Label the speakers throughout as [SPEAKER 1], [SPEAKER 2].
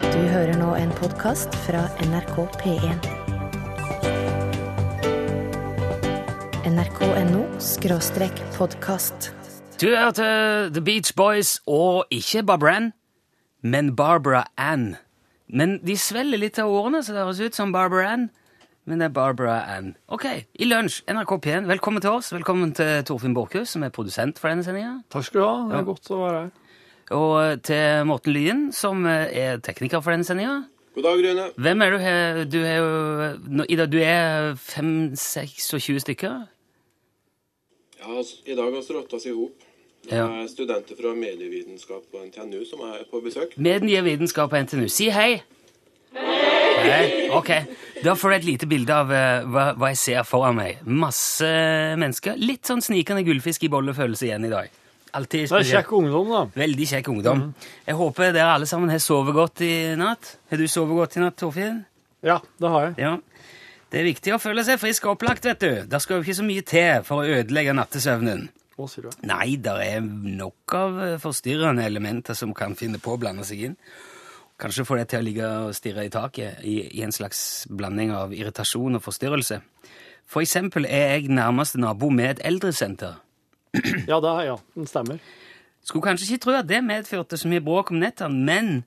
[SPEAKER 1] Du hører nå en podkast fra NRK P1. NRK.no skråstrek podkast.
[SPEAKER 2] Du hørte The Beach Boys og ikke Barbran, men Barbara Ann. Men de svelger litt av ordene, så det høres ut som Barbara Ann. Men det er Barbara Ann. Ok, i lunsj, NRK P1. Velkommen til oss. Velkommen til Torfinn Borchhus, som er produsent for denne sendinga.
[SPEAKER 3] Takk skal du ha. Det er godt å være her.
[SPEAKER 2] Og til Morten Lyen, som er tekniker for denne sendinga.
[SPEAKER 4] God dag, Rune.
[SPEAKER 2] Hvem er du? her? Du er jo nå- Ida, du er 5-26 stykker?
[SPEAKER 4] Ja, altså, I dag har rotta oss i hop. Det
[SPEAKER 2] Ja.
[SPEAKER 4] er studenter fra medievitenskap på NTNU som er på besøk.
[SPEAKER 2] Medie, vitenskap på NTNU. Si hei! Hei! Ok, da får du et lite bilde av eh, hva, hva jeg ser foran meg. Masse mennesker. Litt sånn snikende gullfisk i bollefølelse igjen i dag. Altid
[SPEAKER 3] Det er
[SPEAKER 2] spesielt.
[SPEAKER 3] kjekk Mm. ungdom, da.
[SPEAKER 2] Veldig kjekk ungdom. Jeg håper dere alle sammen har sovet godt i natt. Har du sovet godt i natt, Torfinn?
[SPEAKER 3] Ja, det har jeg.
[SPEAKER 2] Ja. Det er viktig å føle seg frisk og opplagt, vet du. Det skal jo ikke så mye til for å ødelegge nattesøvnen.
[SPEAKER 3] Å, sier du.
[SPEAKER 2] Nei, det er nok av eh, forstyrrende elementer som kan finne på å blande seg inn. Kanskje få deg til å ligge og stirre i taket i, i en slags blanding av irritasjon og forstyrrelse. For eksempel er jeg nærmeste nabo med et eldresenter.
[SPEAKER 3] Ja, det er, ja, den stemmer.
[SPEAKER 2] Skulle kanskje ikke tro at det medførte så mye bråk om nettene, men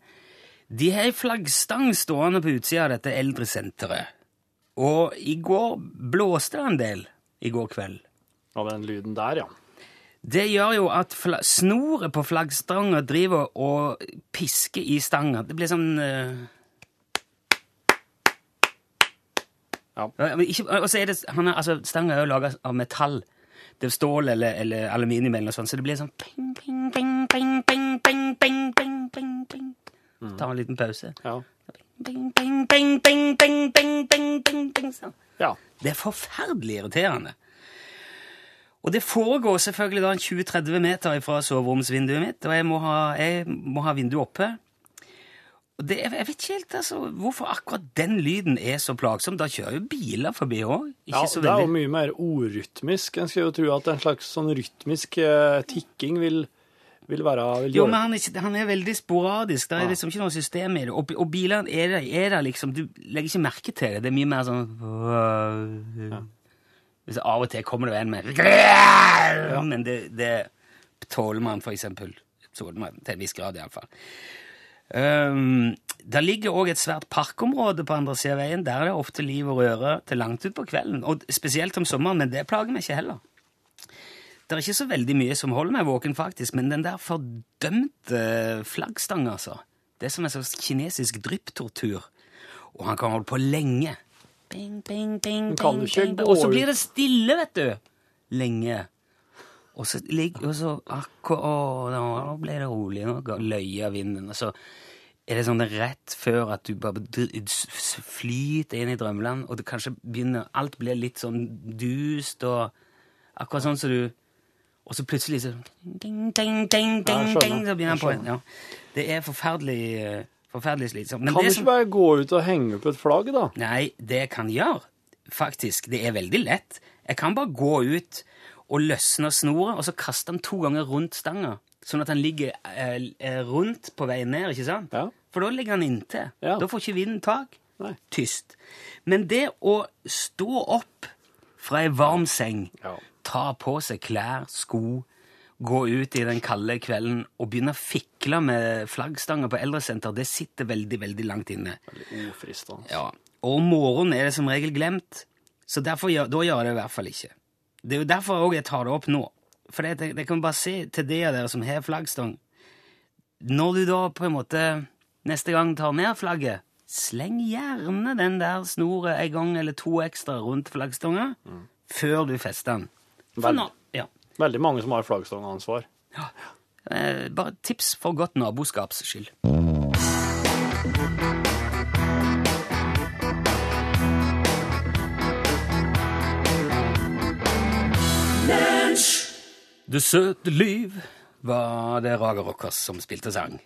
[SPEAKER 2] de har ei flaggstang stående på utsida av dette eldresenteret. Og i går blåste det en del. I går kveld.
[SPEAKER 3] Ja, den lyden der, ja.
[SPEAKER 2] Det gjør jo at fla snoret på flaggstanga driver og pisker i stanga. Det blir sånn eh,
[SPEAKER 3] Ja.
[SPEAKER 2] men Ikke, og så er det, han er, altså, Stanga er jo laga av metall. Det er stål eller, eller aluminium, eller noe sånt, så det blir sånn ping, ping, ping, ping, ping, ping, ping, ping, ping, ping. Ta en liten pause.
[SPEAKER 3] Ja.
[SPEAKER 2] Ping, ping, ping, ping, ping, ping, ping, ping, ping, sånn.
[SPEAKER 3] ja.
[SPEAKER 2] Det er forferdelig irriterende. Og det foregår selvfølgelig da en 20-30 meter fra soveromsvinduet mitt, og jeg må ha, jeg må ha vinduet oppe. Og det, jeg vet ikke helt altså, hvorfor akkurat den lyden er så plagsom. Da kjører jo biler forbi òg.
[SPEAKER 3] ja
[SPEAKER 2] Ikke så
[SPEAKER 3] det er jo
[SPEAKER 2] veldig
[SPEAKER 3] mye mer orytmisk. En skulle jo tro at en slags sånn rytmisk eh, tikking vil, vil være vil
[SPEAKER 2] Jo,
[SPEAKER 3] gjøre-
[SPEAKER 2] men han er, ikke, han er veldig sporadisk. Det er liksom ikke noe system i det. Og, og bilene er der, er der liksom Du legger ikke merke til det. Det er mye mer sånn Hvis Av og til kommer det jo en med Men det, det tåler man, for eksempel. Tåler man til en viss grad, iallfall. Um, der ligger òg et svært parkområde på andre sida av veien. Der er det ofte liv og røre til langt utpå kvelden. Og spesielt om sommeren, men det plager meg ikke heller. Det er ikke så veldig mye som holder meg våken, faktisk, men den der fordømte flaggstanga, altså. Det er som en slags kinesisk drypptortur. Og han kan holde på lenge. Bing, bing, bing,
[SPEAKER 3] Men kan
[SPEAKER 2] bing,
[SPEAKER 3] du ikke
[SPEAKER 2] bing,
[SPEAKER 3] gå
[SPEAKER 2] bing. Og så
[SPEAKER 3] ut?
[SPEAKER 2] blir det stille, vet du. Lenge. Og så ligger Og så akkurat Nå nå ble det rolig. Nå ga- løyer vinden. Og så er det sånn rett før at du bare dr- s- s- flyter inn i drømmeland, og det kanskje begynner Alt blir litt sånn dust og Akkurat sånn som du Og så plutselig så ding, ding, ding, ding,
[SPEAKER 3] Ja, jeg skjønner.
[SPEAKER 2] ding, Så begynner han
[SPEAKER 3] Jeg
[SPEAKER 2] på igjen. Ja. Det er forferdelig, eh, forferdelig slitsomt. Men
[SPEAKER 3] Kan du
[SPEAKER 2] det
[SPEAKER 3] ikke
[SPEAKER 2] som-
[SPEAKER 3] bare gå ut og henge opp et flagg, da?
[SPEAKER 2] Nei, det jeg kan gjøre, faktisk, det er veldig lett. Jeg kan bare gå ut og løsne snoret, og så kaste den to ganger rundt stanga. Sånn at den ligger eh, eh, rundt på vei ned, ikke sant?
[SPEAKER 3] Ja.
[SPEAKER 2] For da ligger den inntil.
[SPEAKER 3] Ja.
[SPEAKER 2] Da får ikke vinden tak.
[SPEAKER 3] Nei.
[SPEAKER 2] Tyst. Men det å stå opp fra ei varm seng,
[SPEAKER 3] Ja.
[SPEAKER 2] ta på seg klær, sko, gå ut i den kalde kvelden og begynne å fikle med flaggstanger på eldresenter, det sitter veldig, veldig langt inne.
[SPEAKER 3] Ofristende.
[SPEAKER 2] Ja, og om morgenen er det som regel glemt, så derfor gjør, da gjør jeg det i hvert fall ikke. Det er jo derfor også jeg tar det opp nå. For det, det, det kan bare si til de av dere som har flaggstang, når du da på en måte neste gang tar ned flagget, sleng gjerne den der snoret en gang eller to ekstra rundt flaggstanga før du fester den. For
[SPEAKER 3] Vel.
[SPEAKER 2] nå, ja.
[SPEAKER 3] Veldig mange som har flaggstangansvar.
[SPEAKER 2] Eh, bare tips for godt naboskaps skyld. Det søte liv var det Raga Rockers som spilte sang.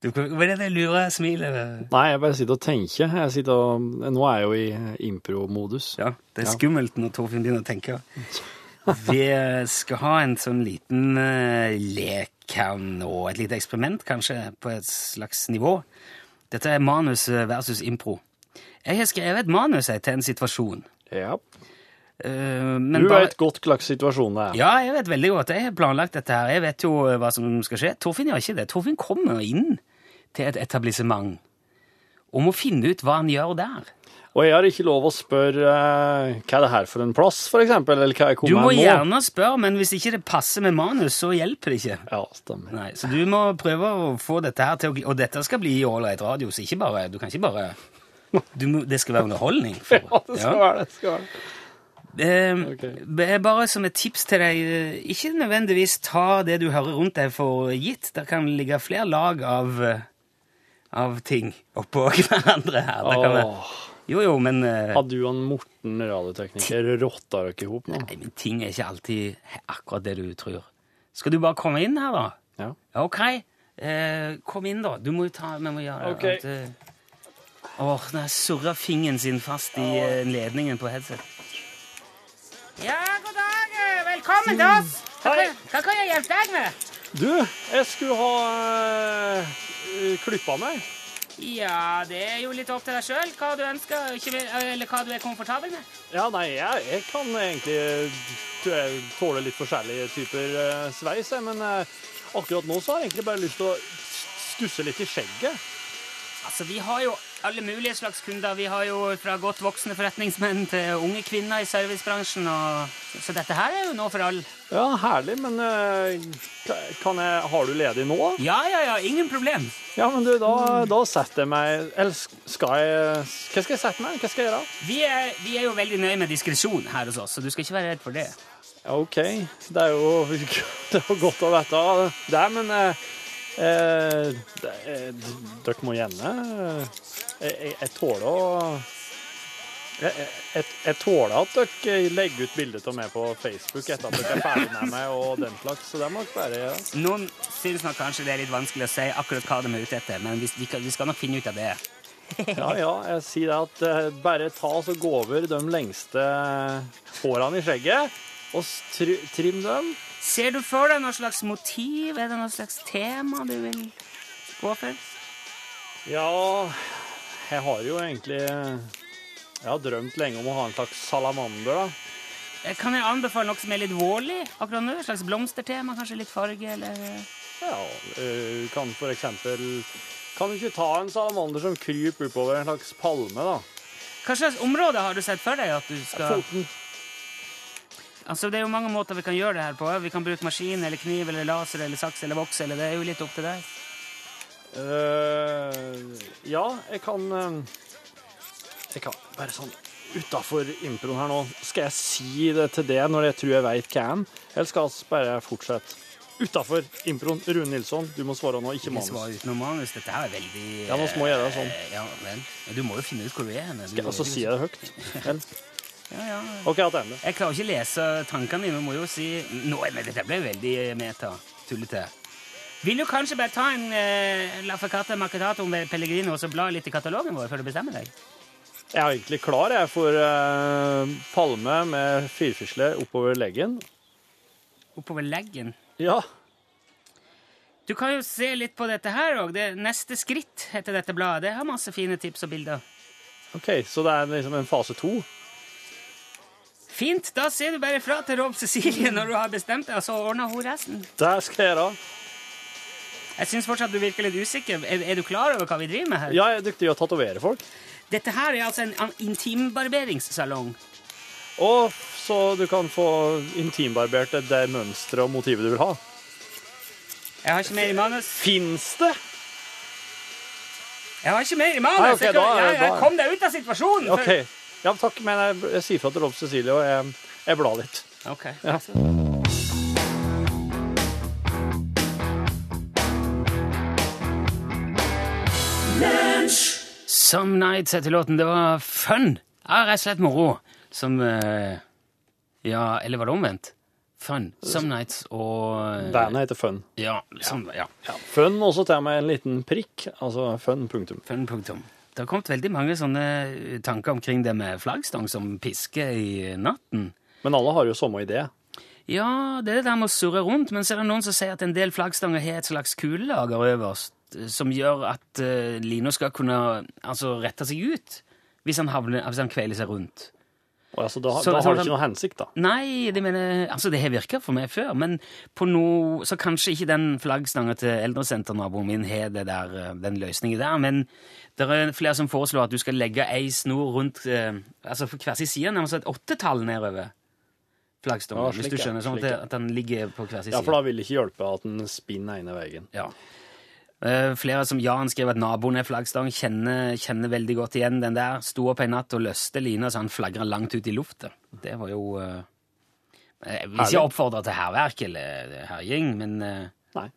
[SPEAKER 2] Du, hva er det det lure smilet?
[SPEAKER 3] Nei, jeg bare sitter og tenker. Jeg sitter og, nå er jeg jo i impro-modus.
[SPEAKER 2] Ja, det er skummelt når Torfinn begynner å tenke. Vi skal ha en sånn liten eh, lek kan nå. Et lite eksperiment, kanskje, på et slags nivå. Dette er manus versus impro. Jeg har skrevet et manus jeg, til en situasjon.
[SPEAKER 3] Ja.
[SPEAKER 2] Eh, men
[SPEAKER 3] Du
[SPEAKER 2] bare-
[SPEAKER 3] veit godt hva slags situasjon det er.
[SPEAKER 2] Ja, jeg vet veldig godt. Jeg har planlagt dette her. Jeg vet jo eh, hva som skal skje. Torfinn gjør ikke det. Torfinn kommer inn til et etablissement og må finne ut hva han gjør der.
[SPEAKER 3] Og jeg har ikke lov å spørre eh, hva er det her for en plass, for eksempel, eller hva jeg
[SPEAKER 2] Du må
[SPEAKER 3] kommer her nå.
[SPEAKER 2] gjerne spørre, men hvis ikke det passer med manus, så hjelper det ikke.
[SPEAKER 3] Ja, stemmer.
[SPEAKER 2] Nei, så du må prøve å få dette her til å gli- Og dette skal bli ålreit radio, så ikke bare Du kan ikke bare du må, Det skal være underholdning. For,
[SPEAKER 3] Ja, det skal
[SPEAKER 2] Ja.
[SPEAKER 3] være det. det skal være det.
[SPEAKER 2] Eh,
[SPEAKER 3] Ok.
[SPEAKER 2] b- eh, Bare som et tips til deg, eh, ikke nødvendigvis ta det du hører rundt deg for gitt. Det kan ligge flere lag av, eh, av ting oppå hverandre her. Det kan være.
[SPEAKER 3] Åh,
[SPEAKER 2] Jo, jo, men, eh,
[SPEAKER 3] Hadde du og han Morten, radiotekniker, rotta dere i hop nå?
[SPEAKER 2] nei, men ting er ikke alltid akkurat det du tror. Skal du bare komme inn her, da?
[SPEAKER 3] Ja.
[SPEAKER 2] Ja, Ok, eh, kom inn, da. Du må jo ta Vi må gjøre
[SPEAKER 3] Ok.
[SPEAKER 2] at, eh, Åh, den surra fingeren sin fast i eh, ledningen på headset. Ja, god dag. Velkommen til oss.
[SPEAKER 3] Hei.
[SPEAKER 2] Hva kan jeg hjelpe deg med?
[SPEAKER 3] Du, jeg skulle ha uh, klippa meg.
[SPEAKER 2] Ja, det er jo litt opp til deg sjøl hva du ønsker, ikke vil- eller hva du er komfortabel med.
[SPEAKER 3] Ja, nei, jeg, jeg kan egentlig tror jeg, tåle litt forskjellige typer eh, sveis, jeg, men eh, akkurat nå så har jeg egentlig bare lyst til å stusse litt i skjegget.
[SPEAKER 2] Altså, Vi har jo alle mulige slags kunder. Vi har jo fra godt voksne forretningsmenn til unge kvinner i servicebransjen. Og, så dette her er jo noe for alle.
[SPEAKER 3] Ja, herlig, men eh, kan jeg, har du ledig nå?
[SPEAKER 2] Ja, ja, ja. Ingen problem.
[SPEAKER 3] Ja, men du, da, da setter jeg meg Eller skal jeg Hva skal jeg sette meg? Hva skal jeg gjøre?
[SPEAKER 2] Vi er, vi er jo veldig nøye med diskresjon her hos oss, så du skal ikke være redd for det.
[SPEAKER 3] Ja, OK, det er jo, det er jo godt å vite det, men eh, eh, det, eh, Dere må gjerne eh, Jeg, jeg, jeg tåler å jeg, jeg, jeg- jeg tåler at dere legger ut bilde av meg på Facebook etter at dere er ferdig med meg og den slags, så det må dere bare gjøre.
[SPEAKER 2] Noen syns nok kanskje det er litt vanskelig å si akkurat hva de er ute etter, men vi, vi, kan- vi skal nok finne ut av det.
[SPEAKER 3] Ja, ja, jeg sier det at eh, bare ta og så gå over de lengste eh, hårene i skjegget, og s- tri trim dem.
[SPEAKER 2] Ser du for deg noe slags motiv? Er det noe slags tema du vil gå for?
[SPEAKER 3] Ja, jeg har jo egentlig Jeg har drømt lenge om å ha en slags salamander, da.
[SPEAKER 2] Eh, Kan jeg anbefale noe som er litt vårlig akkurat nå? Et slags blomstertema, kanskje litt farge, eller
[SPEAKER 3] Ja, eh, kan for eksempel Kan du ikke ta en salamander som kryper oppover en slags palme, da?
[SPEAKER 2] Hva slags område har du sett for deg at du skal
[SPEAKER 3] Foten.
[SPEAKER 2] Altså, Det er jo mange måter vi kan gjøre det her på. Vi kan bruke maskin eller kniv eller laser eller saks eller voks, eller det er jo litt opp til deg.
[SPEAKER 3] Eh, ja, jeg kan eh, Jeg kan bare sånn utafor improen her nå Skal jeg si det til det når jeg tror jeg veit hva jeg er? Eller skal vi bare fortsette? Utafor improen. Rune Nilsson, du må svare nå, ikke
[SPEAKER 2] Ikke
[SPEAKER 3] manus.
[SPEAKER 2] svar utenom manus. Dette her er veldig
[SPEAKER 3] Ja, nå må jeg gjøre det sånn.
[SPEAKER 2] eh, Ja, men men Du må jo finne ut hvor du er. Men,
[SPEAKER 3] Skal altså, jeg også si det høyt? Eller?
[SPEAKER 2] Ja, ja.
[SPEAKER 3] OK, attende.
[SPEAKER 2] Jeg klarer ikke å lese tankene dine. men Må jo si Nå, men Dette ble veldig eh, meta. Tullete. Vil du kanskje bare ta en eh, Lafacata Macatato med Pellegrino og så bla litt i katalogen vår før du bestemmer deg?
[SPEAKER 3] Jeg er egentlig klar jeg, for eh, palme med firfisle oppover leggen.
[SPEAKER 2] Oppover leggen.
[SPEAKER 3] Ja.
[SPEAKER 2] Du kan jo se litt på dette her òg. Det neste skritt heter dette bladet. Det har masse fine tips og bilder.
[SPEAKER 3] OK, så det er liksom en fase to.
[SPEAKER 2] Fint. Da sier du bare fra til Rob Cecilie når du har bestemt deg, og så ordner hun resten.
[SPEAKER 3] Det skal jeg gjøre.
[SPEAKER 2] Jeg syns fortsatt du virker litt usikker. Er, er du klar over hva vi driver med her?
[SPEAKER 3] Ja, jeg er dyktig i å tatovere folk.
[SPEAKER 2] Dette her er altså en an- intimbarberingssalong.
[SPEAKER 3] Og så du kan få intimbarbert det- det mønsteret og motivet du vil ha.
[SPEAKER 2] Jeg har ikke mer i manus.
[SPEAKER 3] Fins det?
[SPEAKER 2] Jeg har ikke mer i
[SPEAKER 3] Nei,
[SPEAKER 2] manus!
[SPEAKER 3] ok,
[SPEAKER 2] Jeg
[SPEAKER 3] da
[SPEAKER 2] kan-
[SPEAKER 3] er-
[SPEAKER 2] jeg, jeg,
[SPEAKER 3] da er-
[SPEAKER 2] kom deg ut av situasjonen! for-
[SPEAKER 3] OK. Ja, takk, men jeg, jeg sier fra til Rolf Cecilie, og jeg, jeg blar litt.
[SPEAKER 2] Ok.
[SPEAKER 3] Ja.
[SPEAKER 2] Some Nights heter låten. Det var fun. Ja, rett og slett moro. Som eh, Ja, eller var det omvendt? Fun. Some Nights og eh,
[SPEAKER 3] Bandet heter Fun.
[SPEAKER 2] Ja. Som, ja.
[SPEAKER 3] Fun også tar meg en liten prikk. Altså Fun, punktum.
[SPEAKER 2] Fun punktum. Det har kommet veldig mange sånne tanker omkring det med flaggstang som piske i natten.
[SPEAKER 3] Men alle har jo samme idé.
[SPEAKER 2] Ja, det er det der med å surre rundt, men så er det noen som sier at en del flaggstanger har et slags kulelager øverst, eh, som gjør at uh, lina skal kunne altså, rette seg ut hvis han, havner, hvis han kveler seg rundt.
[SPEAKER 3] Og altså, da,
[SPEAKER 2] Så-
[SPEAKER 3] da
[SPEAKER 2] så
[SPEAKER 3] har det
[SPEAKER 2] den-
[SPEAKER 3] ikke noe hensikt, da.
[SPEAKER 2] Nei, det mener, altså det har virket for meg før, men på noe, så kanskje ikke den flaggstangen til eldresenternaboen min har det der, eh, den løsningen der, men det er flere som foreslår at du skal legge ei snor rundt, eh, altså for hver sin side, nærmest et åttetall nedover flaggstangen,
[SPEAKER 3] Ja,
[SPEAKER 2] hvis
[SPEAKER 3] slik,
[SPEAKER 2] du
[SPEAKER 3] ja,
[SPEAKER 2] skjønner, sånn at,
[SPEAKER 3] slik,
[SPEAKER 2] det,
[SPEAKER 3] ja.
[SPEAKER 2] at den ligger på hver sin
[SPEAKER 3] Ja,
[SPEAKER 2] side.
[SPEAKER 3] For da vil det ikke hjelpe at den spinner ene veien.
[SPEAKER 2] Ja. Eh, flere som Jan skriver at naboen er flaggstang, kjenner, kjenner veldig godt igjen den der. Sto opp en natt og løste lina så han flagra langt ut i lufta. Det var jo eh, Jeg vil ikke oppfordre til hærverk eller herjing, men eh,
[SPEAKER 3] Nei.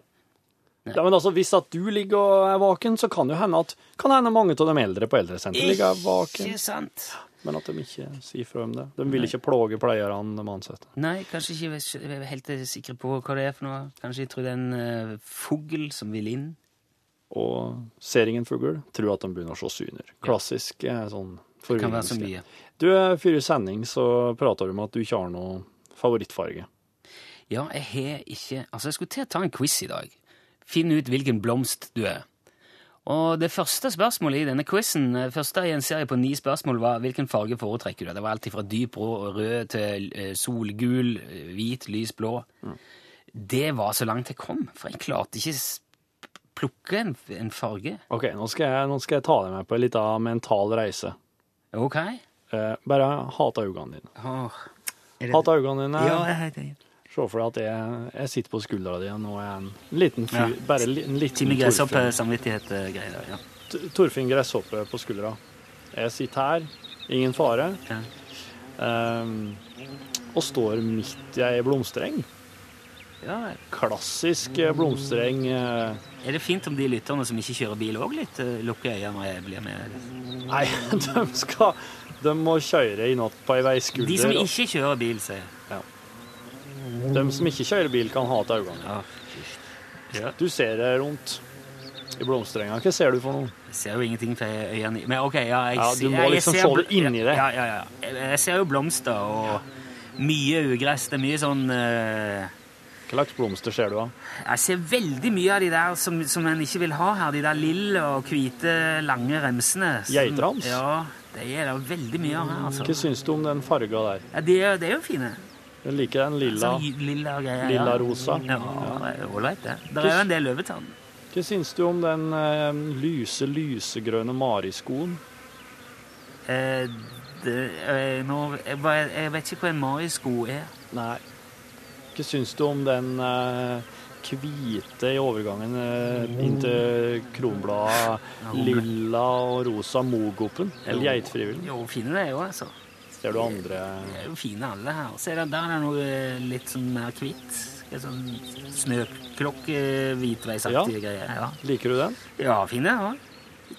[SPEAKER 3] Ja, men altså, Hvis at du ligger og er vaken, så kan det jo hende at kan hende mange av de eldre på eldresenteret ligger vaken.
[SPEAKER 2] Ikke sant?
[SPEAKER 3] Men at de ikke sier fra om det. De vil ikke plage pleierne de ansatte.
[SPEAKER 2] Nei, kanskje ikke jeg er helt sikre på hva det er for noe. Kanskje jeg tror det er en eh, fugl som vil inn.
[SPEAKER 3] Og ser ingen fugl, tror at de begynner å se syner. Klassisk eh, sånn
[SPEAKER 2] Det kan være så
[SPEAKER 3] forvirringsgreie.
[SPEAKER 2] mye.
[SPEAKER 3] Du, eh, før i sending så prata du om at du ikke har noe favorittfarge.
[SPEAKER 2] Ja, jeg har ikke Altså, jeg skulle til å ta en quiz i dag. Finn ut hvilken blomst du er. Og det første spørsmålet i denne quizen, eh, første i en serie på ni spørsmål, var hvilken farge foretrekker du? Det var alltid fra dyp rå og rød til eh, solgul, eh, hvit, lys blå. Det var så langt jeg kom, for jeg klarte ikke s- plukke en, en farge.
[SPEAKER 3] OK, nå skal, jeg, nå skal jeg ta deg med på en liten mental reise.
[SPEAKER 2] Ok.
[SPEAKER 3] Eh, bare hata øynene dine.
[SPEAKER 2] Åh. Er det-
[SPEAKER 3] Hata øynene dine.
[SPEAKER 2] Ja, jeg heter det.
[SPEAKER 3] Se for deg at jeg, jeg sitter på skuldra di, og nå er jeg en liten fyr,
[SPEAKER 2] Ja.
[SPEAKER 3] bare li, en liten
[SPEAKER 2] Timmy
[SPEAKER 3] Torfinn,
[SPEAKER 2] Gresshoppe, samvittighet-greier. Ja.
[SPEAKER 3] T- Torfinn Gresshoppe på skuldra. Jeg sitter her, ingen fare,
[SPEAKER 2] Ja.
[SPEAKER 3] ehm, og står midt i ei blomstereng.
[SPEAKER 2] Ja, vel.
[SPEAKER 3] Klassisk eh, blomstereng. eh,
[SPEAKER 2] Er det fint om de lytterne som ikke kjører bil òg litt eh, lukker øynene når jeg blir med?
[SPEAKER 3] Nei, de skal De må kjøre i natt på ei veiskulder.
[SPEAKER 2] De som
[SPEAKER 3] og-
[SPEAKER 2] ikke kjører bil, sier jeg.
[SPEAKER 3] de som ikke kjører bil, kan hate øynene.
[SPEAKER 2] Ja.
[SPEAKER 3] Du ser deg rundt i blomsterenga. Hva ser du for noe?
[SPEAKER 2] Jeg ser jo ingenting fra øynene Men OK, ja, jeg,
[SPEAKER 3] Ja, du
[SPEAKER 2] ser-
[SPEAKER 3] må
[SPEAKER 2] jeg- jeg
[SPEAKER 3] liksom
[SPEAKER 2] ser
[SPEAKER 3] se
[SPEAKER 2] bl-
[SPEAKER 3] det inni deg.
[SPEAKER 2] Ja, ja, ja. Jeg, jeg ser jo blomster og mye ugress. Det er mye sånn eh,
[SPEAKER 3] Hva slags blomster ser du av?
[SPEAKER 2] Jeg ser veldig mye av de der som, som en ikke vil ha her. De der lille og hvite, lange remsene. som-
[SPEAKER 3] Geitrams?
[SPEAKER 2] Ja. Det er det veldig mye av her,
[SPEAKER 3] Hva
[SPEAKER 2] altså.
[SPEAKER 3] syns du om den farga der?
[SPEAKER 2] Ja, de, er, de er jo fine.
[SPEAKER 3] Jeg liker den lilla.
[SPEAKER 2] Sånn gy- lilla greier. ja.
[SPEAKER 3] Lilla rosa.
[SPEAKER 2] Ja, det er ålreit, det. Det er jo en del løvetann.
[SPEAKER 3] Hva syns du om den eh, lyse, lysegrønne mariskoen?
[SPEAKER 2] Eh, det, eh, nå, jeg, bare, jeg vet ikke hva en marisko er.
[SPEAKER 3] Nei. Hva syns du om den eh, hvite i overgangen eh, inn til kronbladet? Lilla og rosa mogopen? Eller geitfrivillen?
[SPEAKER 2] Jo, fine det er jo, altså.
[SPEAKER 3] Ser du andre
[SPEAKER 2] Det er jo fine alle her. Så er det, der er det noe eh, litt sånn mer hvitt. Det er Sånn snøklokke, hvitveisaktige greier. Ja,
[SPEAKER 3] Liker du den?
[SPEAKER 2] ja fine det òg.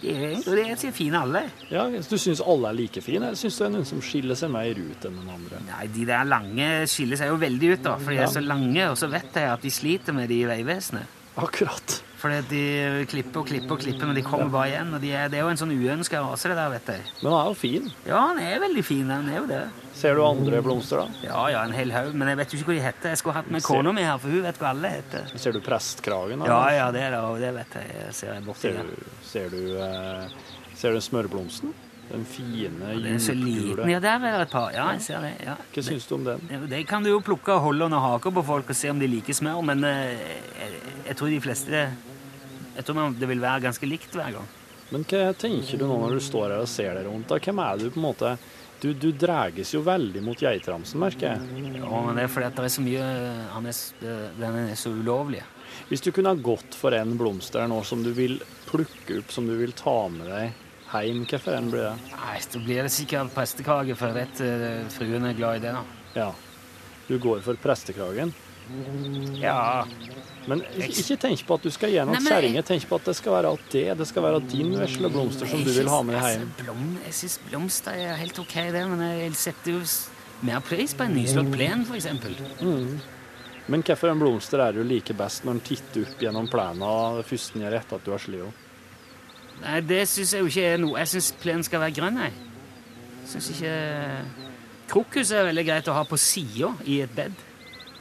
[SPEAKER 2] Jeg sier fine alle.
[SPEAKER 3] Ja, Du syns alle er like fine? Eller syns du det er noen som skiller seg mer ut enn den andre?
[SPEAKER 2] Nei, de der lange skiller seg jo veldig ut, da. For de er så lange, og så vet jeg at de sliter med de i Vegvesenet.
[SPEAKER 3] Akkurat.
[SPEAKER 2] Fordi at de klipper og klipper og klipper, men de kommer bare igjen. Og de er, det er jo en sånn uønska rase, det der, vet du.
[SPEAKER 3] Men den er jo fin.
[SPEAKER 2] Ja, han er veldig fin, han er jo det.
[SPEAKER 3] Ser du andre blomster, da?
[SPEAKER 2] Ja, ja, en hel haug, men jeg vet jo ikke hva de heter. Jeg skulle hatt med
[SPEAKER 3] Se.
[SPEAKER 2] kona mi her, for hun vet hva alle heter.
[SPEAKER 3] Ser du prestkragen? da?
[SPEAKER 2] Ja, ja, det er det, og det vet jeg. Jeg ser jeg borti
[SPEAKER 3] Ser
[SPEAKER 2] det.
[SPEAKER 3] du, ser du, eh, ser du smørblomsten? Den fine,
[SPEAKER 2] Den er så liten.
[SPEAKER 3] djupgule.
[SPEAKER 2] Ja, der er Mm, det et par. Ja, jeg ser det. ja.
[SPEAKER 3] Hva syns du om den?
[SPEAKER 2] Det- Det kan du jo plukke og holde under haka på folk og se om de liker smør, men eh, jeg, jeg tror de fleste Jeg tror man, det vil være ganske likt hver gang.
[SPEAKER 3] Men hva tenker du nå når du står her og ser deg rundt? da? Hvem er du på en måte? Du, du dreges jo veldig mot geitramsen, merker jeg.
[SPEAKER 2] Ja, men det er fordi at det er så mye han er, s- Den er så ulovlig.
[SPEAKER 3] Hvis du kunne ha gått for en blomst der nå som du vil plukke opp, som du vil ta med deg hjem, hvorfor en blir det?
[SPEAKER 2] Nei, da blir det sikkert prestekake, for jeg vet eh, fruen er glad i det, da.
[SPEAKER 3] Ja. Du går for prestekragen.
[SPEAKER 2] Ja,
[SPEAKER 3] Men ik- ikke tenk på at du skal gi noen
[SPEAKER 2] Nei, men-
[SPEAKER 3] kjerringer. Tenk på at det skal være alt det. Det skal være din vesle blomster som du vil ha med deg hjem.
[SPEAKER 2] Altså, blom- jeg syns blomster er helt ok, det, men jeg setter jo s- mer pris på en nyslått plen, for eksempel.
[SPEAKER 3] Men hvorfor en blomster er jo like best når en titter opp gjennom plena det første en gjør etter at du har slått opp?
[SPEAKER 2] Nei, det syns jeg jo ikke er noe. Jeg syns plenen skal være grønn, jeg. Syns ikke Krokus er veldig greit å ha på sida i et bed.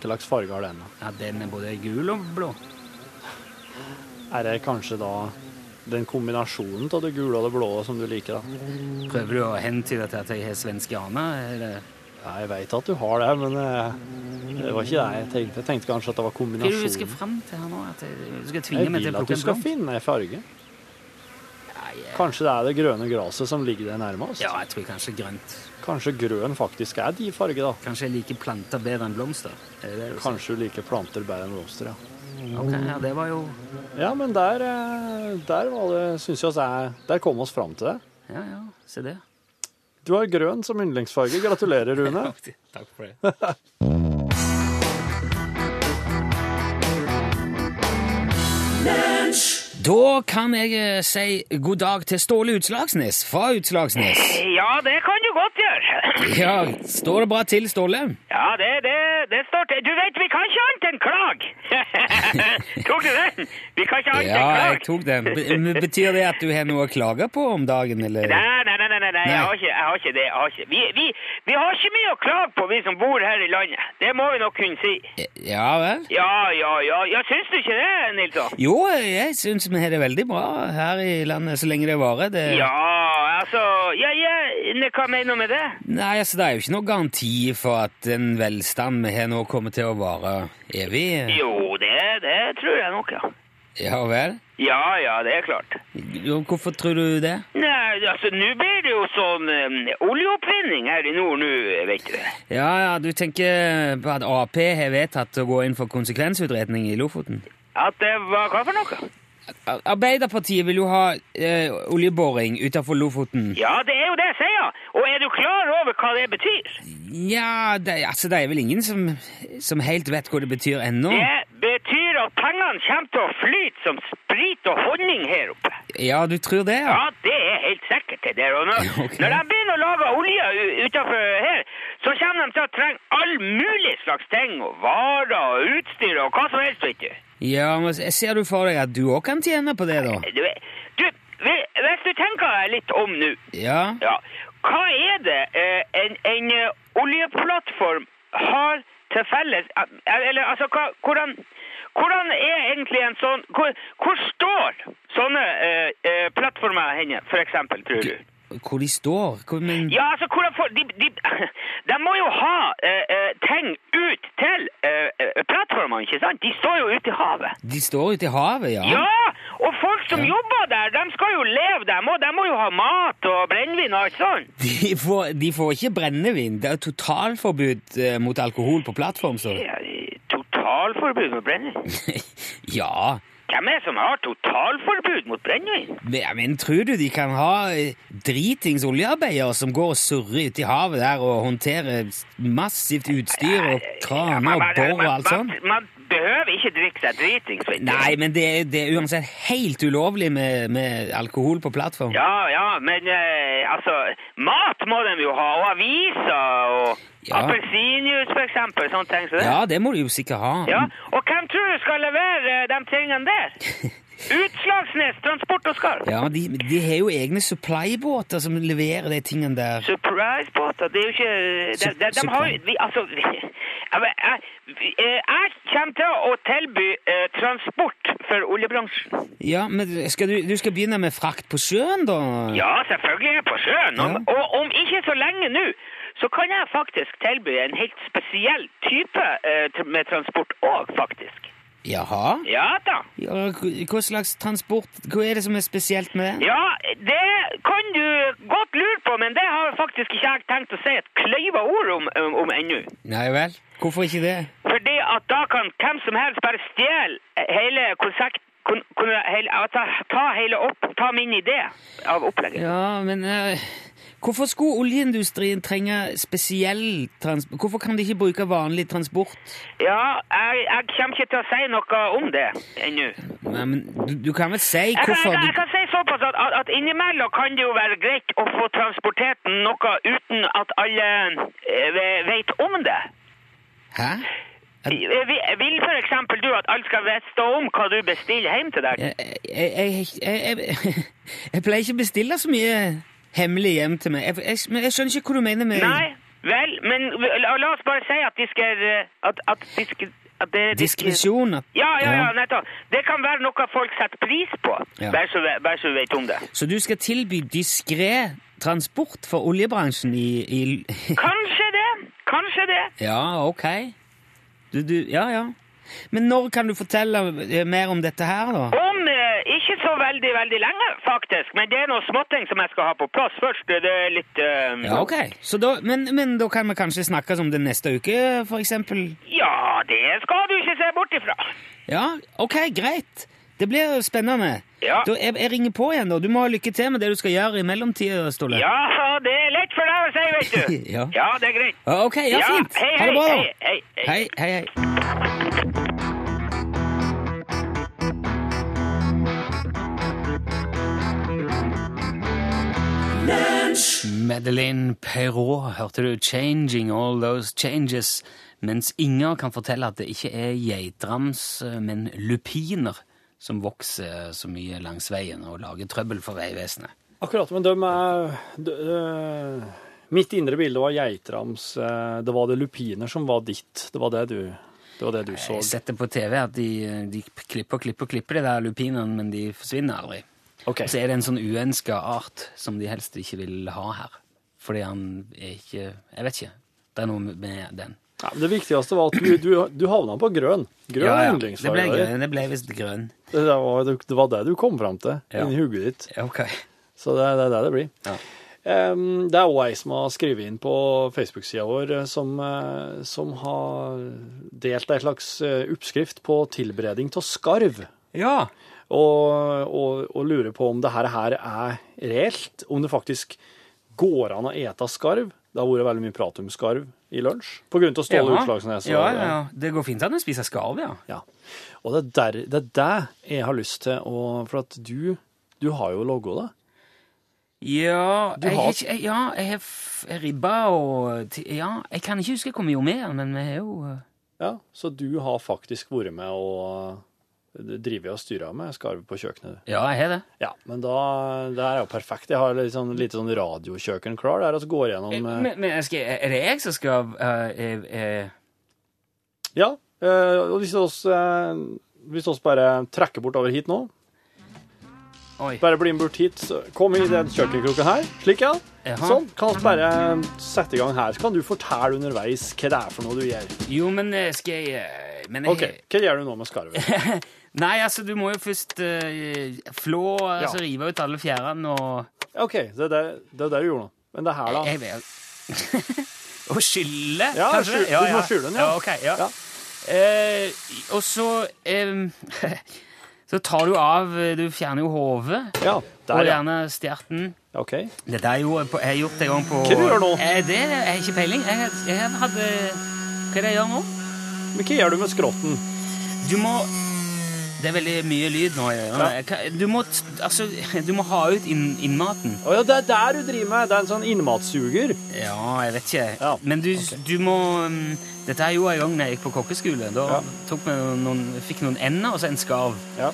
[SPEAKER 3] hvilken farge har den? da?
[SPEAKER 2] Ja, den er både gul og blå.
[SPEAKER 3] Er det kanskje da den kombinasjonen av det gule og det blå som du liker? da?
[SPEAKER 2] Prøver du å hentyde til at jeg har svenske aner? eller?
[SPEAKER 3] Ja, jeg veit at du har det, men eh, det var ikke det jeg tenkte. Jeg tenkte kanskje at det var
[SPEAKER 2] Hva er det du skal
[SPEAKER 3] kombinasjonen.
[SPEAKER 2] frem til her nå? At jeg, du skal tvinge
[SPEAKER 3] Jeg
[SPEAKER 2] meg
[SPEAKER 3] vil
[SPEAKER 2] til å
[SPEAKER 3] at du
[SPEAKER 2] plukke en
[SPEAKER 3] skal
[SPEAKER 2] blomst?
[SPEAKER 3] finne ei farge.
[SPEAKER 2] Nei, jeg-
[SPEAKER 3] Kanskje det er det grønne gresset som ligger der nærmest?
[SPEAKER 2] Ja, jeg tror kanskje grønt.
[SPEAKER 3] Kanskje grønn faktisk er de farge, da?
[SPEAKER 2] Kanskje jeg liker planter bedre enn blomster. Er det det du sier?
[SPEAKER 3] Kanskje du liker planter bedre enn blomster, ja.
[SPEAKER 2] Ok, ja, det var jo
[SPEAKER 3] Ja, men der, eh, der var det, synes jeg oss er, der kom oss fram til det.
[SPEAKER 2] Ja, ja, se det.
[SPEAKER 3] Du har grønn som yndlingsfarge. Gratulerer, Rune.
[SPEAKER 2] Takk for det. Da kan jeg eh, si god dag til Ståle Utslagsnes fra Utslagsnes.
[SPEAKER 5] Ja, det kan du godt gjøre.
[SPEAKER 2] Ja, Står det bra til, Ståle?
[SPEAKER 5] Ja, det, det, det står til. Du vet, vi kan ikke annet enn klag. Tok du den? Vi kan ikke annet
[SPEAKER 2] Ja,
[SPEAKER 5] enn klag.
[SPEAKER 2] jeg tok den. Be- men Betyr det at du har noe å klage på om dagen, eller?
[SPEAKER 5] Nei, nei, nei, nei, nei, nei. Jeg, har ikke, jeg har ikke det. Jeg har ikke. Vi, vi, vi har ikke mye å klage på, vi som bor her i landet. Det må vi nok kunne si.
[SPEAKER 2] Ja vel?
[SPEAKER 5] Ja, ja, ja. ja syns du ikke det, Nilsson?
[SPEAKER 2] Jo, eh, jeg syns vi har det veldig bra her i landet så lenge det varer. Det...
[SPEAKER 5] Ja, altså Ja, ja, ne- hva mener du med det?
[SPEAKER 2] Nei, altså, det er jo ikke noe garanti for at den velstanden vi har nå, kommer til å vare evig.
[SPEAKER 5] Jo, det, det tror jeg nok, ja.
[SPEAKER 2] Ja vel?
[SPEAKER 5] Ja, ja, det er klart.
[SPEAKER 2] Jo, Hvorfor tror du det?
[SPEAKER 5] Nei, altså, nå blir det jo sånn eh, oljeoppvinning her i nord nå, eh, vet du.
[SPEAKER 2] Ja, ja, du tenker på at Ap har vedtatt å gå inn for konsekvensutredning i Lofoten?
[SPEAKER 5] At det var hva for noe?
[SPEAKER 2] Ar- Arbeiderpartiet vil jo ha eh, oljeboring utenfor Lofoten.
[SPEAKER 5] Ja, det er jo det jeg sier. Og er du klar over hva det betyr?
[SPEAKER 2] Nja, det, altså, det er vel ingen som, som helt vet hva det betyr ennå.
[SPEAKER 5] Det betyr at pengene kommer til å flyte som sprit og honning her oppe.
[SPEAKER 2] Ja, du tror det, ja?
[SPEAKER 5] Ja, det er helt sikkert det der. Og når,
[SPEAKER 2] Ok.
[SPEAKER 5] når de begynner å lage olje u- utenfor her, så kommer de til å trenge all mulig slags ting. Og varer og utstyr og hva som helst, vet du.
[SPEAKER 2] Ja, men s- ser du for deg at du òg kan tjene på det, da?
[SPEAKER 5] Du, du hvis du tenker deg litt om nå
[SPEAKER 2] Ja?
[SPEAKER 5] Ja. Hva er det eh, en, en eh, oljeplattform har til felles eh, Eller altså, hva, hvordan, hvordan er egentlig en sånn Hvor, hvor står sånne eh, eh, plattformer henne, for eksempel, tror du?
[SPEAKER 2] Hvor de står? Hvor, men,
[SPEAKER 5] Ja, altså, hvordan får De, de, de må jo ha eh, eh, ting ut til eh, eh, plattformene, ikke sant? De står jo ute i havet.
[SPEAKER 2] De står ute i havet, ja?
[SPEAKER 5] Ja! Og folk som jobber der, de skal jo leve, dem òg. De må jo ha mat og brennevin og alt sånt.
[SPEAKER 2] De, får, de får ikke brennevin. Det er totalforbud eh, mot alkohol på plattform, står det.
[SPEAKER 5] Ja, totalforbud mot brennevin?
[SPEAKER 2] Ja,
[SPEAKER 5] Hvem er det som har totalforbud mot brennevin?
[SPEAKER 2] men, ja, men tror du de kan ha eh, dritings oljearbeidere som går og surrer ute i havet der og håndterer s- massivt utstyr og kraner og bor og alt sånt?
[SPEAKER 5] Man, man behøver ikke drikke seg dritings, vet du.
[SPEAKER 2] Nei, men det, er- det er uansett helt ulovlig med, med alkohol på plattform.
[SPEAKER 5] Ja, ja, men eh, altså, mat må de jo ha, og aviser, og
[SPEAKER 2] Ja.
[SPEAKER 5] appelsinjuice for eksempel, sånne ting som det.
[SPEAKER 2] Ja, det må de jo sikkert
[SPEAKER 5] Ja,
[SPEAKER 2] ha.
[SPEAKER 5] og hvem tror du skal levere eh, de tingene der? Utslagsnes, transport og skarv.
[SPEAKER 2] Ja, De, de har jo egne supplybåter som leverer de tingene der.
[SPEAKER 5] Surprise-båter, det er jo ikke De, de, de har jo vi- Altså vi, jeg, jeg, vi- eh, jeg kommer til å tilby eh, transport for oljebransjen.
[SPEAKER 2] Ja, men skal du, du skal begynne med frakt på sjøen, da?
[SPEAKER 5] Ja, selvfølgelig er jeg på sjøen. Om,
[SPEAKER 2] Ja.
[SPEAKER 5] Og om ikke så lenge nå, så kan jeg faktisk tilby en helt spesiell type eh, tr- med transport òg, faktisk.
[SPEAKER 2] Jaha?
[SPEAKER 5] Ja da.
[SPEAKER 2] Ja, hva- hva slags transport Hva er det som er spesielt med det?
[SPEAKER 5] Ja, det kan du godt lure på, men det har faktisk ikke jeg tenkt å si et kløyva ord om, eh, om, om ennå.
[SPEAKER 2] Nei vel? Hvorfor ikke det?
[SPEAKER 5] Fordi at da kan hvem som helst bare stjele hele konsert... Kun, kun, hele, ja, ta, ta hele opp... Ta min idé av opplegget.
[SPEAKER 2] Ja, men eh, Hvorfor skulle oljeindustrien trenge spesiell transport? Hvorfor kan de ikke bruke vanlig transport?
[SPEAKER 5] Ja, jeg, jeg kommer ikke til å si noe om det ennå.
[SPEAKER 2] Nei, men du, du kan vel si
[SPEAKER 5] Jeg, kan-
[SPEAKER 2] hvorfor
[SPEAKER 5] jeg, kan- jeg
[SPEAKER 2] du
[SPEAKER 5] kan si såpass at, at, at innimellom kan det jo være greit å få transportert noe uten at alle eh, ve- vet om det.
[SPEAKER 2] Hæ?
[SPEAKER 5] Vi- vi- Vil for eksempel du at alle skal vite om hva du bestiller hjem til deg?
[SPEAKER 2] Jeg, jeg, jeg, jeg, jeg, jeg pleier ikke å bestille så mye hemmelig hjem til meg. Jeg, jeg, men jeg skjønner ikke hva du mener med
[SPEAKER 5] Nei, Vel, men la la oss bare si at de skal eh, At, at, de skal- at det de skal-
[SPEAKER 6] Diskresjon. At,
[SPEAKER 5] Ja, ja, ja, nettopp. Det kan være noe folk setter pris på.
[SPEAKER 6] Ja.
[SPEAKER 5] Bare så, ve- bare så vi vet om det.
[SPEAKER 6] Så du skal tilby diskré transport for oljebransjen i, i
[SPEAKER 5] Kanskje det. Kanskje det.
[SPEAKER 6] Ja, ok. Du, du, ja, ja. Men når kan du fortelle eh, mer om dette her, da?
[SPEAKER 5] Om eh, ikke så veldig, veldig lenge, faktisk. Men det er noen småting som jeg skal ha på plass først. Det er litt eh,
[SPEAKER 6] Ja, ok. Så da, men, men da kan vi kanskje snakkes om det neste uke, for eksempel?
[SPEAKER 5] ja, det skal du ikke se bort ifra.
[SPEAKER 6] Ja, ok, greit. Det blir spennende.
[SPEAKER 5] Ja.
[SPEAKER 6] Da, jeg, jeg ringer på igjen, da. Du må ha lykke til med det du skal gjøre i mellomtida, Ståle.
[SPEAKER 5] Ja, det er lett for deg å si, vet du.
[SPEAKER 6] Ja.
[SPEAKER 5] det er greit.
[SPEAKER 6] Ja, Ok, ja, fint.
[SPEAKER 5] Hei,
[SPEAKER 6] ha
[SPEAKER 5] hei,
[SPEAKER 6] det bra, da.
[SPEAKER 5] hei, hei, hei.
[SPEAKER 6] Hei, hei, hei.
[SPEAKER 2] Madeleine Perrault hørte du 'Changing All Those Changes', mens Inger kan fortelle at det ikke er geitrams, men lupiner som vokser så mye langs veien og lager trøbbel for Vegvesenet.
[SPEAKER 3] Akkurat, men de er de, eh, Mitt indre bilde var geitrams. eh, Det var det lupiner som var ditt. Det var det du, det var det du så.
[SPEAKER 2] Jeg setter på TV at de, de klipper og klipper og klipper de der lupinene, men de forsvinner aldri.
[SPEAKER 3] Ok.
[SPEAKER 2] Og så er det en sånn uønska art som de helst ikke vil ha her. Fordi han er ikke Jeg vet ikke. Det er noe med den.
[SPEAKER 3] Ja, men det viktigste var at du, du, du havna på grønn. Grøn
[SPEAKER 2] Ja, ja. Det ble,
[SPEAKER 3] yndlingsfarge.
[SPEAKER 2] grønn- det ble visst grønn.
[SPEAKER 3] Det, der var, det var det du kom fram til
[SPEAKER 2] Ja.
[SPEAKER 3] inni hodet ditt.
[SPEAKER 2] Ok.
[SPEAKER 3] Så det, det er det det blir.
[SPEAKER 2] Ja.
[SPEAKER 3] Em, det er òg ei som har skrevet inn på Facebook-sida vår, eh, som, eh, som har delt ei slags eh, oppskrift på tilberedning av skarv.
[SPEAKER 2] Ja.
[SPEAKER 3] Og, og, og lurer på om det her, her er reelt. Om det faktisk går an å ete skarv. Det har vært veldig mye prat om skarv i lunsj. På grunn av Ståle Utslagsnes. og-
[SPEAKER 2] ja, ja, ja. Det går fint an å spise skarv, ja.
[SPEAKER 3] Ja. Og det er, der, det er det jeg har lyst til å For at du, du har jo logo, da.
[SPEAKER 2] Ja,
[SPEAKER 3] Du
[SPEAKER 2] jeg,
[SPEAKER 3] har-
[SPEAKER 2] har... ikke, ja, jeg har f- ribba og ti- Ja, jeg kan ikke huske hvor mye mer, men vi har jo eh,
[SPEAKER 3] Ja, så du har faktisk vært med og drevet og styra med skarv på kjøkkenet. du.
[SPEAKER 2] Ja, jeg har det.
[SPEAKER 3] Ja, men da Det er jo perfekt. Jeg har litt sånn, lite sånn radiokjøkken klar der, og så går jeg gjennom eh,
[SPEAKER 2] Men, men jeg skal, er det jeg som skal eh, eh, eh,
[SPEAKER 3] Ja. eh, Og hvis oss, eh, hvis oss bare trekker bortover hit nå
[SPEAKER 2] Oi.
[SPEAKER 3] Bare bli med bort hit. så Kom inn i den kjøkkenkroken her. Slik, ja.
[SPEAKER 2] Jaha.
[SPEAKER 3] Sånn. Kan vi bare sette i gang her, så kan du fortelle underveis hva det er for noe du gjør.
[SPEAKER 2] Jo, men eh, skal jeg eh, Men jeg
[SPEAKER 3] OK, hva gjør du nå med skarven?
[SPEAKER 2] Nei, altså, du må jo først eh, flå, altså rive ut alle fjærene og
[SPEAKER 3] OK, det er det, det, er det du gjorde nå. Men det her, da?
[SPEAKER 2] Jeg vet Og skylle,
[SPEAKER 3] Ja,
[SPEAKER 2] kanskje?
[SPEAKER 3] skyll- du må skylle den,
[SPEAKER 2] ja
[SPEAKER 3] ja.
[SPEAKER 2] ok, ja.
[SPEAKER 3] Ja.
[SPEAKER 2] Eh, og så em, Så tar du av eh, Du fjerner jo hodet.
[SPEAKER 3] Ja.
[SPEAKER 2] Og
[SPEAKER 3] Der, ja.
[SPEAKER 2] gjerne stjerten.
[SPEAKER 3] OK.
[SPEAKER 2] Dette er jo på, Jeg har gjort det en gang på
[SPEAKER 3] Hva du gjør nå?
[SPEAKER 2] Eh, det har jeg ikke peiling. Jeg, jeg hadde Hva er det jeg gjør nå?
[SPEAKER 3] Men hva gjør du med skrotten?
[SPEAKER 2] Du må Det er veldig mye lyd nå. Jeg, gjør. Jeg kan- du, må, t- altså, du må ha ut inn- innmaten.
[SPEAKER 3] Å ja, det er der du driver med. Det er en sånn innmatsuger.
[SPEAKER 2] Ja, jeg vet ikke.
[SPEAKER 3] Ja,
[SPEAKER 2] Men du, du må um, Dette er jo en gang da jeg gikk på kokkeskole. Da
[SPEAKER 3] Ja.
[SPEAKER 2] tok vi noen, fikk noen ender og så en skarv.
[SPEAKER 3] Ja.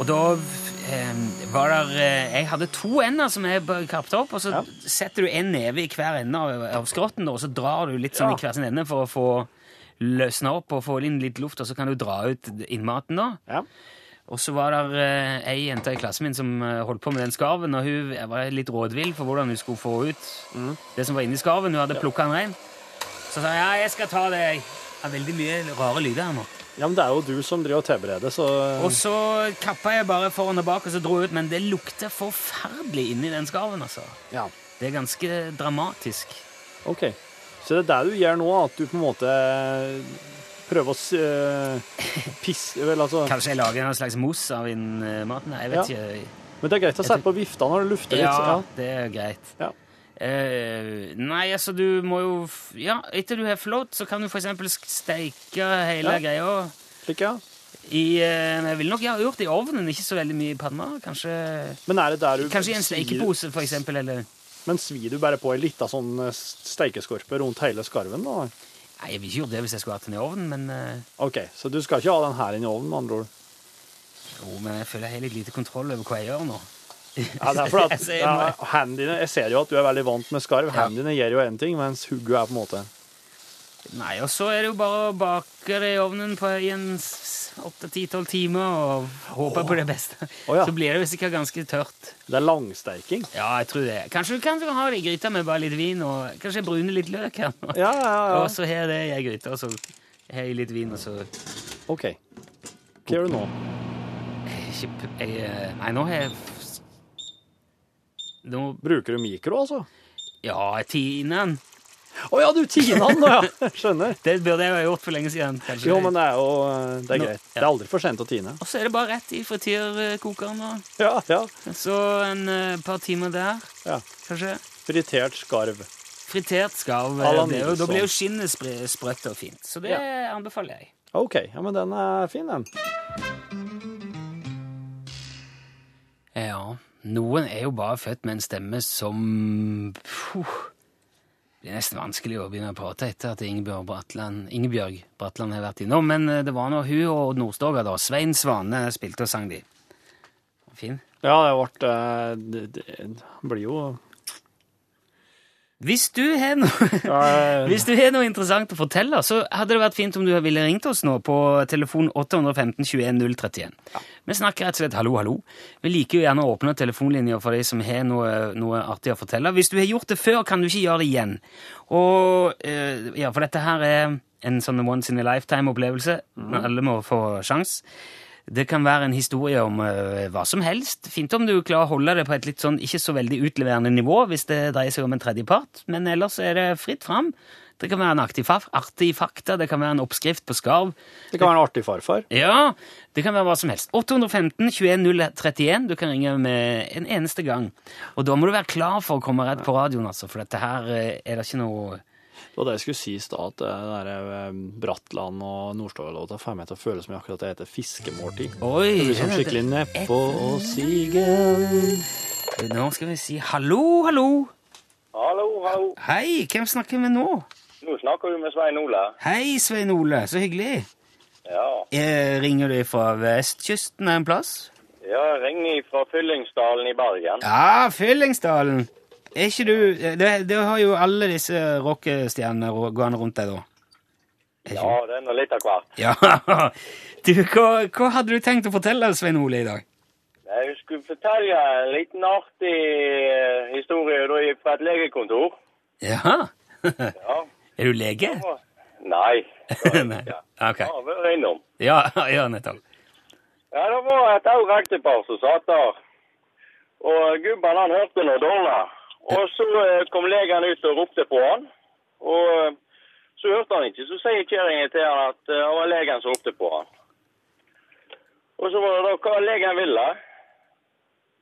[SPEAKER 2] Og da eh, var der eh, Jeg hadde to ender som jeg bare kappte opp, og så
[SPEAKER 3] Ja.
[SPEAKER 2] setter du en neve i hver ende av, av skrotten, da, og så drar du litt sånn
[SPEAKER 3] Ja.
[SPEAKER 2] i hver sin ende for å få løsna opp og få inn litt luft, og så kan du dra ut innmaten, da.
[SPEAKER 3] Ja.
[SPEAKER 2] Og så var der eh, ei jente i klassen min som eh, holdt på med den skarven, og hun var litt rådvill for hvordan hun skulle få ut det som var inni skarven. Hun hadde plukka den rein. Så sa jeg ja, jeg skal ta det. jeg». Det er veldig mye rare lyder her nå.
[SPEAKER 3] ja, men det er jo du som driver og tilbereder, så
[SPEAKER 2] Og så kappa jeg bare foran og bak og så dro jeg ut, men det lukter forferdelig inni den skarven, altså.
[SPEAKER 3] Ja.
[SPEAKER 2] Det er ganske dramatisk.
[SPEAKER 3] OK. Så det er det du gjør nå, at du på en måte eh, prøver å s- eh, pisse Vel, altså
[SPEAKER 2] Kanskje jeg lager en slags mos av inn eh, maten? Nei, jeg vet ikke.
[SPEAKER 3] Men det er greit å sette på vifta når det lufter litt.
[SPEAKER 2] Ja,
[SPEAKER 3] så-
[SPEAKER 2] det er greit.
[SPEAKER 3] Ja.
[SPEAKER 2] Eh, nei, altså, du må jo f- Ja, etter du har flått, så kan du for eksempel sk- steike hele
[SPEAKER 3] Ja.
[SPEAKER 2] greia
[SPEAKER 3] Ja. Slik, ja.
[SPEAKER 2] i eh, men Jeg ville nok ha gjort det i ovnen, ikke så veldig mye i panna. Kanskje,
[SPEAKER 3] Men er det der du
[SPEAKER 2] kanskje i en
[SPEAKER 3] svir-
[SPEAKER 2] steikepose, for eksempel, eller
[SPEAKER 3] Men svir du bare på ei lita sånn eh, steikeskorpe rundt hele skarven, da?
[SPEAKER 2] Nei, jeg ville ikke gjort det hvis jeg skulle hatt den i ovnen, men eh,
[SPEAKER 3] OK, så du skal ikke ha den her inn i ovnen, med andre ord?
[SPEAKER 2] Jo, men jeg føler jeg har litt lite kontroll over hva jeg gjør nå.
[SPEAKER 3] Ja, det er fordi
[SPEAKER 2] Jeg
[SPEAKER 3] at
[SPEAKER 2] ser-
[SPEAKER 3] ja, hendene dine Jeg ser jo at du er veldig vant med skarv. Hendene dine gjør jo én ting, mens hugget er på en måte
[SPEAKER 2] Nei, og så er det jo bare å bake det i ovnen på i en s- åtte, ti, tolv timer og håpe på det beste.
[SPEAKER 3] Å, ja.
[SPEAKER 2] Så blir det jo sikkert ganske tørt.
[SPEAKER 3] Det er langsteiking.
[SPEAKER 2] Ja, jeg tror det. Kanskje du kan ha det i gryta med bare litt vin og kanskje jeg bruner litt løk her. nå.
[SPEAKER 3] Ja, ja,
[SPEAKER 2] Og så har jeg det i ei gryte, og så har jeg litt vin, og så
[SPEAKER 3] OK. Hva gjør du nå?
[SPEAKER 2] jeg, jeg, eh, Nei, nå har jeg f- Nå
[SPEAKER 3] Bruker du mikro, altså?
[SPEAKER 2] Ja, jeg tiner den.
[SPEAKER 3] Å ja, du tiner den nå, ja! Skjønner.
[SPEAKER 2] Det burde jeg jo ha gjort for lenge siden. kanskje.
[SPEAKER 3] Jo, men det er jo eh, det er
[SPEAKER 2] Nå-
[SPEAKER 3] greit. Det er aldri for sent å tine.
[SPEAKER 2] Og så er det bare rett i frityrkokeren. og
[SPEAKER 3] Ja, ja.
[SPEAKER 2] Så en eh, par timer der,
[SPEAKER 3] ja.
[SPEAKER 2] kanskje.
[SPEAKER 3] Fritert skarv.
[SPEAKER 2] Fritert skarv.
[SPEAKER 3] Alan
[SPEAKER 2] Det, er jo- da
[SPEAKER 3] Nilsson.
[SPEAKER 2] blir jo skinnet spre- sprøtt og fint. Så det anbefaler jeg.
[SPEAKER 3] OK. Ja, men den er fin, den.
[SPEAKER 2] Ja, noen er jo bare født med en stemme som Puh. Det er nesten vanskelig å begynne å prate etter at Ingebjørg Bratland, Ingebjørg Bratland har vært innom, men eh, det var nå hun og Odd Nordstoga, da. Svein Svane spilte og sang de. Fin.
[SPEAKER 3] Ja, det ble eh, Det, det blir jo
[SPEAKER 2] Hvis du har noe
[SPEAKER 3] Eh,
[SPEAKER 2] Hvis du har noe interessant å fortelle, så hadde det vært fint om du ville ringt oss nå på telefon 815 21 031. Vi snakker rett og slett hallo, hallo. Vi liker jo gjerne å åpne telefonlinjer for de som har noe, noe artig å fortelle. Hvis du har gjort det før, kan du ikke gjøre det igjen. Og, eh, ja, for dette her er en sånn once in a lifetime-opplevelse. Alle må få sjans. Det kan være en historie om eh, hva som helst. Fint om du klarer å holde det på et litt sånn ikke så veldig utleverende nivå hvis det dreier seg om en tredjepart, men ellers er det fritt fram. Det kan være en aktiv fa- artig fakta, det kan være en oppskrift på skarv.
[SPEAKER 3] det kan være en artig farfar.
[SPEAKER 2] Ja, det kan være hva som helst. 815 21 031. Du kan ringe med en eneste gang. Og da må du være klar for å komme rett på radioen, altså, for dette her eh, er det ikke noe
[SPEAKER 3] Det var det jeg skulle si i stad, at eh, det der eh, Bratland og Nordstoga-låta får meg til å føle som jeg akkurat det heter fiskemåltid.
[SPEAKER 2] Oi!
[SPEAKER 3] Det blir sånn skikkelig nedpå og sigen.
[SPEAKER 2] Eh, Nå skal vi si hallo, hallo.
[SPEAKER 7] Hallo, hallo.
[SPEAKER 2] Hei, hvem snakker vi nå?
[SPEAKER 7] Nå snakker du med Svein Ola.
[SPEAKER 2] Hei, Svein Ole. Så hyggelig.
[SPEAKER 7] Ja.
[SPEAKER 2] Eh, ringer du fra vestkysten en plass?
[SPEAKER 7] Jeg ringer fra Fyllingsdalen i Bergen.
[SPEAKER 2] Ja, Fyllingsdalen. Er ikke du eh, Det, det har jo alle disse rockestjernene rå- gående rundt deg, da. Er
[SPEAKER 7] Ja,
[SPEAKER 2] ikke-
[SPEAKER 7] det er nå litt av hvert.
[SPEAKER 2] ja. Du, hva, hva hadde du tenkt å fortelle Svein Ole i dag?
[SPEAKER 7] Jeg skulle fortelle en liten artig eh, historie da jeg fra et legekontor.
[SPEAKER 2] Jaha?
[SPEAKER 7] Ja.
[SPEAKER 2] Er du lege?
[SPEAKER 7] Nei.
[SPEAKER 2] Nei. Ok.
[SPEAKER 7] Jeg har vært innom.
[SPEAKER 2] Ja, ja, nettopp.
[SPEAKER 7] Ja, det var et òg ektepar som satt der. Og gubben han hørte noe dårlig. Og så eh, kom legen ut og ropte på han. Og eh, så hørte han ikke. Så sier kjerringa til han at eh, det var legen som ropte på han. Og så var det da hva legen ville.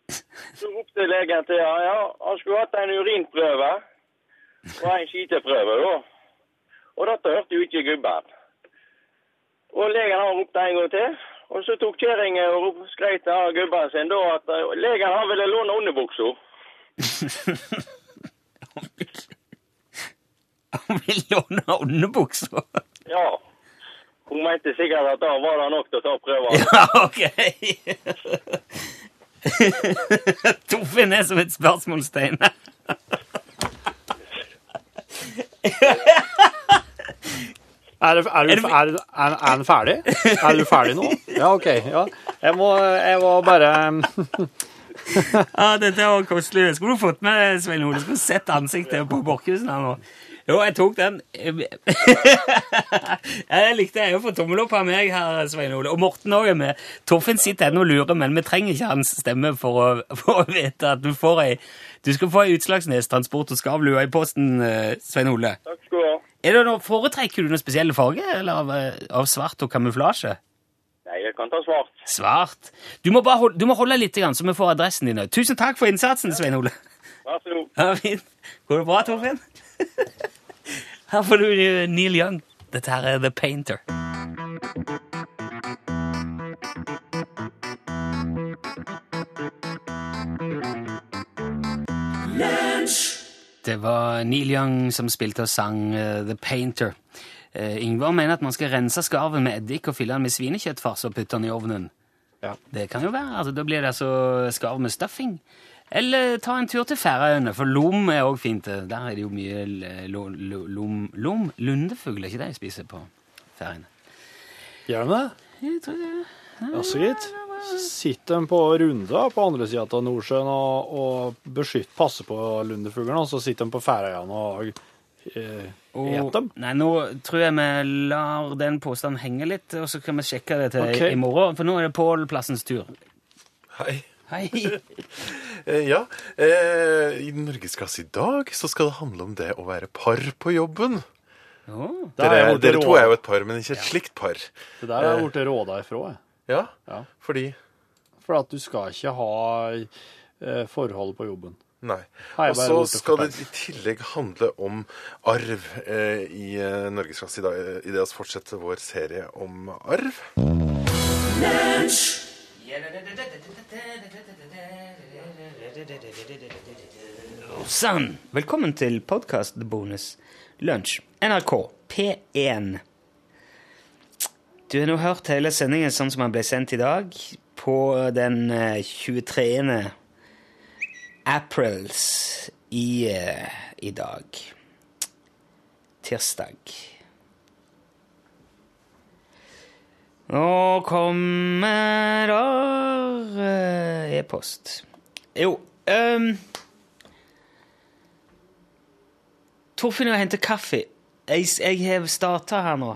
[SPEAKER 7] Så ropte legen til han, ja, han skulle hatt en urinprøve og en skiteprøve, da. Og dette hørte jo ikke gubben. Og legen han ropte en gang til. Og så tok kjerringa og rop- skreit til han gubben sin da at eh, legen han ville låne underbuksa.
[SPEAKER 2] Han vil låne underbuksa.
[SPEAKER 7] Ja. Hun mente sikkert at da var det nok til å ta prøven.
[SPEAKER 2] Ja, ok. Toffen er som et spørsmålstegn.
[SPEAKER 3] Er, det- er, du- er, er, er den ferdig? Er du ferdig nå? Ja, OK. Ja. Jeg må, jeg må bare um,
[SPEAKER 2] Ja, dette var kostelig. Det Skulle du fått med deg, Svein Ole? Skulle sett ansiktet på Borchhusen her nå. Jo, jeg tok den. Jeg likte jeg jo for tommel opp av meg her, Svein Ole. Og Morten òg er med. Torfinn sitter ennå og lurer, men vi trenger ikke hans stemme for å, for å vite at du får ei Du skal få ei Utslagsnes transport og skarvlue i posten, eh, Svein Ole.
[SPEAKER 7] Takk skal du ha.
[SPEAKER 2] Er det noe, foretrekker du noen spesielle farger, eller av, eh, av svart og kamuflasje?
[SPEAKER 7] Nei, jeg kan ta svart.
[SPEAKER 2] Svart. Du må, bare holde, du må holde litt, grann, så vi får adressen din. også. Tusen takk for innsatsen, Svein Ole.
[SPEAKER 7] Vær så god.
[SPEAKER 2] Ja, fint. Går det bra, Torfinn? Her får du eh, Neil Young. Dette her er The Painter. Det var Neil Young som spilte og sang eh, The Painter. Eh, Yngvar mener at man skal rense skarven med eddik og fylle den med svinekjøttfars og putte den i ovnen.
[SPEAKER 3] Ja.
[SPEAKER 2] Det kan jo være. Altså, da blir det altså skarv med stuffing. Eller ta en tur til Færøyene, for lom er òg fint. Der er det jo mye l- lo- lo- lom, lom lundefugl, er ikke det jeg spiser på Færøyene?
[SPEAKER 3] Gjør de det?
[SPEAKER 2] Jeg tror det.
[SPEAKER 3] Ja, så gitt. Så Sitter de på runder på andre sida av Nordsjøen og, og beskytter, passer på lundefuglene, og så sitter de på Færøyene og eh,
[SPEAKER 2] Og-
[SPEAKER 3] et dem?
[SPEAKER 2] Nei, nå tror jeg vi lar den påstanden henge litt, og så kan vi sjekke det til
[SPEAKER 3] Ok.
[SPEAKER 2] i morgen. For nå er det Pål Plassens tur.
[SPEAKER 8] Hei.
[SPEAKER 2] Hei!
[SPEAKER 8] Eh, Ja, eh, i Norgesklasse i dag så skal det handle om det å være par på jobben.
[SPEAKER 2] Å,
[SPEAKER 3] Der er Eh.
[SPEAKER 8] Dere,
[SPEAKER 3] jeg blitt
[SPEAKER 8] dere to
[SPEAKER 3] råd-
[SPEAKER 8] er jo et par, men ikke et slikt par.
[SPEAKER 3] Det der er jeg blitt råda ifra, jeg.
[SPEAKER 8] Ja,
[SPEAKER 3] Ja.
[SPEAKER 8] fordi
[SPEAKER 3] For at du skal ikke ha eh, forhold på jobben.
[SPEAKER 8] Nei.
[SPEAKER 3] Hei,
[SPEAKER 8] Og
[SPEAKER 3] bare
[SPEAKER 8] så
[SPEAKER 3] borte for
[SPEAKER 8] skal det
[SPEAKER 3] peis.
[SPEAKER 8] i tillegg handle om arv eh, i eh, Norgesklasse i dag, eh, i det å fortsette vår serie om arv.
[SPEAKER 2] Sann! Velkommen til podkastbonus Lunsj. NRK P1. Du har nå hørt hele sendingen sånn som den ble sendt i dag, på den eh, 23. aprils i, eh, i dag. Tirsdag. Nå kommer der eh, e-post. Jo ehm, Torfinn er og henter kaffe. Jeg, jeg har starta her nå.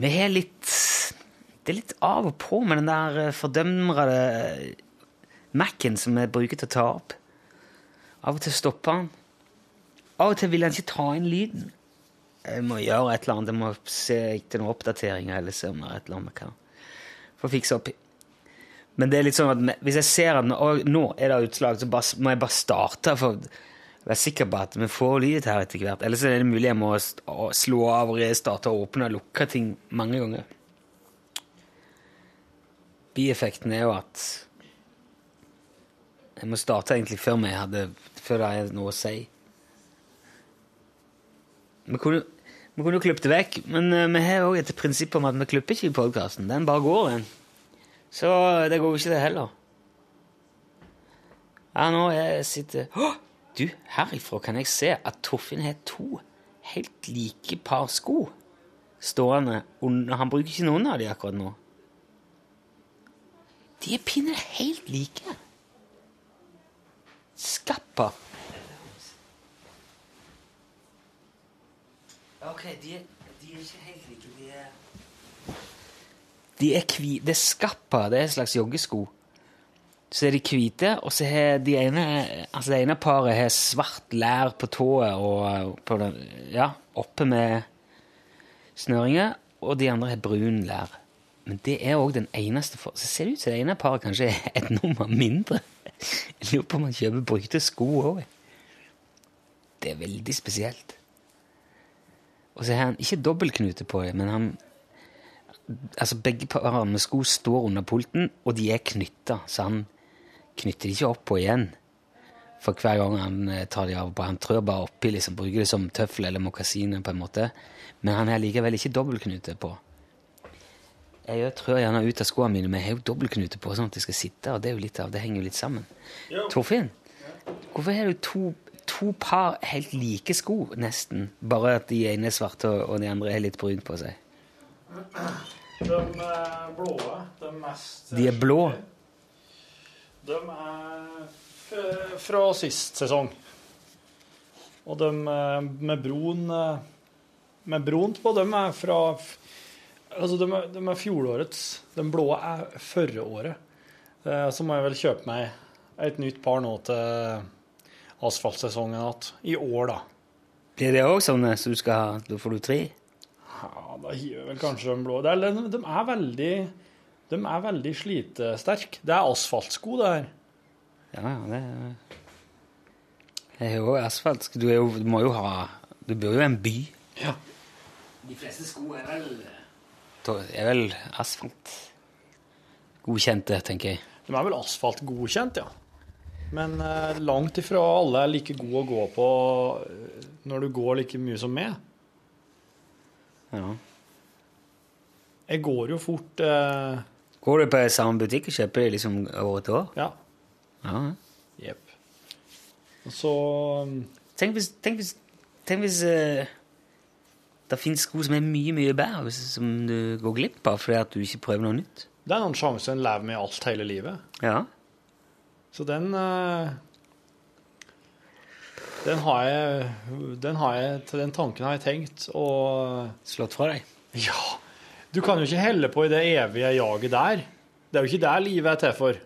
[SPEAKER 2] Vi har litt Det er litt av og på med den der eh, fordømrede eh, Mac-en som vi bruker til å ta opp. Av og til stopper han. Av og til vil han ikke ta inn lyden. Jeg må gjøre et eller annet. Jeg må se etter noen oppdateringer eller se om det er et eller annet vi kan få fikse opp i. Men det er litt sånn at me- hvis jeg ser at nå, å, nå er det utslag, så bare, s- må jeg bare starte for å være sikker på at vi får lyd her etter hvert. Ellers er det mulig jeg må s- å slå av, restarte, åpne og lukke ting mange ganger. Bieffekten er jo at jeg må starte egentlig før vi hadde Før det er noe å si. Vi kunne vi kunne jo klippet det vekk, men eh, vi har òg et prinsipp om at vi klipper ikke i podkasten. Den bare går, den. Så det går jo ikke det heller. Ja, nå jeg sitter Hå! Du, herifra kan jeg se at Torfinn har to helt like par sko stående under Han bruker ikke noen av de akkurat nå. De er pinner helt like. Skappa. Ok, de er, de er ikke helt like. De er de er hvi, det er skappa, det er en slags joggesko. Så er de hvite, og så har de ene, altså det ene paret har svart lær på tået og på den, ja, oppe med snøringer, og de andre har brun lær. Men det er òg den eneste for... Så ser det ut som det ene paret kanskje er et nummer mindre. Jeg lurer på om man kjøper brukte sko òg. Det er veldig spesielt. Og så har han ikke dobbeltknute på, men han altså begge parene med sko står under pulten, og de er knytta, så han knytter de ikke opp på igjen. For hver gang han eh, tar de av og på, han trør bare oppi, liksom, bruker det som tøffel eller mokasiner på en måte. Men han har likevel ikke dobbeltknute på. Jeg òg trør gjerne ut av skoene mine, men jeg har jo dobbeltknute på, sånn at de skal sitte, og det, er jo litt av, det henger jo litt sammen. Torfinn, hvorfor har du to, to par helt like sko, nesten? Bare at de ene er svarte, og- og de andre er litt brunt på seg?
[SPEAKER 3] De eh, blå, de mest eh,
[SPEAKER 2] De er blå.
[SPEAKER 3] De er f- fra sist sesong. Og de eh, med broen eh, Med broen på, de er fra f- Altså, de er, de er fjorårets. Den blå er førre året. Eh, Så må jeg vel kjøpe meg et nytt par nå til asfaltsesongen igjen. I år, da.
[SPEAKER 2] Blir det òg sånn så du skal ha Da får du tre?
[SPEAKER 3] Ja, da hiver vel kanskje de blå Det er- de, de er veldig De er veldig slitesterke. Det er asfaltsko, det her.
[SPEAKER 2] Ja, ja, det er- Jeg har jo asfalt. Du, er jo, du må jo ha Du bor jo i en by.
[SPEAKER 3] Ja.
[SPEAKER 2] De fleste sko er vel Er vel asfalt. Godkjente, tenker jeg.
[SPEAKER 3] De er vel asfaltgodkjent, ja. Men eh, langt ifra alle er like gode å gå på eh, når du går like mye som meg.
[SPEAKER 2] Ja.
[SPEAKER 3] Jeg går jo fort eh,
[SPEAKER 2] Går du på samme butikk og kjøper det liksom år etter år?
[SPEAKER 3] Ja.
[SPEAKER 2] Ja.
[SPEAKER 3] Jepp. Og så um,
[SPEAKER 2] Tenk hvis, tenk hvis, tenk hvis eh, det fins sko som er mye, mye bedre, hvis- som du går glipp av fordi at du ikke prøver noe nytt.
[SPEAKER 3] Det er noen sjanser en lever med alt hele livet.
[SPEAKER 2] Ja.
[SPEAKER 3] Så den eh, Den har jeg Den, har jeg, til den tanken har jeg tenkt, og
[SPEAKER 2] Slått fra deg.
[SPEAKER 3] Ja. Du kan jo ikke helle på i det evige jaget der. Det er jo ikke der livet er til for.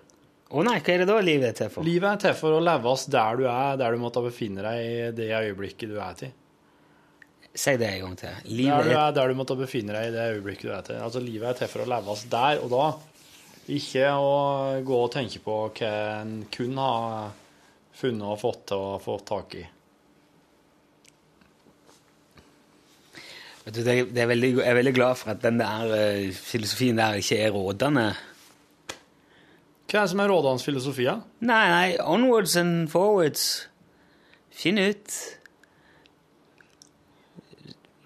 [SPEAKER 2] Å nei, hva er det da livet er til for?
[SPEAKER 3] Livet er til for å leves der du er, der du måtte befinne deg i det øyeblikket du er til.
[SPEAKER 2] Si det en gang til.
[SPEAKER 3] Der
[SPEAKER 2] Livet
[SPEAKER 3] du
[SPEAKER 2] er
[SPEAKER 3] er der du måtte befinne deg i det øyeblikket du er til. Altså, livet er til for å leves der og da. Ikke å gå og tenke på hva en kun har funnet og fått til og fått tak i.
[SPEAKER 2] Vet du, det er, det er veldig, Jeg er veldig glad for at den der eh, filosofien der ikke er rådende.
[SPEAKER 3] Hva er det som er rådende filosofi? da?
[SPEAKER 2] Nei, nei, onwards and forwards. Finn ut.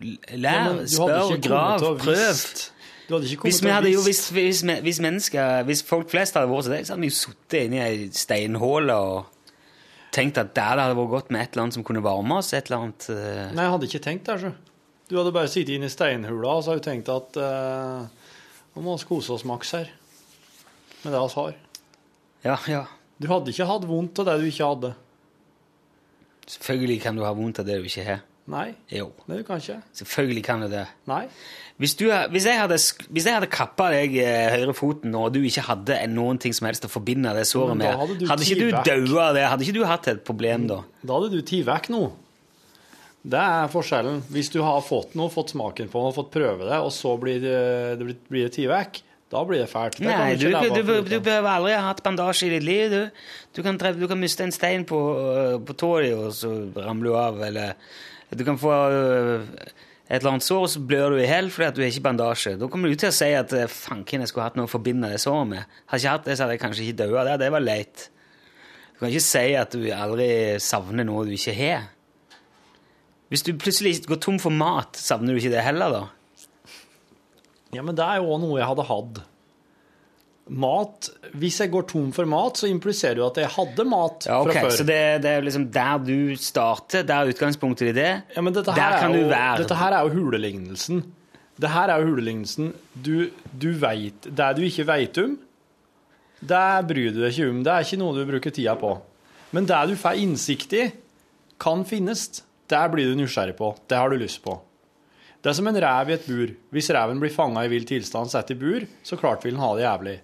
[SPEAKER 2] L-
[SPEAKER 3] Ja,
[SPEAKER 2] Lær,
[SPEAKER 3] men du hadde
[SPEAKER 2] spør,
[SPEAKER 3] ikke kommet
[SPEAKER 2] grav,
[SPEAKER 3] til å
[SPEAKER 2] prøv.
[SPEAKER 3] visst- Du hadde ikke kommet
[SPEAKER 2] Hvis, vi
[SPEAKER 3] til å
[SPEAKER 2] hadde, jo,
[SPEAKER 3] visst-
[SPEAKER 2] hvis, hvis, men- hvis, mennesker, hvis folk flest hadde vært som deg, så hadde vi jo sittet inne i ei steinhåle og tenkt at der det hadde vært godt med et eller annet som kunne varme oss. et eller annet... eh,
[SPEAKER 3] Nei, jeg hadde ikke tenkt det. Altså. Du hadde bare sittet inne i steinhula og så hadde du tenkt at eh, nå må vi kose oss maks her med det vi har.
[SPEAKER 2] Ja, ja.
[SPEAKER 3] Du hadde ikke hatt vondt av det du ikke hadde.
[SPEAKER 2] Selvfølgelig kan du ha vondt av det du ikke har.
[SPEAKER 3] Nei,
[SPEAKER 2] Jo,
[SPEAKER 3] det kan ikke.
[SPEAKER 2] selvfølgelig kan du det.
[SPEAKER 3] Nei.
[SPEAKER 2] Hvis, du, er- hvis, jeg hadde, sk- hvis jeg hadde kappa deg eh, høyrefoten, og du ikke hadde en- noen ting som helst å forbinde det såret
[SPEAKER 3] Men da
[SPEAKER 2] med,
[SPEAKER 3] hadde du
[SPEAKER 2] hadde, ikke du
[SPEAKER 3] tid vekk.
[SPEAKER 2] daua av det? Hadde ikke du hatt et problem da?
[SPEAKER 3] Da hadde du tatt vekk noe. Det er forskjellen. Hvis du har fått noe, fått smaken på noe, fått prøve det, og så blir det, det blir- blir det tatt vekk, da blir det fælt. Det kan
[SPEAKER 2] Nei, du,
[SPEAKER 3] ikke leve
[SPEAKER 2] du,
[SPEAKER 3] av
[SPEAKER 2] du,
[SPEAKER 3] foruten.
[SPEAKER 2] du behøver aldri ha hatt bandasje i ditt liv. Du, du, kan, tre- du kan miste en stein på, øh, på tåa di, og så ramler du av. Eller du kan få øh, et eller annet sår, og så blør du i hjel fordi at du har ikke bandasje. Da kommer du til å si at eh, fanken, jeg skulle hatt noe å forbinde det såret med. Hadde jeg ikke hatt det, så hadde jeg kanskje ikke daua. Det, det var leit. Du kan ikke si at du aldri savner noe du ikke har. Hvis du plutselig går tom for mat, savner du ikke det heller, da?
[SPEAKER 3] Ja, men det er jo også noe jeg hadde hatt. Mat, Hvis jeg går tom for mat, så impliserer det jo at jeg hadde mat
[SPEAKER 2] Ja, ok,
[SPEAKER 3] fra før.
[SPEAKER 2] Så det, det er liksom der du starter, der er utgangspunktet i det.
[SPEAKER 3] Ja, men dette her
[SPEAKER 2] der kan
[SPEAKER 3] er
[SPEAKER 2] du
[SPEAKER 3] jo,
[SPEAKER 2] være.
[SPEAKER 3] Dette her er jo hulelignelsen. Det her er jo hulelignelsen. Du, du veit Det du ikke veit om, det bryr du deg ikke om. Det er ikke noe du bruker tida på. Men det du får innsikt i, kan finnes. Det blir du nysgjerrig på. Det har du lyst på. Det er som en rev i et bur. Hvis reven blir fanga i vill tilstand satt i bur, så klart vil den ha det jævlig.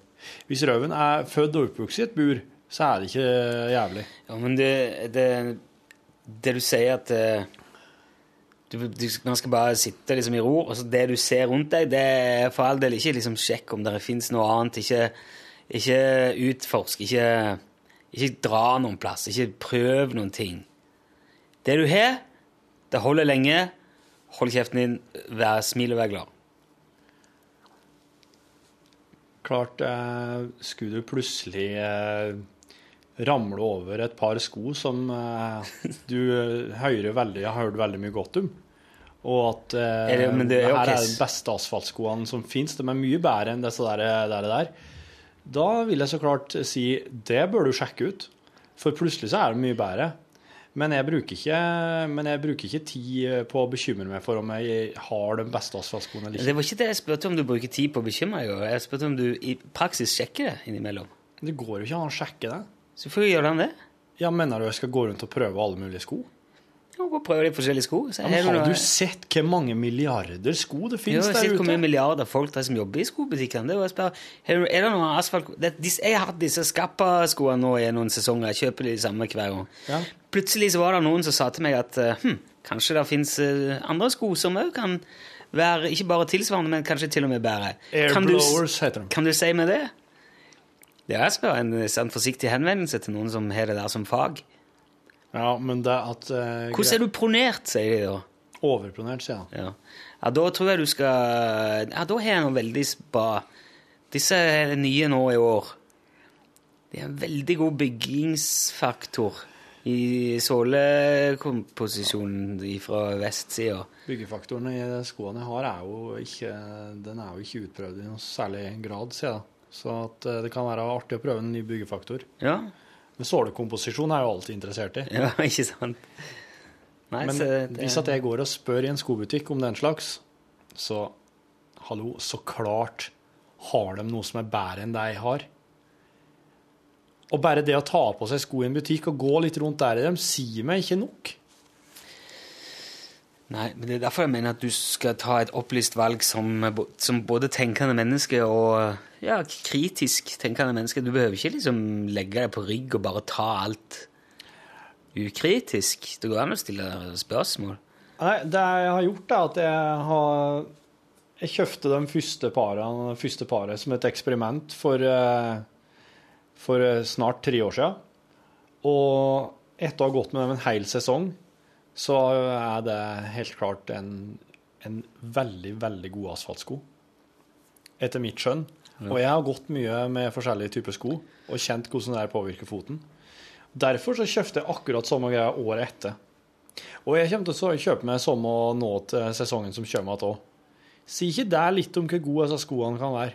[SPEAKER 3] Hvis røven er født og oppvokst i et bur, så er det ikke jævlig.
[SPEAKER 2] Ja, men det, det, det du sier at eh, du, du, Man skal bare sitte liksom i ro, og så det du ser rundt deg, det er for all del ikke liksom sjekk om det fins noe annet. Ikke, ikke utforsk, ikke, ikke dra noen plass, ikke prøv noen ting. Det du har, det holder lenge. Hold kjeften din, vær, smil og vær glad.
[SPEAKER 3] Klart, eh, skulle du plutselig eh, ramle over et par sko som eh, du eh, hører veldig, har hørt veldig mye godt om, og at eh,
[SPEAKER 2] Er det- men det er jo
[SPEAKER 3] her er
[SPEAKER 2] kiss.
[SPEAKER 3] de beste asfaltskoene som fins, de er mye bedre enn disse der, der, der. Da vil jeg så klart si det bør du sjekke ut, for plutselig så er det mye bedre. Men jeg, bruker ikke, men jeg bruker ikke tid på å bekymre meg for om jeg har de beste asfaltskoene eller ikke.
[SPEAKER 2] Det var ikke det jeg spurte om du bruker tid på å bekymre deg over. Jeg spurte om du i praksis sjekker det innimellom.
[SPEAKER 3] Det går jo ikke an å sjekke det.
[SPEAKER 2] Selvfølgelig gjør han det.
[SPEAKER 3] Ja, Mener du jeg skal gå rundt og prøve alle mulige sko?
[SPEAKER 2] Ja, Gå og prøv de forskjellige sko. Så
[SPEAKER 3] Ja,
[SPEAKER 2] er
[SPEAKER 3] men
[SPEAKER 2] det
[SPEAKER 3] har
[SPEAKER 2] noe-
[SPEAKER 3] du sett hvor mange milliarder sko det
[SPEAKER 2] Jo,
[SPEAKER 3] finnes
[SPEAKER 2] jeg har
[SPEAKER 3] der
[SPEAKER 2] sett hvor mye
[SPEAKER 3] ute?
[SPEAKER 2] milliarder folk det er som jobber i skobutikkene. Det er jo å spørre, er det- er det noen asfalt... Det, disse- jeg har hatt disse Skappa-skoene nå i noen sesonger. Jeg kjøper de samme hver gang.
[SPEAKER 3] Ja.
[SPEAKER 2] Plutselig så var det noen som sa til meg at eh, hm, kanskje det fins andre sko som òg kan være ikke bare tilsvarende, men kanskje til og med bedre. Kan du s-
[SPEAKER 3] Airblowers heter de.
[SPEAKER 2] Kan du si meg det? Det er spør en sånn forsiktig henvendelse til noen som har det der som fag.
[SPEAKER 3] Ja, men det at eh,
[SPEAKER 2] Hvordan er du pronert, sier de da.
[SPEAKER 3] Overpronert, sier han.
[SPEAKER 2] Ja. ja, da tror jeg du skal Ja, da har jeg noe veldig spa. Disse er nye nå i år. De har en veldig god byggingsfaktor i sålekomposisjonen fra vestsida.
[SPEAKER 3] Byggefaktoren i skoene jeg har, er jo ikke Den er jo ikke utprøvd i noe særlig grad, sier jeg. Så at eh, det kan være artig å prøve en ny byggefaktor.
[SPEAKER 2] Ja,
[SPEAKER 3] Men sålekomposisjon er jeg jo alltid interessert i.
[SPEAKER 2] ja ikke sant? Nei,
[SPEAKER 3] Men
[SPEAKER 2] så det-
[SPEAKER 3] hvis at jeg går og spør i en skobutikk om den slags, så hallo, så klart har de noe som er bedre enn det jeg har. Og bare det å ta på seg sko i en butikk og gå litt rundt der i dem, sier meg ikke nok.
[SPEAKER 2] Nei, men det er derfor jeg mener at du skal ta et opplyst valg som, bo- som både tenkende menneske og ja, kritisk tenkende menneske. Du behøver ikke liksom legge deg på rygg og bare ta alt ukritisk. Det går an å stille spørsmål.
[SPEAKER 3] Nei, det jeg har gjort, er at jeg har Jeg kjøpte de første parene, første paret som et eksperiment for, eh, for eh, snart tre år siden. Og etter å ha gått med dem en hel sesong, så er det helt klart en, en veldig, veldig god asfaltsko. Etter mitt skjønn. Og jeg har gått mye med forskjellige typer sko og kjent hvordan det her påvirker foten. Derfor så kjøpte jeg akkurat samme greia året etter. Og jeg kommer til å kjøpe meg samme nå til sesongen som kommer igjen òg. Sier ikke det litt om hvor gode disse skoene kan være?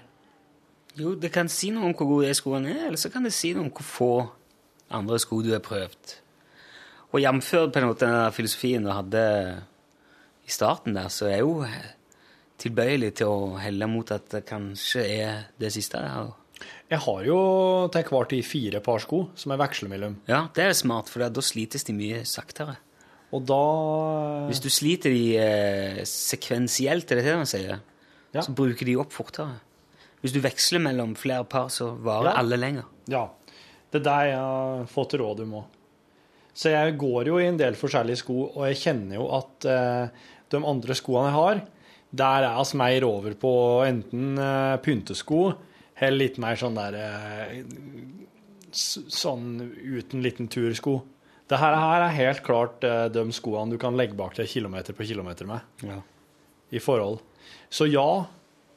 [SPEAKER 2] Jo, det kan si noe om hvor gode de skoene er, eller så kan det si noe om hvor få andre sko du har prøvd. Og jamført på en måte den der filosofien du hadde i starten der, så er jeg jo tilbøyelig til å helle mot at det kanskje er det siste der.
[SPEAKER 3] Jeg har jo til enhver tid fire par sko som jeg veksler mellom.
[SPEAKER 2] Ja, det er smart, for da slites de mye saktere.
[SPEAKER 3] Og da
[SPEAKER 2] Hvis du sliter de eh, sekvensielt, er det det man sier,
[SPEAKER 3] Ja.
[SPEAKER 2] så bruker de opp fortere. Hvis du veksler mellom flere par, så varer
[SPEAKER 3] Ja.
[SPEAKER 2] alle lenger.
[SPEAKER 3] Ja. Det er det jeg har fått råd om òg. Så jeg går jo i en del forskjellige sko, og jeg kjenner jo at eh, de andre skoene jeg har, der er vi mer over på enten eh, pyntesko eller litt mer sånn der eh, s- Sånn uten liten tursko. Det her, her er helt klart eh, de skoene du kan legge bak deg kilometer på kilometer med
[SPEAKER 2] Ja.
[SPEAKER 3] i forhold. Så ja,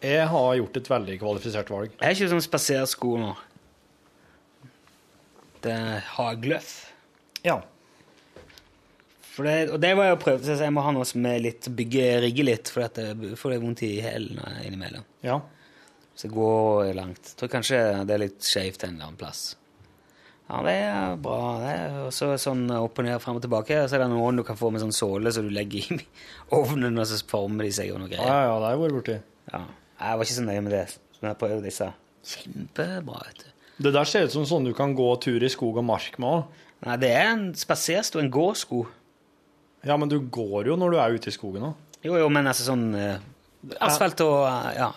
[SPEAKER 3] jeg har gjort et veldig kvalifisert valg.
[SPEAKER 2] Jeg er ikke sånn spasersko nå. Det er hagløff.
[SPEAKER 3] Ja.
[SPEAKER 2] For det, og det var jeg og prøvde, så jeg må ha noe som er litt bygge, rigge litt, for at det får det vondt i hælene innimellom.
[SPEAKER 3] ja.
[SPEAKER 2] Så det går langt. Jeg tror kanskje det er litt skjevt en eller annen plass. Ja, det er bra. det er- Og så sånn opp og ned, frem og tilbake. Så er det noen du kan få med sånn såle som så du legger i ovnen, og så former de seg og noe
[SPEAKER 3] Ja,
[SPEAKER 2] greier.
[SPEAKER 3] ja, ja, det har jeg vært borti.
[SPEAKER 2] Ja. Jeg var ikke så nøye med det, men jeg prøvde disse. Kjempebra, vet du.
[SPEAKER 3] Det der ser ut som sånn du kan gå tur i skog og mark med òg.
[SPEAKER 2] Nei, det er en spasersko, en gåsko.
[SPEAKER 3] Ja, men du går jo når du er ute i skogen òg.
[SPEAKER 2] Jo, jo, men altså sånn eh, Asfalt og eh, Ja.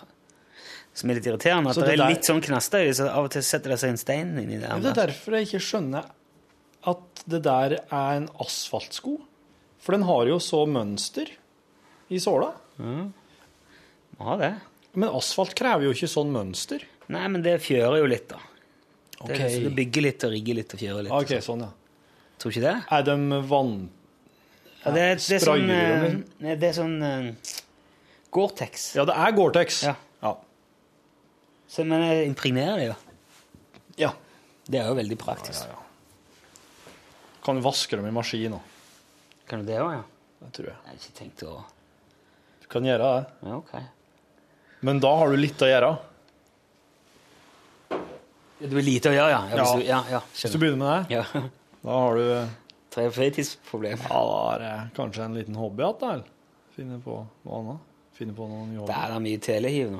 [SPEAKER 2] Som er litt irriterende. At
[SPEAKER 3] Så
[SPEAKER 2] det,
[SPEAKER 3] det
[SPEAKER 2] er
[SPEAKER 3] der-
[SPEAKER 2] litt sånn knaster i det, så av og til setter det seg en stein inni der.
[SPEAKER 3] Det er derfor jeg ikke skjønner at det der er en asfaltsko. For den har jo så mønster i såla.
[SPEAKER 2] Må ha det.
[SPEAKER 3] Men asfalt krever jo ikke sånn mønster.
[SPEAKER 2] Nei, men det fjører jo litt, da. Det,
[SPEAKER 3] Ok,
[SPEAKER 2] så det bygger litt og rigger litt og fjører litt.
[SPEAKER 3] Ok, sånn, ja.
[SPEAKER 2] Tror ikke det?
[SPEAKER 3] Er de vann...
[SPEAKER 2] Ja, det, er- det er sånn,
[SPEAKER 3] sprayer de
[SPEAKER 2] eh,
[SPEAKER 3] den?
[SPEAKER 2] nei, det er sånn eh, Gore-Tex.
[SPEAKER 3] Ja, det er Gore-Tex.
[SPEAKER 2] Ja.
[SPEAKER 3] Ja.
[SPEAKER 2] Så, Men jeg impregnerer det jo.
[SPEAKER 3] ja.
[SPEAKER 2] Det er jo veldig praktisk.
[SPEAKER 3] Kan du vaske dem i maskin òg?
[SPEAKER 2] Kan du det òg, ja?
[SPEAKER 3] Det tror jeg.
[SPEAKER 2] Jeg har ikke tenkt å
[SPEAKER 3] Du kan gjøre det.
[SPEAKER 2] Ja, OK.
[SPEAKER 3] Men da har du litt å gjøre.
[SPEAKER 2] Det blir lite å gjøre, ja. Ja,
[SPEAKER 3] Ja.
[SPEAKER 2] hvis du- ja, ja
[SPEAKER 3] Hvis du
[SPEAKER 2] skjønner.
[SPEAKER 3] begynner med det,
[SPEAKER 2] Ja.
[SPEAKER 3] da har du
[SPEAKER 2] Tre fritidsproblemer.
[SPEAKER 3] Ja, da er det kanskje en liten hobby igjen, da. eller? Finne på noe annet. Finne på noen
[SPEAKER 2] Det
[SPEAKER 3] jobber.
[SPEAKER 2] er da mye telehiv nå.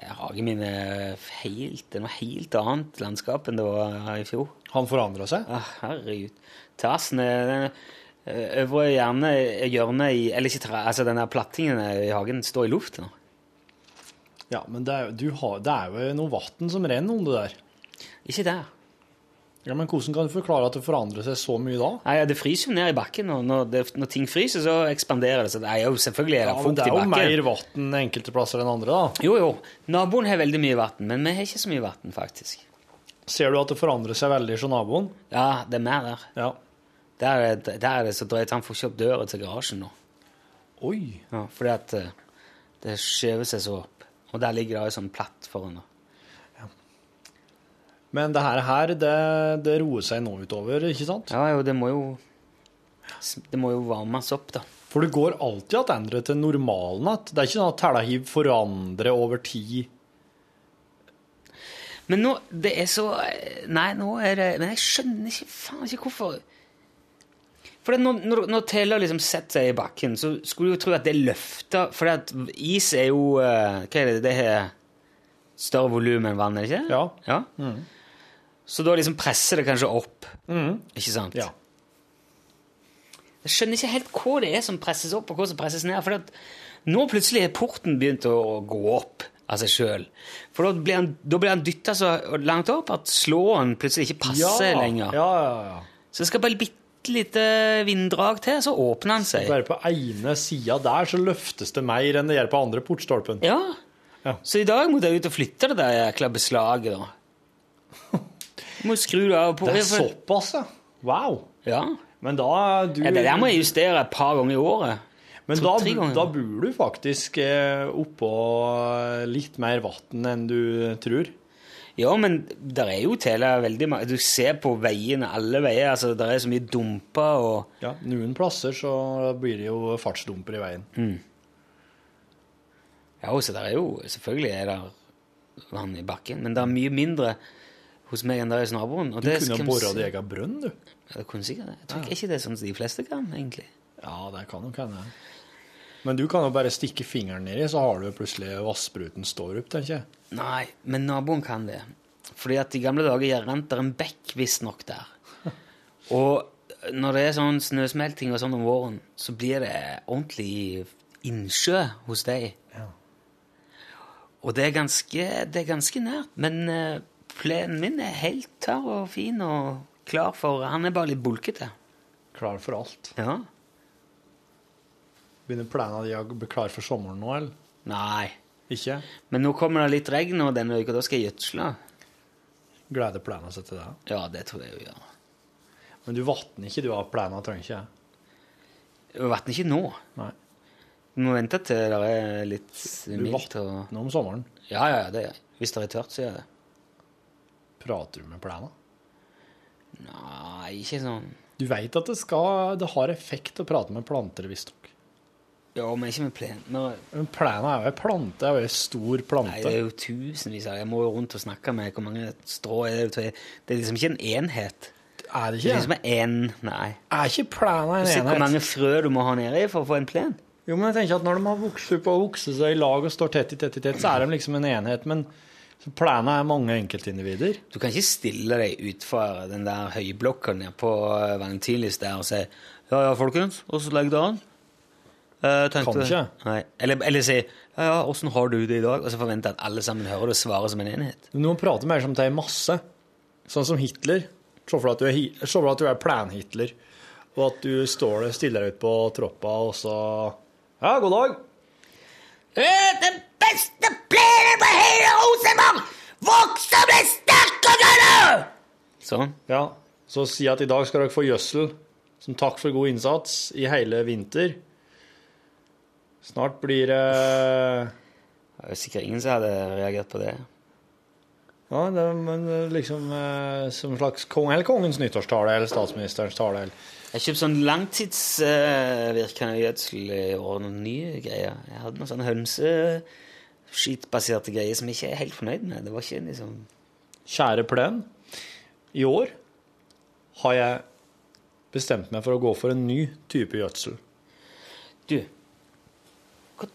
[SPEAKER 2] Jeg har min helt, det er noe helt annet landskap enn det var her i fjor.
[SPEAKER 3] Han forandrer seg.
[SPEAKER 2] Ah, herregud. Terrassen er den eh, øvre hjerne, eh, hjørnet i Eller ikke terra- altså den der plattingen i hagen står i luft nå.
[SPEAKER 3] Ja, men det er, jo- du har, det er jo noe vann som renner under der.
[SPEAKER 2] Ikke der.
[SPEAKER 3] Ja, Men hvordan kan du forklare at det forandrer seg så mye da?
[SPEAKER 2] Nei, ja, Det fryser jo ned i bakken. Og når, det, når ting fryser, så ekspanderer det. Så det er jo selvfølgelig er det
[SPEAKER 3] Ja, men
[SPEAKER 2] fukt
[SPEAKER 3] Det er
[SPEAKER 2] i
[SPEAKER 3] jo
[SPEAKER 2] bakken.
[SPEAKER 3] mer vann enkelte plasser enn andre, da.
[SPEAKER 2] Jo, jo. Naboen har veldig mye vann, men vi har ikke så mye vann, faktisk.
[SPEAKER 3] Ser du at det forandrer seg veldig hos naboen?
[SPEAKER 2] Ja, det er mer der.
[SPEAKER 3] Ja.
[SPEAKER 2] Der er, det- der er det så drøyt. Han får ikke opp døra til garasjen nå.
[SPEAKER 3] Oi.
[SPEAKER 2] Ja, fordi at eh, det skjever seg så opp. Og der ligger det jo sånn platt foran. da.
[SPEAKER 3] Men det her, her det, det roer seg nå utover, ikke sant?
[SPEAKER 2] Ja, jo, det må jo Det må jo varmes opp, da.
[SPEAKER 3] For det går alltid tilbake til normalen igjen. Det er ikke sånn at Tælahiv forandrer over tid
[SPEAKER 2] Men nå Det er så eh, Nei, nå er det Men jeg skjønner ikke faen ikke hvorfor. For det, når, når, når teller liksom setter seg i bakken, så skulle du jo tro at det løfter For at is er jo eh, Hva er det? Det har større volum enn vann, er det ikke?
[SPEAKER 3] Ja.
[SPEAKER 2] ja? Mm. Så da liksom presser det kanskje opp, ikke sant?
[SPEAKER 3] Ja.
[SPEAKER 2] Jeg skjønner ikke helt hva det er som presses opp, og hva som presses ned. For at nå plutselig er porten begynt å gå opp av seg sjøl. For da blir han, da blir han dytta så langt opp at slåen plutselig ikke passer lenger.
[SPEAKER 3] Ja, ja, ja.
[SPEAKER 2] Så det skal bare bitte lite vinddrag til, så åpner han seg.
[SPEAKER 3] Bare på ene sida der så løftes det mer enn det gjør på andre portstolpen.
[SPEAKER 2] Ja.
[SPEAKER 3] Ja.
[SPEAKER 2] Så i dag måtte jeg ut og flytte det der jækla beslaget, da. Du må skru det av og på.
[SPEAKER 3] Det er såpass, ja. Wow.
[SPEAKER 2] Ja.
[SPEAKER 3] Men da du,
[SPEAKER 2] ja. Det der må jeg justere et par ganger i året.
[SPEAKER 3] Men
[SPEAKER 2] to-
[SPEAKER 3] da,
[SPEAKER 2] tre ganger.
[SPEAKER 3] da bor du faktisk eh, oppå litt mer vann enn du tror.
[SPEAKER 2] Ja, men der er jo tele veldig mange Du ser på veiene, alle veier. altså Der er så mye dumper og
[SPEAKER 3] Ja, Noen plasser så blir det jo fartsdumper i veien.
[SPEAKER 2] Ja, så der er jo Selvfølgelig er det vann i bakken, men det er mye mindre hos meg enn det er hos naboen. Og
[SPEAKER 3] Du
[SPEAKER 2] det
[SPEAKER 3] kunne
[SPEAKER 2] skal
[SPEAKER 3] ha
[SPEAKER 2] vi
[SPEAKER 3] bora
[SPEAKER 2] si-
[SPEAKER 3] din egen brønn, du.
[SPEAKER 2] Ja, det kunne sikkert det. Jeg tror ikke det er sånn som de fleste kan, egentlig.
[SPEAKER 3] Ja, det kan nok hende. Men du kan jo bare stikke fingeren nedi, så har du jo plutselig vasspruten står opp, tenker jeg.
[SPEAKER 2] Nei, men naboen kan det. Fordi at i gamle dager jeg rant der en bekk visstnok der. Og når det er sånn snøsmelting og sånn om våren, så blir det ordentlig innsjø hos deg. Og det er ganske, det er ganske nært. Men eh, plenen min er helt tørr og fin og klar for Han er bare litt bulkete.
[SPEAKER 3] Klar for alt.
[SPEAKER 2] Ja.
[SPEAKER 3] Begynner plena di å bli klar for sommeren nå, eller?
[SPEAKER 2] Nei.
[SPEAKER 3] Ikke?
[SPEAKER 2] Men nå kommer det litt regn nå denne uka, da skal jeg gjødsle.
[SPEAKER 3] Gleder plena seg til det.
[SPEAKER 2] Ja, det tror jeg jo gjør.
[SPEAKER 3] Men du vatner ikke, du av plena, trenger ikke jeg.
[SPEAKER 2] Jeg vatner ikke nå.
[SPEAKER 3] Nei.
[SPEAKER 2] Vi må vente til det er litt
[SPEAKER 3] Du
[SPEAKER 2] mildt. Og...
[SPEAKER 3] vatner om sommeren.
[SPEAKER 2] Ja, ja, ja, det gjør jeg. Hvis det er tørt, så gjør jeg det.
[SPEAKER 3] Prater du med plena?
[SPEAKER 2] Nei, ikke sånn
[SPEAKER 3] Du veit at det skal Det har effekt å prate med planter, visstnok.
[SPEAKER 2] Ja, men ikke med plen. Nå-
[SPEAKER 3] Men plena er jo ei plante, det er jo ei stor
[SPEAKER 2] Nei,
[SPEAKER 3] plante.
[SPEAKER 2] det er jo tusenvis av Jeg må jo rundt og snakke med hvor mange strå er det til. Det er liksom ikke en enhet.
[SPEAKER 3] er det
[SPEAKER 2] Det er
[SPEAKER 3] ikke?
[SPEAKER 2] liksom en, nei.
[SPEAKER 3] Er ikke plena en
[SPEAKER 2] Se hvor
[SPEAKER 3] enhet?
[SPEAKER 2] mange frø du må ha nedi for å få en plen.
[SPEAKER 3] Jo, men jeg tenker at når de har vokst opp og vokst seg i lag og står tett i tett i tett, så er de liksom en enhet. Men så plena er mange enkeltindivider.
[SPEAKER 2] Du kan ikke stille deg utfor den der høyblokka nede på eh, Valentinlys der og si Ja, ja, folkens, åssen legger det an? Eh, tenkte-
[SPEAKER 3] Kan ikke.
[SPEAKER 2] Nei. Eller, eller si Ja, ja, åssen har du det i dag? Og så forvente at alle sammen hører det og svarer som en enhet.
[SPEAKER 3] Men Du må prate mer som til en masse. Sånn som Hitler. Se for deg at du er, hi- se for deg at du er plan-Hitler, og at du står der, stiller deg ut på troppa, og så Ja, god dag.
[SPEAKER 2] Den beste plenen på hele Rosenborg! Voks og bli sterk og grønn! Sånn.
[SPEAKER 3] Ja. Så si at i dag skal dere få gjødsel som takk for god innsats i hele vinter. Snart blir det
[SPEAKER 2] Det er sikkert ingen som hadde reagert på det.
[SPEAKER 3] Ja, det, men liksom eh, som slags kong, eller kongens nyttårstale eller statsministerens tale. Eller.
[SPEAKER 2] Jeg kjøpte sånn langtidsvirkende gjødsel i år, noen nye greier. Jeg hadde noen sånne hønseskitbaserte greier som jeg ikke er helt fornøyd med. Det var ikke liksom...
[SPEAKER 3] Kjære plen, i år har jeg bestemt meg for å gå for en ny type gjødsel.
[SPEAKER 2] Du, hva-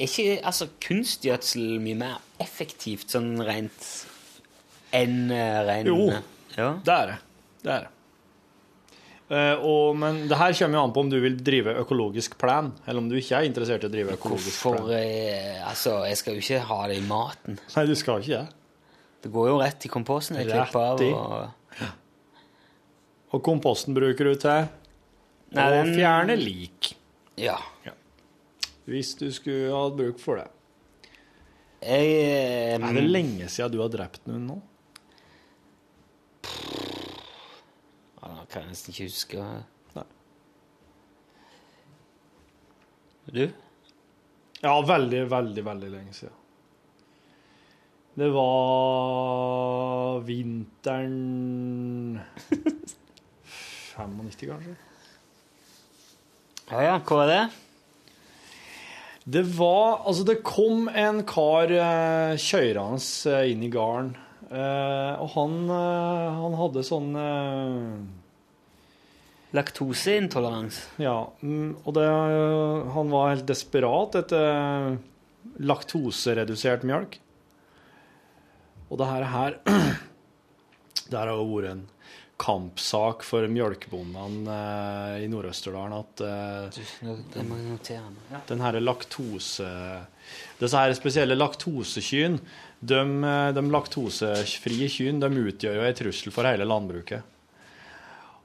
[SPEAKER 2] er ikke altså, kunstgjødsel mye mer effektivt sånn rent enn uh, ren...
[SPEAKER 3] Jo.
[SPEAKER 2] Ja.
[SPEAKER 3] Det er det. Det er det. Eh, og, men det her kommer jo an på om du vil drive økologisk plan, eller om du ikke er interessert i å drive økologisk
[SPEAKER 2] Hvorfor,
[SPEAKER 3] plan.
[SPEAKER 2] eh, altså, jeg skal jo ikke ha det i maten.
[SPEAKER 3] Nei, du skal ikke det.
[SPEAKER 2] Det går jo rett i komposten. Jeg
[SPEAKER 3] Rett
[SPEAKER 2] klipper av
[SPEAKER 3] i.
[SPEAKER 2] og...
[SPEAKER 3] Og komposten bruker du til
[SPEAKER 2] Nei,
[SPEAKER 3] å
[SPEAKER 2] den-
[SPEAKER 3] fjerne lik,
[SPEAKER 2] Ja.
[SPEAKER 3] hvis du skulle hatt bruk for det.
[SPEAKER 2] Jeg... eh,
[SPEAKER 3] Er det lenge siden du har drept noen nå?
[SPEAKER 2] Ja, da kan jeg nesten ikke huske.
[SPEAKER 3] Nei.
[SPEAKER 2] Du?
[SPEAKER 3] Ja, veldig, veldig, veldig lenge siden. Det var vinteren 95, kanskje?
[SPEAKER 2] Ja, ja, hva er det?
[SPEAKER 3] Det var Altså, det kom en kar eh, kjørende eh, inn i gården Eh, og han, eh, han hadde sånn eh,
[SPEAKER 2] Laktoseintolerans.
[SPEAKER 3] Ja, mm, og det, han var helt desperat etter laktoseredusert mjølk. Og det her, her Det her har jo vært en kampsak for mjølkebondene eh, i Nord-Østerdalen at eh,
[SPEAKER 2] Det må jeg notere meg. Ja.
[SPEAKER 3] den her laktose... Disse her spesielle laktosekyn, de, eh, de laktosefrie kyn, de utgjør jo en trussel for hele landbruket.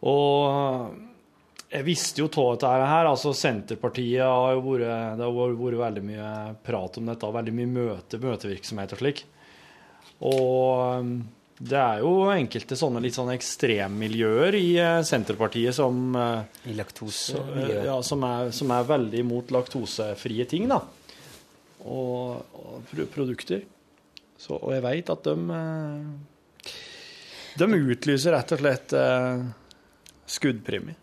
[SPEAKER 3] Og jeg visste jo av dette her, altså Senterpartiet har jo vært, det har vært veldig mye prat om dette, veldig mye møte, møtevirksomhet og slik. Og um, det er jo enkelte sånne litt sånn ekstremmiljøer i eh, Senterpartiet som
[SPEAKER 2] I
[SPEAKER 3] eh, så, eh,
[SPEAKER 2] laktosemiljøet.
[SPEAKER 3] ja, som, er, som er veldig imot laktosefrie ting, da. Og, og pro produkter. Så, og jeg veit at de eh, De utlyser rett og slett eh, skuddpremie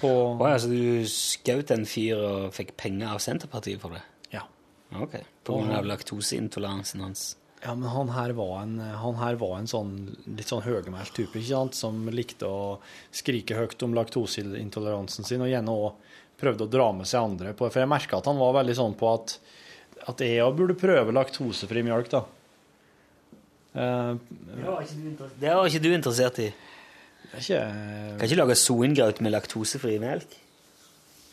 [SPEAKER 3] på
[SPEAKER 2] Å ja, så du skjøt en fyr og fikk penger av Senterpartiet for det?
[SPEAKER 3] Ja.
[SPEAKER 2] Ok. På grunn av laktoseintoleransen hans.
[SPEAKER 3] Ja, men han her var en, han her var en sånn litt sånn høgemælt type, ikke sant? Som likte å skrike høyt om laktoseintoleransen sin, og gjerne òg prøvde å dra med seg andre på For jeg merka at han var veldig sånn på at, at jeg òg burde prøve laktosefri mjølk, da. Eh,
[SPEAKER 2] Det var ikke du interessert i.
[SPEAKER 3] det er ikke,
[SPEAKER 2] Kan ikke lage soengraut med laktosefri melk?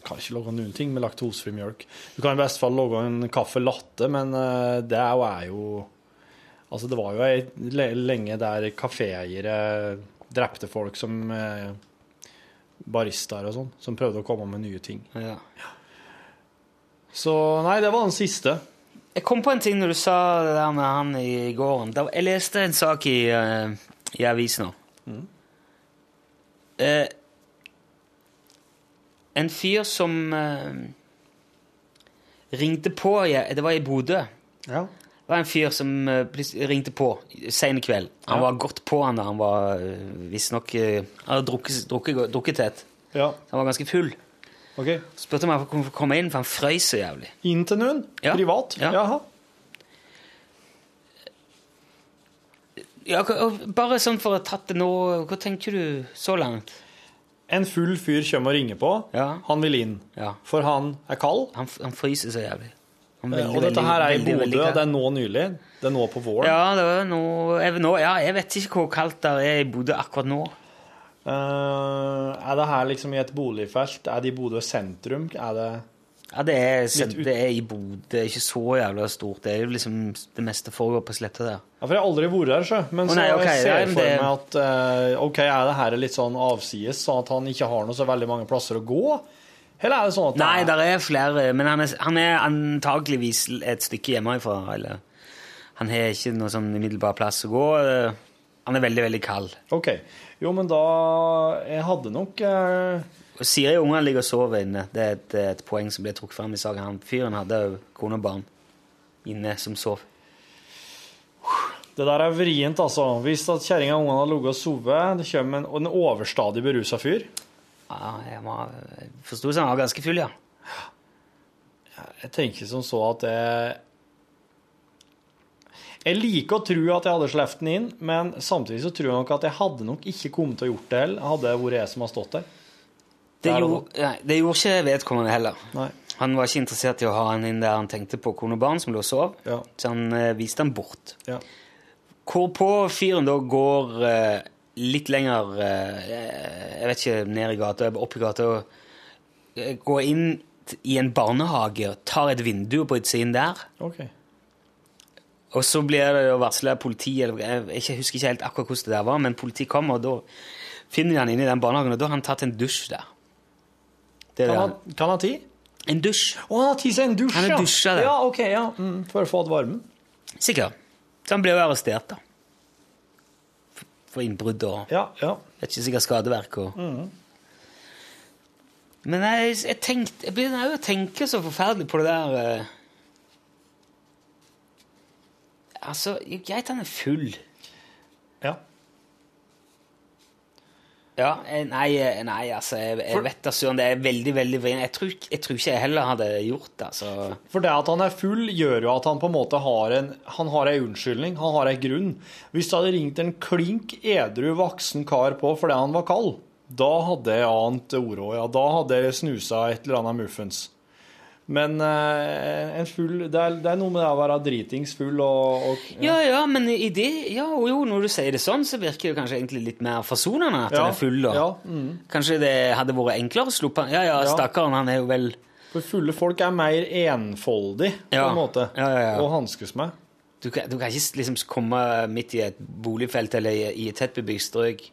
[SPEAKER 3] kan ikke lage noen ting med laktosefri mjølk. Du kan i beste fall lage en kaffe latte, men eh, det er jo, er jo Altså, det var jo ei, le- lenge der kaféeiere drepte folk som eh, baristaer og sånn, som prøvde å komme med nye ting.
[SPEAKER 2] Ja.
[SPEAKER 3] Så nei, det var den siste.
[SPEAKER 2] Jeg kom på en ting når du sa det der med han i gården. Da, jeg leste en sak i, eh, i avisen nå. Eh, en fyr som eh, ringte på i- Det var i Bodø.
[SPEAKER 3] Ja.
[SPEAKER 2] Det var en fyr som eh, plutselig ringte på sen i kveld. Han
[SPEAKER 3] Ja.
[SPEAKER 2] var godt på han da han var eh, visstnok eh, Han hadde drukket, drukket, drukket tett.
[SPEAKER 3] ja.
[SPEAKER 2] Han var ganske full.
[SPEAKER 3] OK.
[SPEAKER 2] Spurte om han kunne få komme inn, for han frøys så jævlig.
[SPEAKER 3] Inn til noen?
[SPEAKER 2] Ja.
[SPEAKER 3] Privat?
[SPEAKER 2] Ja.
[SPEAKER 3] Jaha.
[SPEAKER 2] Ja, hva- og bare sånn for å ha tatt det nå, hva tenker du så langt?
[SPEAKER 3] En full fyr kommer og ringer på.
[SPEAKER 2] Ja.
[SPEAKER 3] Han vil inn.
[SPEAKER 2] Ja.
[SPEAKER 3] For han er kald.
[SPEAKER 2] Han, f- han fryser så jævlig. Han er
[SPEAKER 3] Eh,
[SPEAKER 2] veldig,
[SPEAKER 3] og dette
[SPEAKER 2] veldig,
[SPEAKER 3] her er i
[SPEAKER 2] veldig, veldig
[SPEAKER 3] Bodø.
[SPEAKER 2] kald.
[SPEAKER 3] Det er nå nylig. Det er nå på våren.
[SPEAKER 2] Ja, det var nå, jeg, nå, ja, jeg vet ikke hvor kaldt det er i Bodø akkurat nå.
[SPEAKER 3] Eh, er det her liksom i et boligfelt? Er det i Bodø sentrum? Er det
[SPEAKER 2] Ja, det er, sen-
[SPEAKER 3] ut-
[SPEAKER 2] det er i Bodø, det er ikke så jævla stort. Det er jo liksom det meste foregår på sletta der.
[SPEAKER 3] Ja, for jeg har aldri vært her, sjø. Men
[SPEAKER 2] Å, nei,
[SPEAKER 3] så
[SPEAKER 2] ok,
[SPEAKER 3] jeg
[SPEAKER 2] ja,
[SPEAKER 3] ser
[SPEAKER 2] men
[SPEAKER 3] for
[SPEAKER 2] det-
[SPEAKER 3] meg at eh, OK, er det her litt sånn avsides, sånn at han ikke har noe så veldig mange plasser å gå? Eller er det sånn at
[SPEAKER 2] Nei,
[SPEAKER 3] det
[SPEAKER 2] der er flere, men han er, han er antageligvis et stykke hjemmefra. Eller. Han har ikke noe sånn umiddelbar plass å gå. Han er veldig, veldig kald.
[SPEAKER 3] er OK. Jo, men da Jeg hadde nok eh,
[SPEAKER 2] Og Siri og ungene ligger og sover inne. Det er et, et poeng som ble trukket fram i saken. Han fyren hadde jo kone og barn inne som sov.
[SPEAKER 3] Det der er vrient, altså. Hvis at kjerringa og ungene har ligget og sovet, det kommer en, og en overstadig berusa fyr
[SPEAKER 2] Ja, Ah, jeg var, jeg forsto seg han var ganske full, ja.
[SPEAKER 3] Jeg tenker som så at jeg Jeg liker å tro at jeg hadde sluppet den inn, men samtidig så tror jeg nok at jeg hadde nok ikke kommet til å gjort det heller, hadde det vært jeg som har stått der.
[SPEAKER 2] Det,
[SPEAKER 3] Der og
[SPEAKER 2] gjorde, nei, det gjorde ikke vedkommende heller.
[SPEAKER 3] Nei.
[SPEAKER 2] Han var ikke interessert i å ha han inn der han tenkte på kone og barn som lå og sov,
[SPEAKER 3] Ja.
[SPEAKER 2] så han eh, viste han bort.
[SPEAKER 3] Ja.
[SPEAKER 2] Hvorpå fyren da går eh, litt lenger eh, Jeg vet ikke, ned i gata, opp i gata og eh, går inn t- i en barnehage og tar et vindu på utsiden der.
[SPEAKER 3] Ok.
[SPEAKER 2] Og så blir det jo varsla politi, eller jeg, jeg husker ikke helt akkurat hvordan det der var, men politiet kommer, og da finner de han inne i den barnehagen, og da har han tatt en dusj der. Det er
[SPEAKER 3] Kan
[SPEAKER 2] det
[SPEAKER 3] han,
[SPEAKER 2] han.
[SPEAKER 3] kan han ti?
[SPEAKER 2] En dusj,
[SPEAKER 3] Å, han har ti seg en dusj,
[SPEAKER 2] Han har dusja, det.
[SPEAKER 3] Ja, ok, ja. Mm, for å få hatt varmen.
[SPEAKER 2] sikkert. Så han blir jo arrestert, da. For- For innbrudd og
[SPEAKER 3] Ja, ja.
[SPEAKER 2] jeg vet ikke sikkert skadeverk og Men jeg, jeg tenkte Jeg begynner jo å tenke så forferdelig på det der eh. Altså, greit han er full.
[SPEAKER 3] ja.
[SPEAKER 2] Ja, eh, nei, eh, nei altså, jeg, jeg vet da søren, det er veldig, veldig vrient. Jeg, tror ikke- jeg tror ikke jeg heller hadde gjort det, altså.
[SPEAKER 3] For det at han er full, gjør jo at han på en måte har en Han har ei unnskyldning, han har ei grunn. Hvis det hadde ringt en klink edru voksen kar på fordi han var kald, da hadde jeg ant ordet òg, ja. Da hadde jeg snusa et eller annet muffens. Men eh, en full det er, det er noe med det å være dritings full og, og
[SPEAKER 2] Ja, ja, men i det Ja, jo, når du sier det sånn, så virker det kanskje egentlig litt mer forsonende at
[SPEAKER 3] Ja,
[SPEAKER 2] han er full, da.
[SPEAKER 3] ja, mm.
[SPEAKER 2] Kanskje det hadde vært enklere å sluppe han Ja, ja,
[SPEAKER 3] Ja.
[SPEAKER 2] stakkaren, han er jo vel
[SPEAKER 3] For fulle folk er mer enfoldig, på
[SPEAKER 2] Ja.
[SPEAKER 3] en måte,
[SPEAKER 2] Ja, ja, ja.
[SPEAKER 3] å hanskes med.
[SPEAKER 2] du kan, du kan ikke liksom komme midt i et boligfelt eller i, i et tettbebygd strøk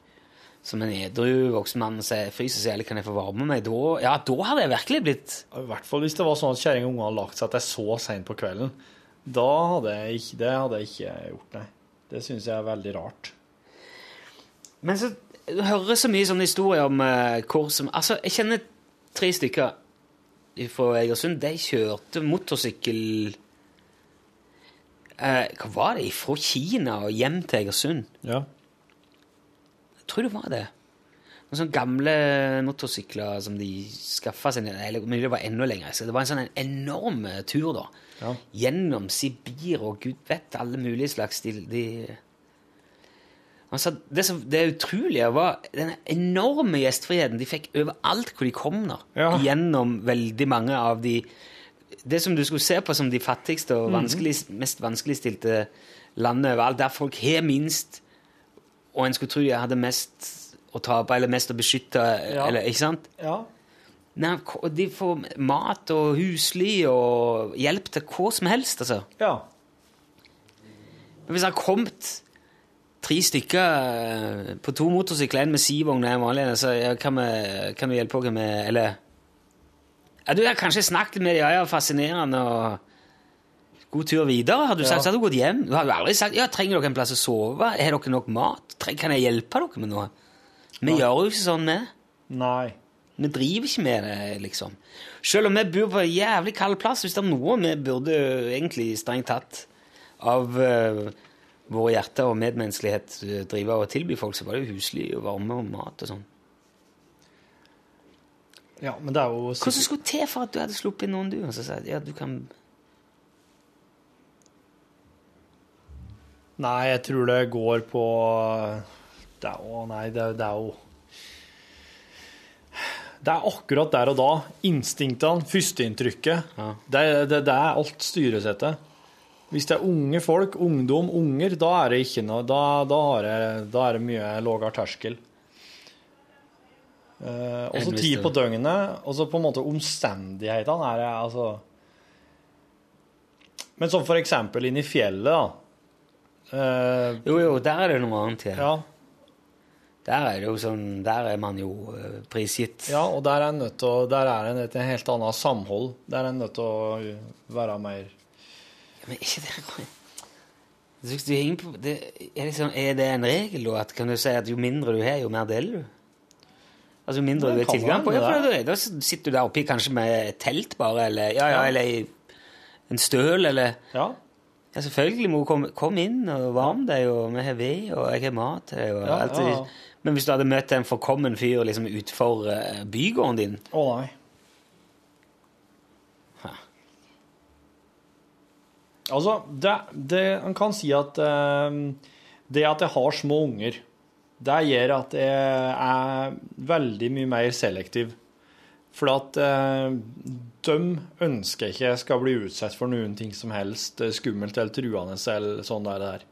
[SPEAKER 2] som en edru voksen mann og si 'fryser så jævlig, kan jeg få varme meg?' Da, ja, da hadde jeg virkelig blitt
[SPEAKER 3] I hvert fall hvis det var sånn at kjerringa og ungene hadde lagt seg til så seint på kvelden. Da hadde jeg ikke, det hadde jeg ikke gjort, nei. Det syns jeg er veldig rart.
[SPEAKER 2] Men så du hører så mye sånne historier om eh, hvor som Altså, jeg kjenner tre stykker fra Egersund. De kjørte motorsykkel eh, Hva var det? Fra Kina og hjem til Egersund?
[SPEAKER 3] Ja.
[SPEAKER 2] Jeg tror det var det. Noen sånne gamle motorsykler som de skaffa seg Eller mulig det var enda lenger. Så det var en sånn en enorm eh, tur, da.
[SPEAKER 3] Ja.
[SPEAKER 2] Gjennom Sibir og gud vet alle mulige slags de, de altså, det, som, det utrolige var den enorme gjestfriheten de fikk overalt hvor de kom. da.
[SPEAKER 3] Ja.
[SPEAKER 2] Gjennom veldig mange av de Det som du skulle se på som de fattigste og
[SPEAKER 3] Mhm.
[SPEAKER 2] vanskelig, mest vanskeligstilte landene overalt, der folk har minst og en skulle tro jeg hadde mest å tape eller mest å beskytte.
[SPEAKER 3] Ja.
[SPEAKER 2] Eller, ikke sant?
[SPEAKER 3] ja.
[SPEAKER 2] Nei, k- de får mat og husly og hjelp til hva som helst, altså.
[SPEAKER 3] Ja.
[SPEAKER 2] Men hvis det har kommet tre stykker eh, på to motorsykler, en med sivogn og en vanlig, en, så ja, kan, vi, kan vi hjelpe dere med Eller ja, Du har kanskje snakket med dem, ja, ja, fascinerende og God tur videre, har du sagt.
[SPEAKER 3] Ja.
[SPEAKER 2] Så hadde du gått hjem. Du hadde jo aldri sagt ja, trenger dere en plass å sove. Har dere nok mat? Treng, kan jeg hjelpe dere med noe? Vi gjør jo ikke sånn, vi.
[SPEAKER 3] Nei.
[SPEAKER 2] Vi driver ikke med det, liksom. Selv om vi bor på en jævlig kald plass, hvis det er noe vi burde egentlig strengt tatt av eh, våre hjerter og medmenneskelighet eh, drive og tilby folk, så var det jo husly og varme og mat og sånn.
[SPEAKER 3] Ja, men det er jo
[SPEAKER 2] Hva som
[SPEAKER 3] sikkert
[SPEAKER 2] skulle til for at du hadde sluppet inn noen du? Og så sa jeg, ja, du kan...
[SPEAKER 3] Nei, jeg tror det går på Det er jo Nei, det, det er jo Det er akkurat der og da. Instinktene, førsteinntrykket.
[SPEAKER 2] Ja.
[SPEAKER 3] Det, det, det er alt styresettet. Hvis det er unge folk, ungdom, unger, da er det ikke noe Da, da, har jeg, da er det mye lavere terskel. Eh, og så
[SPEAKER 2] Enn hvis
[SPEAKER 3] tid
[SPEAKER 2] det-
[SPEAKER 3] på døgnet, og så på en måte omstendighetene er det altså Men sånn for eksempel inne i fjellet, da. Eh,
[SPEAKER 2] Jo, jo, der er det noe annet igjen.
[SPEAKER 3] ja,
[SPEAKER 2] Der er det jo sånn, der er man jo eh, prisgitt.
[SPEAKER 3] ja, og der er en nødt til å Der er en et helt annet samhold. Der er en nødt til å være mer
[SPEAKER 2] Men ikke det Jeg synes du er inne på- det, er, liksom, er det en regel, da? At kan du si at jo mindre du har, jo mer deler du? Altså jo mindre
[SPEAKER 3] Det
[SPEAKER 2] du har
[SPEAKER 3] kan
[SPEAKER 2] tilgang på?
[SPEAKER 3] være,
[SPEAKER 2] Ja,
[SPEAKER 3] det
[SPEAKER 2] for da, da sitter du der oppi kanskje med et telt, bare, eller, ja, ja, eller i en støl, eller
[SPEAKER 3] Ja.
[SPEAKER 2] Ja, selvfølgelig må du komme kom inn og varme deg, og vi har ved, og jeg har mat til deg, og
[SPEAKER 3] Ja,
[SPEAKER 2] alt
[SPEAKER 3] ja,
[SPEAKER 2] det.
[SPEAKER 3] ja.
[SPEAKER 2] Men hvis du hadde møtt en forkommen fyr liksom utfor eh, bygården din
[SPEAKER 3] Å nei.
[SPEAKER 2] Hæ.
[SPEAKER 3] Altså, det, det En kan si at eh, det at jeg har små unger, det gjør at jeg er veldig mye mer selektiv. For at eh, dem ønsker jeg ikke skal bli utsatt for noen ting som helst eh, skummelt eller truende eller sånn der. der.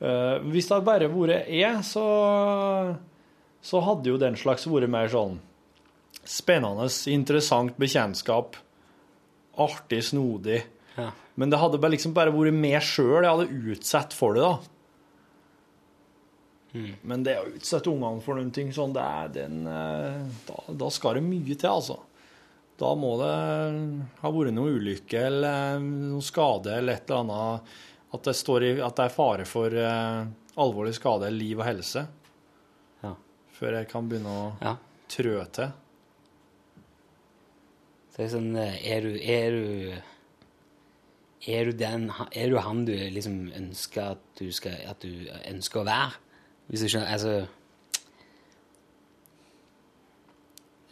[SPEAKER 3] Eh, hvis det hadde bare vært jeg, så, så hadde jo den slags vært mer sånn spennende, interessant bekjentskap. Artig, snodig.
[SPEAKER 2] Ja.
[SPEAKER 3] Men det hadde bare liksom bare vært meg sjøl jeg hadde utsatt for det, da.
[SPEAKER 2] Mm.
[SPEAKER 3] Men det å utsette ungene for noen ting sånn, det er den eh, da, da skal det mye til, altså. Da må det ha vært noe ulykke eller eh, noe skade eller et eller annet. At det, står i, at det er fare for eh, alvorlig skade, liv og helse.
[SPEAKER 2] Ja.
[SPEAKER 3] Før jeg kan begynne å
[SPEAKER 2] Ja.
[SPEAKER 3] trø til.
[SPEAKER 2] Så det er sånn eh, Er du Er du, er du, den, er du han du liksom ønsker at du, skal, at du ønsker å være? Hvis du skjønner Altså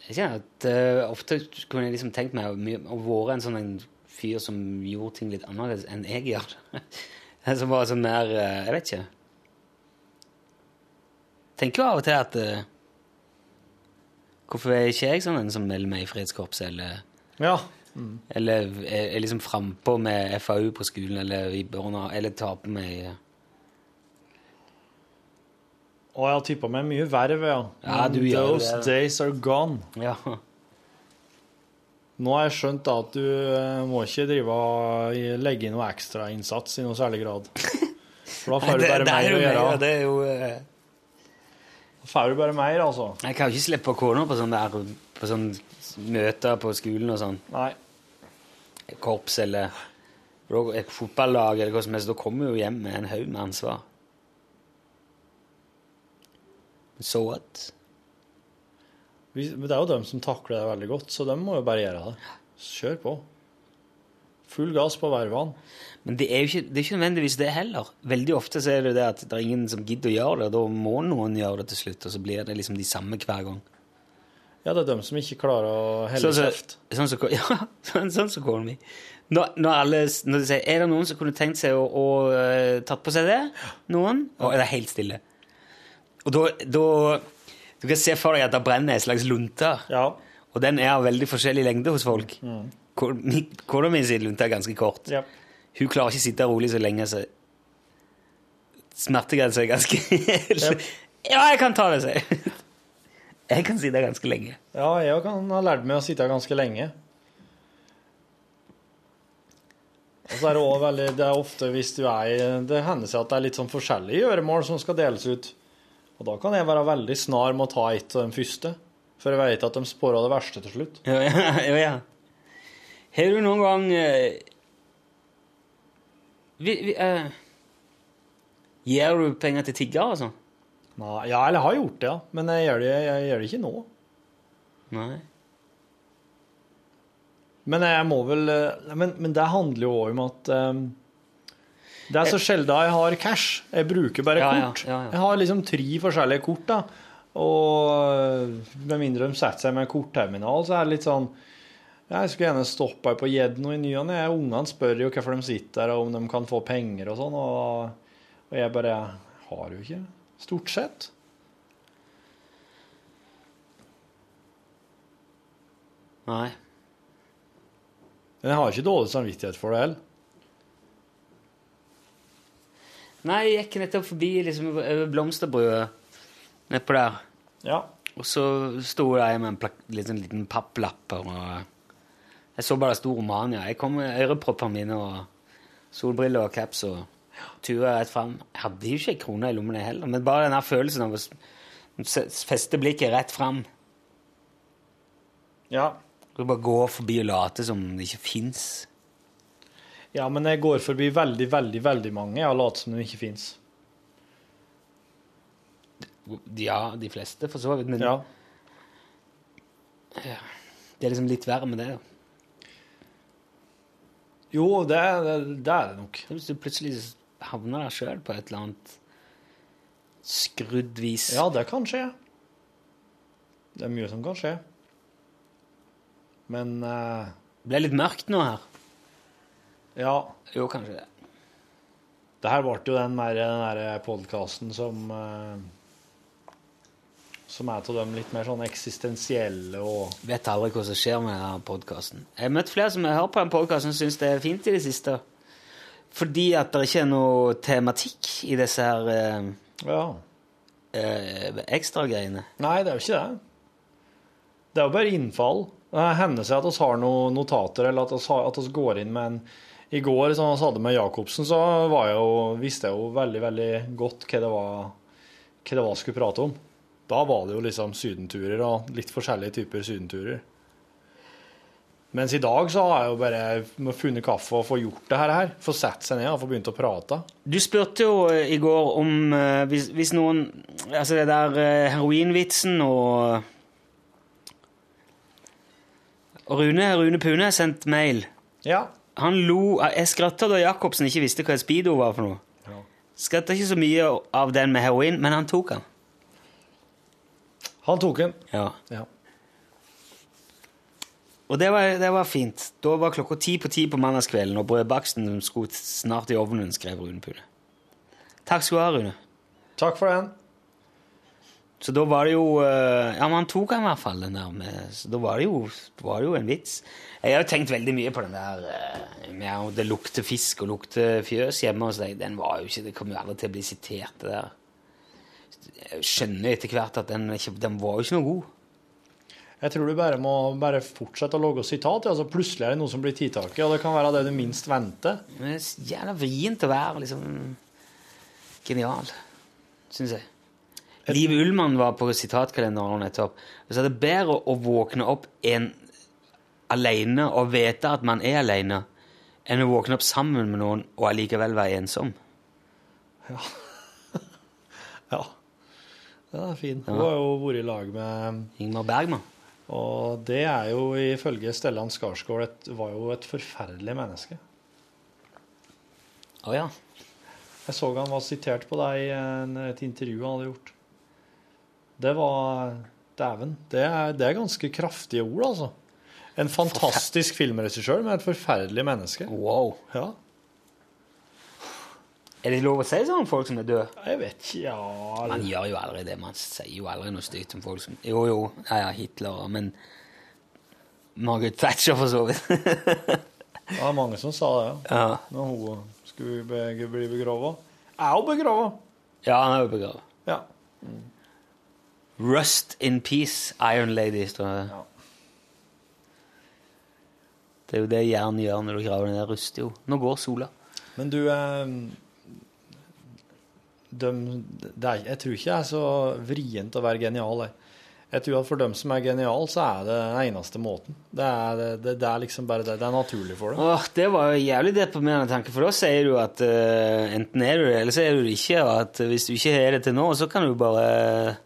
[SPEAKER 2] Jeg kjenner at eh, ofte kunne jeg liksom tenkt meg å mye- å være en sånn en fyr som gjorde ting litt annerledes enn jeg gjør. En som var sånn mer eh, Jeg vet ikke. Tenker jo av og til at eh, Hvorfor er ikke jeg sånn en som melder meg i eh? Fredskorpset, eller,
[SPEAKER 3] Ja.
[SPEAKER 2] eller er, er liksom frampå med FAU på skolen, eller i barna, eller tar på meg eh,
[SPEAKER 3] Og jeg har tippa meg mye verv, ja.
[SPEAKER 2] Ja, du gjør
[SPEAKER 3] Those
[SPEAKER 2] det.
[SPEAKER 3] days are gone.
[SPEAKER 2] Ja.
[SPEAKER 3] Nå har jeg skjønt da at du eh, må ikke drive og legge inn noe ekstrainnsats i noe særlig grad. For da får du
[SPEAKER 2] Det,
[SPEAKER 3] bare
[SPEAKER 2] det er
[SPEAKER 3] mer
[SPEAKER 2] jo
[SPEAKER 3] å
[SPEAKER 2] meg,
[SPEAKER 3] gjøre.
[SPEAKER 2] og det er jo eh,
[SPEAKER 3] Da får du bare mer, altså.
[SPEAKER 2] Jeg kan jo ikke slippe kona på sånne, der, på sånne møter på skolen og sånn.
[SPEAKER 3] Nei.
[SPEAKER 2] Korps eller et fotballag eller hva som helst. Da kommer hun jo hjem med en haug med ansvar. So what?
[SPEAKER 3] Vi- Men det er jo dem som takler det veldig godt, så dem må jo bare gjøre det. Kjør på. Full gass på vervene.
[SPEAKER 2] Men det er jo ikke, det er ikke nødvendigvis det heller. Veldig ofte så er det jo det at det er ingen som gidder å gjøre det, og da må noen gjøre det til slutt, og så blir det liksom de samme hver gang.
[SPEAKER 3] Ja, det er dem som ikke klarer å helle
[SPEAKER 2] Sånn som-
[SPEAKER 3] kjeft.
[SPEAKER 2] Sånn som ja, sånn, sånn som kona mi. Når, når, alle, s- når de sier Er det noen som kunne tenkt seg å, å eh, tatt på seg det? Noen? Og er det helt stille. Og da, da Du kan se for deg at det brenner en slags lunte.
[SPEAKER 3] Ja.
[SPEAKER 2] Og den er av veldig forskjellig lengde hos folk. Ko- mi- Kona mi sin lunte er ganske kort.
[SPEAKER 3] ja.
[SPEAKER 2] Hun klarer ikke å sitte rolig så lenge, så smertegrensa er ganske Ja, jeg kan ta det, sier hun. Jeg kan sitte ganske lenge.
[SPEAKER 3] Ja, jeg kan ha lært meg å sitte her ganske lenge. Og så er det også veldig Det er ofte hvis du er i Det hender seg at det er litt sånn forskjellige gjøremål som skal deles ut. Og da kan jeg være veldig snar med å ta et av de første. For jeg vet at de spårer det verste til slutt.
[SPEAKER 2] Ja, ja, ja, ja. Har du noen gang eh, vi, vi, eh, Gir du penger til tiggere og sånn?
[SPEAKER 3] Nei, ja, eller jeg har gjort det, ja. Men jeg gjør det, jeg gjør det ikke nå.
[SPEAKER 2] Nei.
[SPEAKER 3] Men jeg må vel eh, Men, men det handler jo òg om at eh, Det er så sjelden jeg har cash. Jeg bruker bare
[SPEAKER 2] Ja, ja,
[SPEAKER 3] kort.
[SPEAKER 2] ja, ja.
[SPEAKER 3] Jeg har liksom tre forskjellige kort, da. Og eh, med mindre de setter seg med en kortterminal, så er det litt sånn Jeg skulle gjerne stoppa på Gjedno i ny og ne. Ungene spør jo hvorfor de sitter der, og om de kan få penger og sånn, og, og jeg bare Har jo ikke. Stort sett.
[SPEAKER 2] Nei.
[SPEAKER 3] Men jeg har ikke dårlig samvittighet for det heller.
[SPEAKER 2] Nei, jeg gikk nettopp forbi liksom, over blomsterbrødet nedpå der.
[SPEAKER 3] Ja.
[SPEAKER 2] Og så sto det ei med en plak liksom, liten papplapper og Jeg så bare det sto Romania. Jeg kom med øreproppene mine og solbriller og caps og tura rett fram. Jeg hadde jo ikke ei krone i lommen jeg heller, men bare den her følelsen av å s- s- feste blikket rett fram.
[SPEAKER 3] ja.
[SPEAKER 2] Du bare går forbi og later som det ikke fins.
[SPEAKER 3] Ja, men jeg går forbi veldig, veldig, veldig mange og later som de ikke fins.
[SPEAKER 2] Ja, de fleste, for så vidt, men
[SPEAKER 3] Ja.
[SPEAKER 2] det er liksom litt verre med det. da.
[SPEAKER 3] Jo, det, det, det er det nok.
[SPEAKER 2] Tenk Hvis du plutselig havner der sjøl på et eller annet skrudd vis.
[SPEAKER 3] Ja, det kan skje. Det er mye som kan skje. Men eh,
[SPEAKER 2] Det ble litt mørkt nå her.
[SPEAKER 3] ja.
[SPEAKER 2] Jo, kanskje det.
[SPEAKER 3] Det her ble jo den mer- den der podkasten som eh, Som er av dem litt mer sånn eksistensielle og
[SPEAKER 2] Vet aldri hva som skjer med denne podkasten. Jeg har møtt flere som jeg hører på den podkasten som syns det er fint i det siste. Fordi at det ikke er noe tematikk i disse her eh,
[SPEAKER 3] Ja.
[SPEAKER 2] eh, ekstragreiene.
[SPEAKER 3] Nei, det er jo ikke det. Det er jo bare innfall. Det hender seg at vi har noen notater, eller at vi, har, at oss går inn med en I går, som vi hadde med Jacobsen, så var jeg jo, visste jeg jo veldig, veldig godt hva det var hva det var jeg skulle prate om. Da var det jo liksom sydenturer og litt forskjellige typer sydenturer. Mens i dag så har jeg jo bare må funnet kaffe og få gjort det her, få satt seg ned og få begynt å prate.
[SPEAKER 2] Du spurte jo eh, i går om eh, hvis, hvis noen Altså det der eh, heroinvitsen og og Rune, Rune Pune har sendt mail.
[SPEAKER 3] Ja.
[SPEAKER 2] Han lo eh, Jeg skratta da Jacobsen ikke visste hva et speedo var for noe.
[SPEAKER 3] Ja.
[SPEAKER 2] Skratta ikke så mye av den med heroin, men han tok den.
[SPEAKER 3] Han tok en.
[SPEAKER 2] Ja.
[SPEAKER 3] Ja.
[SPEAKER 2] Og det var, det var fint. Da var klokka ti på ti på mandagskvelden, og brødbaksten skulle snart i ovnen, skrev Rune Pule. Takk skal du ha, Rune.
[SPEAKER 3] Takk for den.
[SPEAKER 2] Så da var det jo eh, Ja, men han tok han i hvert fall, den der med Så da var det jo, var det jo en vits. Jeg har jo tenkt veldig mye på den der eh, med at det lukter fisk og lukter fjøs hjemme hos deg. Den var jo ikke Det kommer jo aldri til å bli sitert, det der. Jeg skjønner etter hvert at den, ikke, den var jo ikke noe god.
[SPEAKER 3] Jeg tror du bare må bare fortsette å logge sitat. ja, Altså, plutselig er det noe som blir tidtaket, og det kan være det du minst venter.
[SPEAKER 2] Men det er så jævla vrient å være liksom genial, syns jeg. Liv Ullmann var på sitatkalenderen nå nettopp. Og så er det bedre å våkne opp en alene og vite at man er alene, enn å våkne opp sammen med noen og allikevel være ensom.
[SPEAKER 3] Ja. Den er fin. Hun har jo vært i lag med
[SPEAKER 2] Ingmar Bergman.
[SPEAKER 3] Og det er jo ifølge Stellan Skarsgård et, var jo et forferdelig menneske.
[SPEAKER 2] Å ja.
[SPEAKER 3] Jeg så han var sitert på deg i en- et intervju han hadde gjort. Det var Dæven. Det er, det er ganske kraftige ord, altså. En fantastisk filmregissør med et forferdelig menneske.
[SPEAKER 2] Wow.
[SPEAKER 3] Ja.
[SPEAKER 2] Er det lov å si sånn om folk som er døde?
[SPEAKER 3] Jeg vet ikke Ja,
[SPEAKER 2] Man gjør jo aldri det. Man sier jo aldri noe stygt om folk som Jo, jo, ja, ja, Hitler, men Margaret Thatcher, for så vidt.
[SPEAKER 3] det var mange som sa det. ja.
[SPEAKER 2] ja.
[SPEAKER 3] Når hun skulle be- bli begrava. Er hun begrava?
[SPEAKER 2] Ja, han er jo begravet.
[SPEAKER 3] Ja.
[SPEAKER 2] Rust in peace, Iron Lady, står det.
[SPEAKER 3] Ja.
[SPEAKER 2] Det er jo det jern gjør når du graver den der ruster jo. Nå går sola.
[SPEAKER 3] Men du eh, dem- det er, Jeg tror ikke det er så vrient å være genial. Jeg. jeg tror at for dem som er genial, så er det den eneste måten. Det er, det, det, det er liksom bare det. Det er naturlig for dem.
[SPEAKER 2] Åh, det var jo jævlig deprimerende tanke, for da sier du at eh, enten er du det, eller så er du det ikke, og at eh, hvis du ikke er det til nå, så kan du bare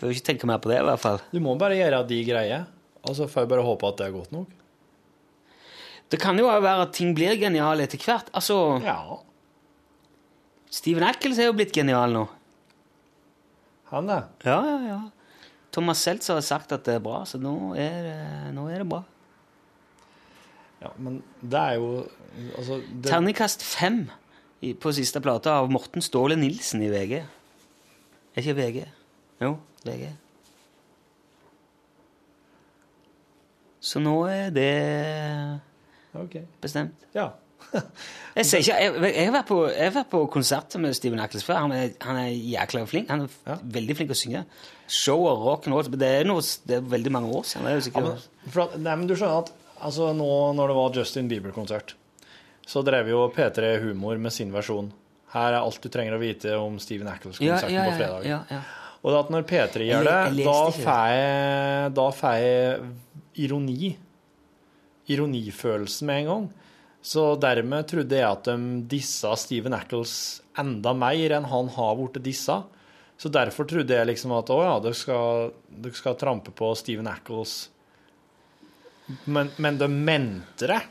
[SPEAKER 2] Bør ikke tenke mer på det, i hvert fall.
[SPEAKER 3] Du må bare gjøre de greier. Og så får jeg bare håpe at det er godt nok.
[SPEAKER 2] Det kan jo også være at ting blir geniale etter hvert. Altså,
[SPEAKER 3] Ja.
[SPEAKER 2] Steven Ackles er jo blitt genial nå.
[SPEAKER 3] Han, det.
[SPEAKER 2] Ja, ja, ja. Thomas Seltzer har sagt at det er bra, så nå er det, nå er det bra.
[SPEAKER 3] Ja, men det er jo Altså det,
[SPEAKER 2] Terningkast fem i- på siste plate av Morten Ståle Nilsen i VG. Er ikke VG? Jo, VG. Så nå er det
[SPEAKER 3] OK.
[SPEAKER 2] bestemt.
[SPEAKER 3] Ja.
[SPEAKER 2] Jeg ser ikke, jeg, jeg, har vært på, jeg har vært på konserter med Steven Ackles før. Han er, han er jækla flink. Han er f-
[SPEAKER 3] Ja.
[SPEAKER 2] veldig flink å synge. Show og rock and roll. men Det er, noe, s- det er veldig mange år siden. Det er jo
[SPEAKER 3] Ja,
[SPEAKER 2] sikkert,
[SPEAKER 3] men, for at, nei, men du skjønner at altså, nå når det var Justin Bieber-konsert, så drev jo P3 Humor med sin versjon. Her er alt du trenger å vite om Steven
[SPEAKER 2] ja,
[SPEAKER 3] Ackles-konserten
[SPEAKER 2] ja,
[SPEAKER 3] på
[SPEAKER 2] ja,
[SPEAKER 3] fredag.
[SPEAKER 2] ja, ja.
[SPEAKER 3] Og at når P3 gjør det,
[SPEAKER 2] Jeg- jeg
[SPEAKER 3] da
[SPEAKER 2] leste ikke det.
[SPEAKER 3] får jeg, da får jeg ironi. Ironifølelsen med en gang. Så dermed trodde jeg at de dissa Steven Ackles enda mer enn han har blitt dissa. Så derfor trodde jeg liksom at å ja, dere skal, dere skal trampe på Steven Ackles. Men, men de mente det?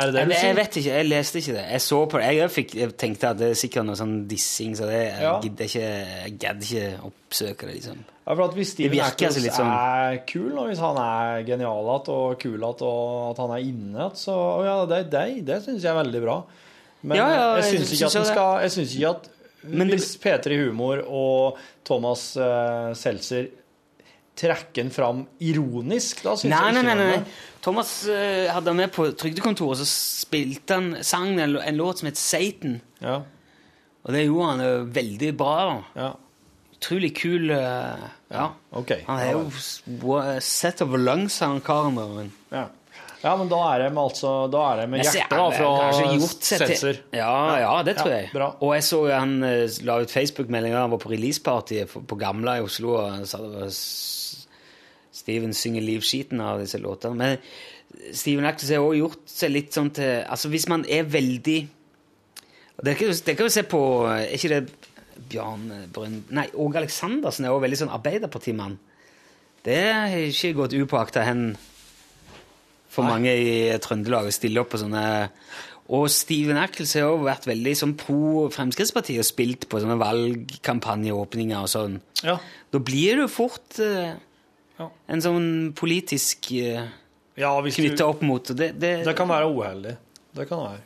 [SPEAKER 3] Er det det
[SPEAKER 2] Jeg,
[SPEAKER 3] du
[SPEAKER 2] jeg
[SPEAKER 3] sier?
[SPEAKER 2] vet ikke, jeg leste ikke det. Jeg så på det. Jeg, fikk, jeg tenkte at det er sikkert noe sånn dissing, så det, jeg
[SPEAKER 3] Ja.
[SPEAKER 2] gidder ikke, jeg gadd ikke oppsøke det, liksom.
[SPEAKER 3] Ja, for at hvis Steven
[SPEAKER 2] virker
[SPEAKER 3] Ackles
[SPEAKER 2] altså litt sånn-
[SPEAKER 3] er kul, og hvis han er genial at, og kul at, og at han er inne at, så å ja, det er deg. Det syns jeg er veldig bra. Men
[SPEAKER 2] Ja, ja,
[SPEAKER 3] jeg
[SPEAKER 2] jeg
[SPEAKER 3] syns ikke
[SPEAKER 2] synes
[SPEAKER 3] at han
[SPEAKER 2] jo det.
[SPEAKER 3] skal Jeg syns ikke at
[SPEAKER 2] Men det-
[SPEAKER 3] hvis P3 Humor og Thomas uh, Seltzer trekker han fram ironisk, da syns
[SPEAKER 2] Nei,
[SPEAKER 3] jeg
[SPEAKER 2] nei,
[SPEAKER 3] ikke
[SPEAKER 2] nei, nei.
[SPEAKER 3] det.
[SPEAKER 2] Thomas eh, hadde han med på trygdekontoret, så spilte han sang en, en låt som het Satan.
[SPEAKER 3] Ja,
[SPEAKER 2] Og det gjorde han eh, veldig bra. da.
[SPEAKER 3] ja,
[SPEAKER 2] Utrolig kul eh, Ja.
[SPEAKER 3] OK.
[SPEAKER 2] Han er jo s- wa- set of lungs, han karen der. men-
[SPEAKER 3] ja. ja, men da er de altså Da er de med
[SPEAKER 2] Jeg ser-
[SPEAKER 3] hjertet da,
[SPEAKER 2] kanskje
[SPEAKER 3] fra
[SPEAKER 2] gjort seg til-
[SPEAKER 3] Seltzer.
[SPEAKER 2] Ja, ja, det tror
[SPEAKER 3] Ja,
[SPEAKER 2] jeg.
[SPEAKER 3] bra.
[SPEAKER 2] Og jeg så jo han eh, la ut Facebook-melding da han var på releasepartyet for- på Gamla i Oslo. og han sa det var s- Steven synger livskiten av disse låtene. Men eh, Steven Actis har også gjort seg litt sånn til Altså hvis man er veldig og det kan, jo- det kan vi se på eh, Er ikke det Bjørn Brønn Nei, Åge Aleksandersen er også veldig sånn arbeiderpartimann. Det har ikke gått upåakta hen for mange i Trøndelag å stille opp på sånne Og Steven Ackles har jo vært veldig sånn pro Fremskrittspartiet og spilt på sånne valgkampanjeåpninger og sånn.
[SPEAKER 3] Ja.
[SPEAKER 2] Da blir du fort eh,
[SPEAKER 3] Ja.
[SPEAKER 2] en sånn politisk eh,
[SPEAKER 3] Ja, hvis
[SPEAKER 2] knyttet
[SPEAKER 3] du,
[SPEAKER 2] opp mot. og Det, det,
[SPEAKER 3] det kan være uheldig. Det kan være.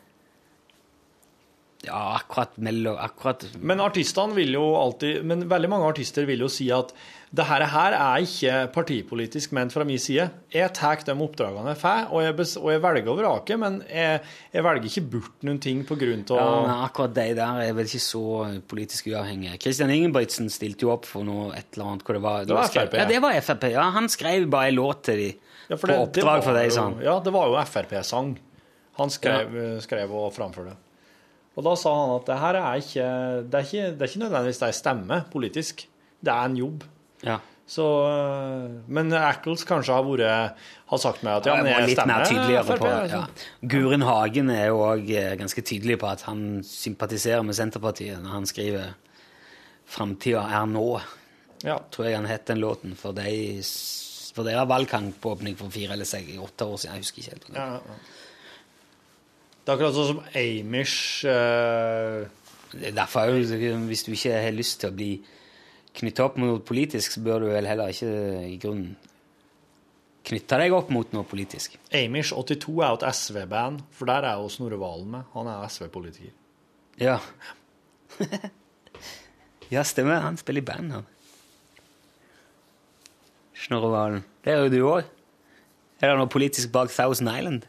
[SPEAKER 2] Ja, akkurat mellom akkurat,
[SPEAKER 3] Men artistene vil jo alltid Men veldig mange artister vil jo si at det her, her er ikke partipolitisk ment fra min side. Jeg tar de oppdragene jeg får, og jeg, bes- og jeg velger å vrake, men jeg, jeg velger ikke bort noen ting på grunn av
[SPEAKER 2] ja, men akkurat de der er vel ikke så politisk uavhengige. Christian Ingebrigtsen stilte jo opp for noe et eller annet. Hvor det var,
[SPEAKER 3] Det var
[SPEAKER 2] skrev-
[SPEAKER 3] FrP, ja.
[SPEAKER 2] Ja, det var Frp. Ja, han skrev bare en låt til de
[SPEAKER 3] Ja, for
[SPEAKER 2] på
[SPEAKER 3] det- det var
[SPEAKER 2] oppdrag for de,
[SPEAKER 3] jo-
[SPEAKER 2] sånn.
[SPEAKER 3] Ja, det var jo Frp-sang. Han skrev, eh, skrev og framførte. Og da sa han at det her er ikke Det er ikke, det er ikke nødvendigvis det er stemme politisk. Det er en jobb.
[SPEAKER 2] Ja.
[SPEAKER 3] Så, øh, men Ackles kanskje har, vært, har sagt meg at ja, men
[SPEAKER 2] jeg var
[SPEAKER 3] jeg
[SPEAKER 2] litt mer
[SPEAKER 3] stemmer
[SPEAKER 2] tydeligere på
[SPEAKER 3] Frp,
[SPEAKER 2] ja. sånn.
[SPEAKER 3] liksom.
[SPEAKER 2] Guren Hagen er jo òg ganske tydelig på at han sympatiserer med Senterpartiet når han skriver 'Framtida er nå',
[SPEAKER 3] Ja.
[SPEAKER 2] tror jeg han het den låten, for de for deres valgkampåpning for fire eller seks, åtte år siden. Jeg husker ikke helt.
[SPEAKER 3] Ja, ja, ja. Det er akkurat sånn som Amish øh,
[SPEAKER 2] Det er Derfor er jo, hvis du ikke har lyst til å bli knyttet opp mot noe politisk, så bør du vel heller ikke i grunnen knytte deg opp mot noe politisk.
[SPEAKER 3] Amish 82 er jo et SV-band, for der er jo Snorre Valen med. Han er SV-politiker.
[SPEAKER 2] Ja. ja, stemmer. Han spiller i band, han. Snorre Valen. Det er jo du òg. Er det noe politisk bak Thousand Island?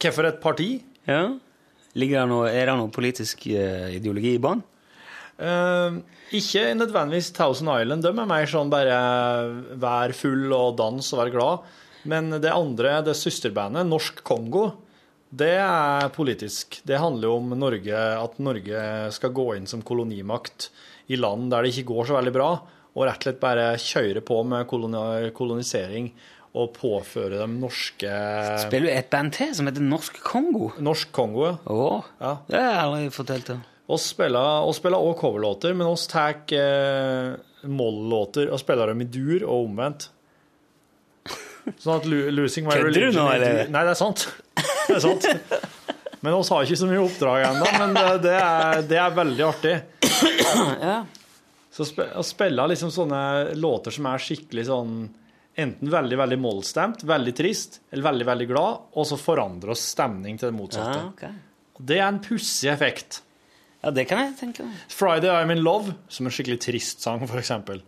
[SPEAKER 3] Hvorfor et parti?
[SPEAKER 2] Ja. Ligger det noe, er det noe politisk eh, ideologi i bånn?
[SPEAKER 3] Eh, ikke nødvendigvis Thousand Island. De er mer sånn bare vær full og dans og vær glad. Men det andre, det søsterbandet, Norsk Kongo, det er politisk. Det handler jo om Norge, at Norge skal gå inn som kolonimakt i land der det ikke går så veldig bra, og rett og slett bare kjøre på med koloni kolonisering og påføre dem norske
[SPEAKER 2] Spiller du et band til som heter Norsk Kongo?
[SPEAKER 3] Norsk Kongo, ja.
[SPEAKER 2] Å,
[SPEAKER 3] Ja.
[SPEAKER 2] det har jeg aldri fortalt om.
[SPEAKER 3] Oss spiller, oss spiller også coverlåter, men oss tar eh, moll-låter og spiller dem i dur og omvendt. Sånn at lo- 'Losing My
[SPEAKER 2] Kødder du
[SPEAKER 3] Religion'
[SPEAKER 2] nå,
[SPEAKER 3] i dur-
[SPEAKER 2] eller?
[SPEAKER 3] Nei, det er sant. Det er sant. Men oss har ikke så mye oppdrag ennå, men det, det, er, det er veldig artig. Så sp å spille liksom sånne låter som er skikkelig sånn Enten veldig veldig mollstemt, veldig trist, eller veldig veldig glad, og så forandrer oss stemning til det
[SPEAKER 2] Ja,
[SPEAKER 3] motsatte.
[SPEAKER 2] ok.
[SPEAKER 3] Det er en pussig effekt.
[SPEAKER 2] ja, det kan jeg tenke meg.
[SPEAKER 3] Friday I'm in love, som en skikkelig trist sang, for eksempel.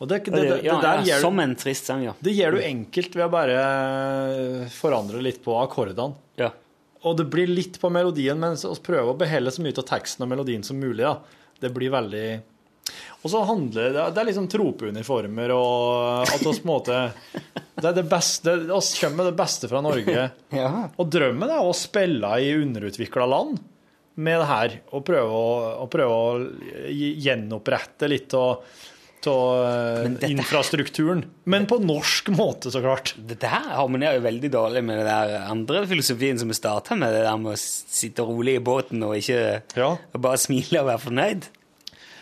[SPEAKER 3] Og det, det, det, det,
[SPEAKER 2] Ja,
[SPEAKER 3] der
[SPEAKER 2] ja,
[SPEAKER 3] gjør,
[SPEAKER 2] som en trist sang, ja.
[SPEAKER 3] det gjør du enkelt ved å bare eh, forandre litt på akkordene.
[SPEAKER 2] ja.
[SPEAKER 3] Og det blir litt på melodien, men så prøve å beholde så mye av teksten og melodien som mulig. da. Det blir veldig Og så handler det Det er liksom tropeuniformer og at oss på en måte Det er det beste oss kommer med det beste fra Norge. Og drømmen er å spille i underutvikla land med det her. Og prøve å, og prøve å gjenopprette litt av av eh,
[SPEAKER 2] Men dette-
[SPEAKER 3] infrastrukturen. Men på norsk måte, så klart.
[SPEAKER 2] Dette her harmonerer jo veldig dårlig med den der andre filosofien som vi starta med, det der med å sitte rolig i båten og ikke
[SPEAKER 3] Ja.
[SPEAKER 2] og bare smile og være fornøyd.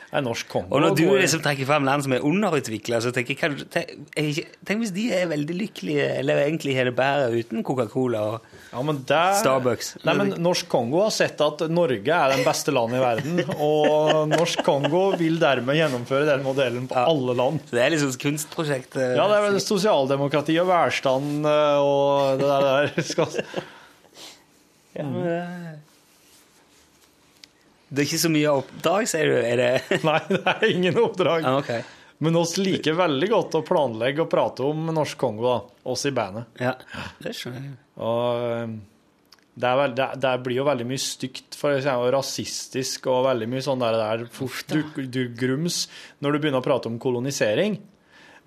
[SPEAKER 3] Det er norsk konge.
[SPEAKER 2] Og når du
[SPEAKER 3] går-
[SPEAKER 2] liksom trekker fram land som er underutvikla, så tenker jeg kanskje tenk, er ikke- tenk hvis de er veldig lykkelige, eller egentlig har det bedre uten Coca-Cola og
[SPEAKER 3] Ja, men det...
[SPEAKER 2] Starbucks.
[SPEAKER 3] Nei, men Norsk Kongo har sett at Norge er den beste landet i verden, og Norsk Kongo vil dermed gjennomføre den modellen på alle land.
[SPEAKER 2] Så Det er liksom et kunstprosjekt. eh,
[SPEAKER 3] Ja, det er vel sosialdemokrati og velstand eh, og det der. der. Skal...
[SPEAKER 2] Ja, men det- eh, Det er ikke så mye oppdrag, sier du? Er det
[SPEAKER 3] Nei, det er ingen oppdrag.
[SPEAKER 2] Ja, ok.
[SPEAKER 3] Men oss liker veldig godt å planlegge og prate om Norsk Kongo, da. Oss i bandet.
[SPEAKER 2] Ja, det skjønner jeg.
[SPEAKER 3] Og eh, det, er vel, det, det blir jo veldig mye stygt, for å si, og rasistisk og veldig mye sånn der, der fuff, du, du grums når du begynner å prate om kolonisering.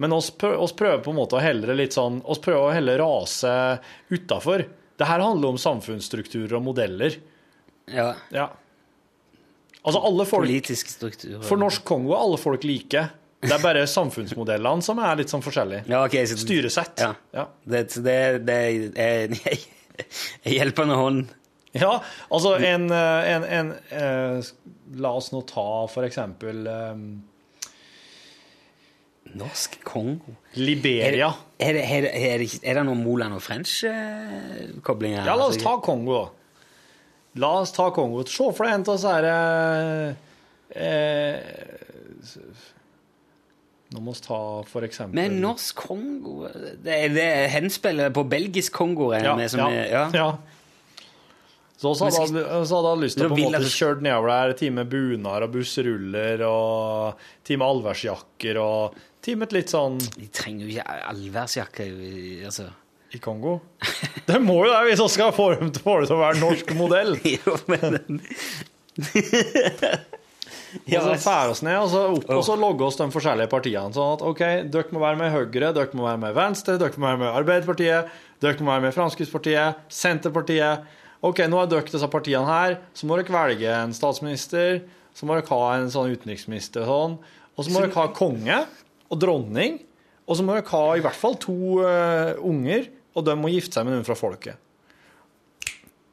[SPEAKER 3] Men oss, prø- oss prøver på en måte å helle det litt sånn oss prøver å helle rase utafor. Det her handler om samfunnsstrukturer og modeller.
[SPEAKER 2] Ja,
[SPEAKER 3] Ja. Altså alle folk
[SPEAKER 2] politisk struktur.
[SPEAKER 3] For norsk Kongo er alle folk like. Det er bare samfunnsmodellene som er litt sånn forskjellige.
[SPEAKER 2] ja, ok, så-
[SPEAKER 3] Styresett.
[SPEAKER 2] Ja.
[SPEAKER 3] Ja.
[SPEAKER 2] Det, så det, det er en hjelpende hånd.
[SPEAKER 3] Ja, altså en, eh, en, en eh, La oss nå ta for eksempel eh,
[SPEAKER 2] Norsk Kongo?
[SPEAKER 3] Liberia.
[SPEAKER 2] Er det, er det, er det, ikke- er det noen Moland og French-kobling her?
[SPEAKER 3] Ja, la oss
[SPEAKER 2] Altså,
[SPEAKER 3] ta Kongo, da. La oss ta Kongo. Se for deg en av disse her eh, eh, Nå må vi ta for eksempel
[SPEAKER 2] Men norsk Kongo Det er det henspillet på belgisk Kongo er
[SPEAKER 3] ja,
[SPEAKER 2] med som
[SPEAKER 3] ja,
[SPEAKER 2] er
[SPEAKER 3] ja.
[SPEAKER 2] ja.
[SPEAKER 3] Så så hadde, han- så hadde han lyst til
[SPEAKER 2] Da
[SPEAKER 3] å på en
[SPEAKER 2] vil jeg-
[SPEAKER 3] måte kjøre nedover der time bunar og bussruller og time allværsjakker og time et litt sånn
[SPEAKER 2] De trenger jo ikke allværsjakke. jo, Altså.
[SPEAKER 3] i Kongo. Det må jo det hvis vi skal få dem til få det til å være norsk modell.
[SPEAKER 2] Jo, men
[SPEAKER 3] Og så
[SPEAKER 2] altså,
[SPEAKER 3] fære oss ned, og så opp, og så logge oss de forskjellige partiene. Sånn at OK, dere må være med Høyre, dere må være med Venstre, dere må være med Arbeiderpartiet, dere må være med Fremskrittspartiet, Senterpartiet. OK, nå er dere disse partiene her, så må dere velge en statsminister, så må dere ha en sånn utenriksminister og sånn. Og så må dere ha konge og dronning, og så må dere ha i hvert fall to eh, unger, og de må gifte seg med noen fra folket.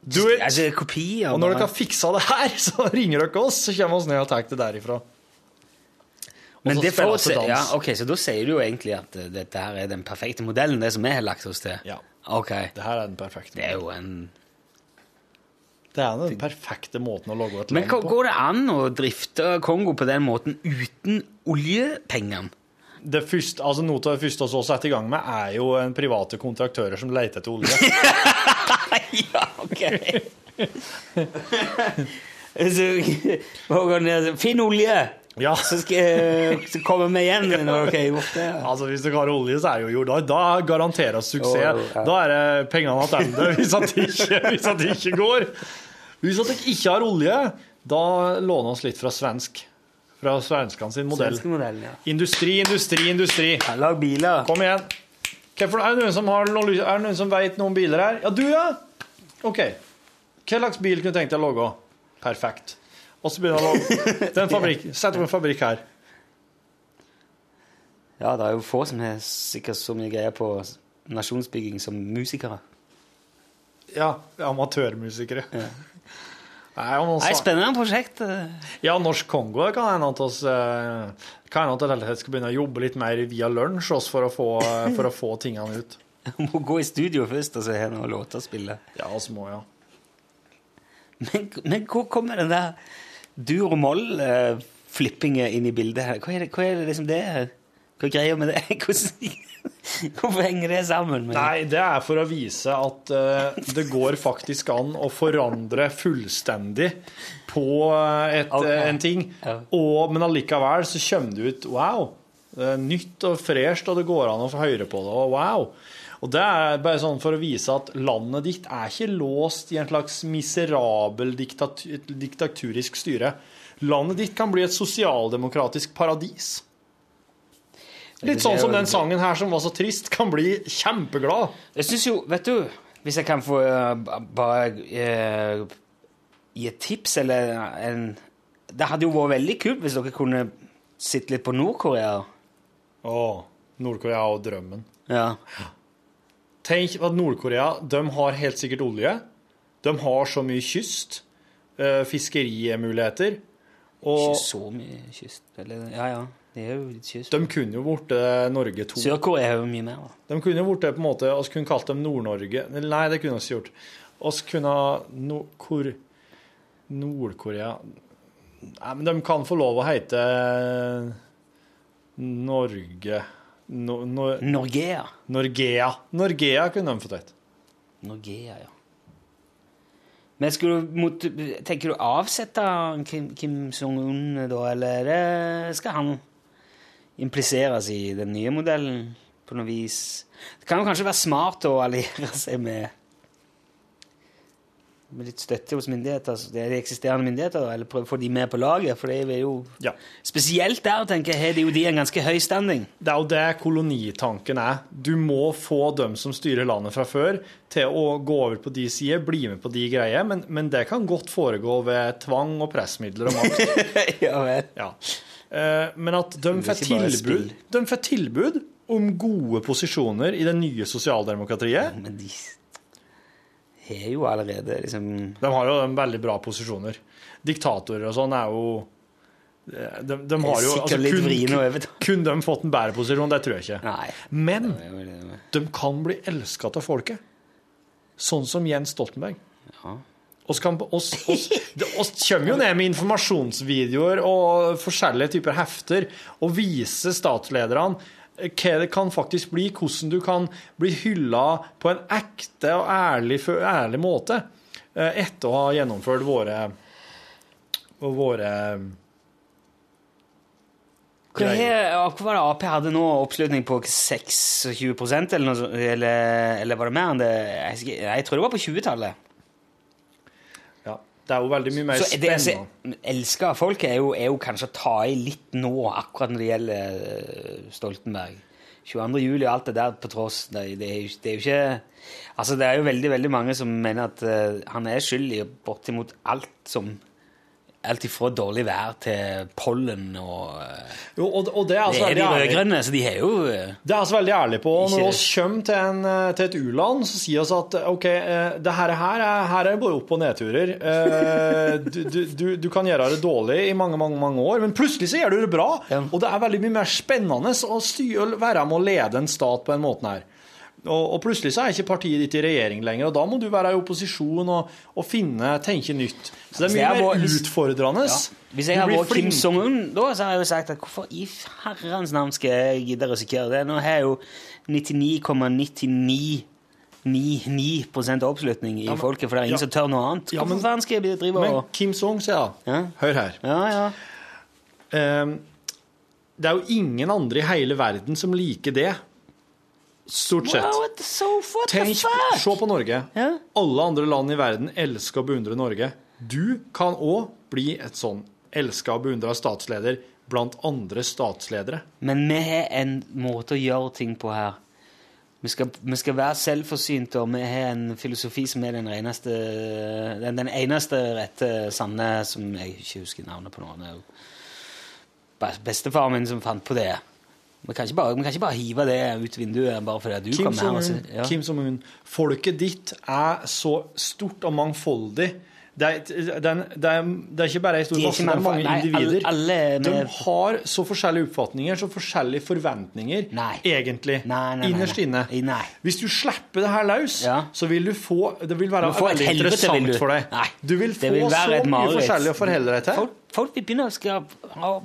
[SPEAKER 3] Do it!
[SPEAKER 2] altså, kopier
[SPEAKER 3] Og når dere
[SPEAKER 2] bare.
[SPEAKER 3] har fiksa det her, så ringer dere oss, så kommer vi ned og tar det derifra. Og
[SPEAKER 2] Men
[SPEAKER 3] så
[SPEAKER 2] det
[SPEAKER 3] spiller
[SPEAKER 2] får
[SPEAKER 3] vi til
[SPEAKER 2] se-
[SPEAKER 3] dans.
[SPEAKER 2] ja, ok, Så da sier du jo egentlig at eh, dette her er den perfekte modellen, det som vi har lagt oss til?
[SPEAKER 3] Ja.
[SPEAKER 2] Ok.
[SPEAKER 3] Det her er den perfekte
[SPEAKER 2] Det er jo en
[SPEAKER 3] Det er den perfekte måten å logge et
[SPEAKER 2] Men
[SPEAKER 3] land
[SPEAKER 2] hva-
[SPEAKER 3] på.
[SPEAKER 2] går det an å drifte Kongo på den måten uten oljepengene?
[SPEAKER 3] Det første, altså Noe av det første vi også setter i gang med, er jo en private kontraktører som leter etter olje.
[SPEAKER 2] ja, ok. så må vi gå ned og si, Finn olje!
[SPEAKER 3] ja,
[SPEAKER 2] Så, skal, eh, så kommer vi igjen når dere har gjort det.
[SPEAKER 3] altså Hvis dere har olje, så er det jo jorda. Da garanterer oss suksess.
[SPEAKER 2] Jo, jo, ja.
[SPEAKER 3] Da er det pengene tilbake hvis at det ikke, hvis at det ikke går. Hvis at dere ikke har olje, da låner oss litt fra svensk. Fra svenskene sin modell.
[SPEAKER 2] Svenske modellen, ja.
[SPEAKER 3] Industri, industri, industri.
[SPEAKER 2] Lag biler.
[SPEAKER 3] Kom igjen. Hvorfor- Er det noen som, har noen, lyst- er det noen som vet noen biler her? Ja, du ja? Ok. Hva slags bil kunne du tenkt deg å logge? Perfekt. Og så begynner jeg å logge. Det er en fabrikk. Sett opp en fabrikk her.
[SPEAKER 2] Ja, det er jo få som har sikkert så mye greier på nasjonsbygging som musikere.
[SPEAKER 3] Ja, amatørmusikere. Nei, om noen
[SPEAKER 2] Nei,
[SPEAKER 3] sa-
[SPEAKER 2] spennende prosjekt. eh.
[SPEAKER 3] ja, Norsk Kongo det kan hende at oss eh, kan hende at vi helst skal begynne å jobbe litt mer via lunsj oss for å få, eh, for å få tingene ut.
[SPEAKER 2] Må gå i studio først og så har jeg noen låter å spille.
[SPEAKER 3] Ja, oss må, ja.
[SPEAKER 2] Men, men hvor kommer den der dur og moll-flippingen inn i bildet her? Hva er det, hva er det liksom det er? Hva er greia med det? Hvordan, hvorfor henger det sammen? Med
[SPEAKER 3] Nei, det er for å vise at eh, det går faktisk an å forandre fullstendig på et,
[SPEAKER 2] Ok.
[SPEAKER 3] eh, en ting.
[SPEAKER 2] Ja.
[SPEAKER 3] Og, men allikevel så kommer det ut Wow! Det er nytt og fresht, og det går an å få høre på det. Og wow! Og det er bare sånn for å vise at landet ditt er ikke låst i en slags miserabel diktat et diktaturisk styre. Landet ditt kan bli et sosialdemokratisk paradis. Litt sånn som den sangen her som var så trist, kan bli kjempeglad.
[SPEAKER 2] Jeg syns jo, vet du Hvis jeg kan få eh, b- bare eh, gi et tips eller en Det hadde jo vært veldig kult hvis dere kunne sitte litt på Nord-Korea.
[SPEAKER 3] Å, Nord-Korea og drømmen.
[SPEAKER 2] Ja.
[SPEAKER 3] Tenk at Nord-Korea de har helt sikkert olje. De har så mye kyst, eh, fiskerimuligheter. Og
[SPEAKER 2] Ikke så mye kyst. Eller, ja, ja. Det er jo litt kyst.
[SPEAKER 3] de kunne jo blitt Norge 2.
[SPEAKER 2] Sør-Korea er jo mye mer, da.
[SPEAKER 3] De kunne jo blitt på en måte oss kunne kalt dem Nord-Norge Nei, det kunne vi ikke gjort. Oss kunne ha no, hvor, Nord-Korea Nei, men de kan få lov å hete Norge no, no,
[SPEAKER 2] Norgea.
[SPEAKER 3] Norgea. Norgea kunne de fått hett.
[SPEAKER 2] Norgea, ja. Men skulle du mot, tenker du å avsette Kim, Kim Jong-un da, eller er det- skal han impliseres i den nye modellen på noe vis? Det kan jo kanskje være smart å alliere seg med med litt støtte hos myndigheter, så det er de eksisterende myndigheter, da, eller prøve å få de med på laget, for det er jo
[SPEAKER 3] Ja.
[SPEAKER 2] Spesielt der, tenker jeg, har de jo de en ganske høy standing.
[SPEAKER 3] Det er jo det kolonitanken er. Du må få dem som styrer landet fra før, til å gå over på de sider, bli med på de greier, men, men det kan godt foregå ved tvang og pressmidler og makt.
[SPEAKER 2] ja vel.
[SPEAKER 3] Ja. Eh, Men at de får
[SPEAKER 2] ikke bare
[SPEAKER 3] tilbud,
[SPEAKER 2] spill.
[SPEAKER 3] de får tilbud om gode posisjoner i det nye sosialdemokratiet.
[SPEAKER 2] Men de har jo allerede liksom
[SPEAKER 3] De har jo de veldig bra posisjoner. Diktatorer og sånn er jo eh, De, de har jo
[SPEAKER 2] Sikkert
[SPEAKER 3] altså,
[SPEAKER 2] litt vrien å
[SPEAKER 3] kun,
[SPEAKER 2] overta.
[SPEAKER 3] kun de fått en bedre posisjon, det tror jeg ikke.
[SPEAKER 2] Nei.
[SPEAKER 3] Men
[SPEAKER 2] det er jo det med-
[SPEAKER 3] de kan bli elska av folket. Sånn som Jens Stoltenberg. Oss, kan, oss, oss, det- oss kommer jo ned med informasjonsvideoer og forskjellige typer hefter og viser statslederne hva det kan faktisk bli, hvordan du kan bli hylla på en ekte og ærlig, fø- ærlig måte eh, etter å ha gjennomført våre og våre
[SPEAKER 2] Hva, er, hva var det Ap hadde nå? Oppslutning på 26 eller, noe, sånt, eller, eller var det mer enn det? Jeg, husker ikke. jeg tror det var på 20-tallet.
[SPEAKER 3] Ja, det er jo veldig mye mer
[SPEAKER 2] Så det altså, jeg
[SPEAKER 3] spennende.
[SPEAKER 2] se- elsker av folk, er jo, er jo kanskje å ta i litt nå, akkurat når det gjelder eh, Stoltenberg. 22. juli og alt det der på tross. Det, er- det, er, jo, ikke- det er jo ikke Altså, det er jo veldig, veldig mange som mener at eh, han er skyld i bortimot alt som Alt ifra dårlig vær til pollen og eh,
[SPEAKER 3] Jo, og, og det er
[SPEAKER 2] Det
[SPEAKER 3] altså
[SPEAKER 2] er de
[SPEAKER 3] veldig ærlig.
[SPEAKER 2] rød-grønne, så de har jo eh,
[SPEAKER 3] Det er vi veldig ærlige på.
[SPEAKER 2] Ikke
[SPEAKER 3] Når
[SPEAKER 2] det.
[SPEAKER 3] vi kommer til, en, eh, til et u-land, så sier vi at OK, eh, det her, er- her, er, her er det bare opp- og nedturer. Eh, Du, du, du, du kan gjøre det dårlig i mange, mange mange år, men plutselig så gjør du det bra.
[SPEAKER 2] Ja.
[SPEAKER 3] Og det er veldig mye mer spennende å styre, være med å lede en stat på den måten her. Og, og plutselig så er ikke partiet ditt i regjering lenger, og da må du være i opposisjon og, og finne, tenke nytt. Så det er
[SPEAKER 2] Hvis jeg
[SPEAKER 3] mye
[SPEAKER 2] var-
[SPEAKER 3] mer
[SPEAKER 2] hvis-
[SPEAKER 3] utfordrende.
[SPEAKER 2] Hvis jeg
[SPEAKER 3] Du
[SPEAKER 2] hadde
[SPEAKER 3] blir
[SPEAKER 2] vært Kim
[SPEAKER 3] flink-
[SPEAKER 2] Jong-un, da så hadde jeg jo sagt at hvorfor i herrens navn skal jeg gidde å risikere det? Nå har jeg jo 99,999 oppslutning i folket, for det er ingen
[SPEAKER 3] ja.
[SPEAKER 2] som tør noe annet.
[SPEAKER 3] Ja, men-
[SPEAKER 2] Hvorfor faen skal jeg drive
[SPEAKER 3] Men
[SPEAKER 2] og
[SPEAKER 3] Kim Song, sier
[SPEAKER 2] Ja.
[SPEAKER 3] jeg. Hør her.
[SPEAKER 2] Ja, ja.
[SPEAKER 3] Eh, det er jo ingen andre i hele verden som liker det. Stort sett.
[SPEAKER 2] Wow, what the, so what the
[SPEAKER 3] Tenk,
[SPEAKER 2] fuck?
[SPEAKER 3] se på Norge.
[SPEAKER 2] Ja.
[SPEAKER 3] Alle andre land i verden elsker og beundrer Norge. Du kan òg bli et sånn elska og beundra statsleder blant andre statsledere.
[SPEAKER 2] Men vi har en måte å gjøre ting på her. Vi skal, vi skal være selvforsynte, og vi har en filosofi som er den, reneste, den, den eneste rette sanne som jeg ikke husker navnet på nå. Det er jo be- bestefaren min som fant på det. Vi kan ikke bare, vi kan ikke bare hive det ut vinduet bare fordi at du
[SPEAKER 3] Kim
[SPEAKER 2] kom her. og
[SPEAKER 3] Jong-un.
[SPEAKER 2] så- ja.
[SPEAKER 3] Kim Jong-un. Folket ditt er så stort og mangfoldig. Det er, det er, det er, det er ikke bare ei stor
[SPEAKER 2] De er
[SPEAKER 3] masse,
[SPEAKER 2] ikke
[SPEAKER 3] det er mange
[SPEAKER 2] mangfold- nei,
[SPEAKER 3] individer.
[SPEAKER 2] alle- alle er
[SPEAKER 3] De
[SPEAKER 2] med-
[SPEAKER 3] har så forskjellige oppfatninger, så forskjellige forventninger,
[SPEAKER 2] Nei.
[SPEAKER 3] egentlig,
[SPEAKER 2] Nei, nei, nei,
[SPEAKER 3] innerst
[SPEAKER 2] nei.
[SPEAKER 3] inne.
[SPEAKER 2] Nei.
[SPEAKER 3] Hvis du slipper det her løs,
[SPEAKER 2] Ja.
[SPEAKER 3] så vil du få Det vil være
[SPEAKER 2] Du får et
[SPEAKER 3] veldig
[SPEAKER 2] helvete,
[SPEAKER 3] interessant
[SPEAKER 2] vil du.
[SPEAKER 3] for deg.
[SPEAKER 2] Nei.
[SPEAKER 3] Du vil
[SPEAKER 2] Det
[SPEAKER 3] få
[SPEAKER 2] vil
[SPEAKER 3] så
[SPEAKER 2] være et
[SPEAKER 3] mye
[SPEAKER 2] mareritt.
[SPEAKER 3] forskjellig å forholde deg til.
[SPEAKER 2] Folk, folk vil begynne å skal ha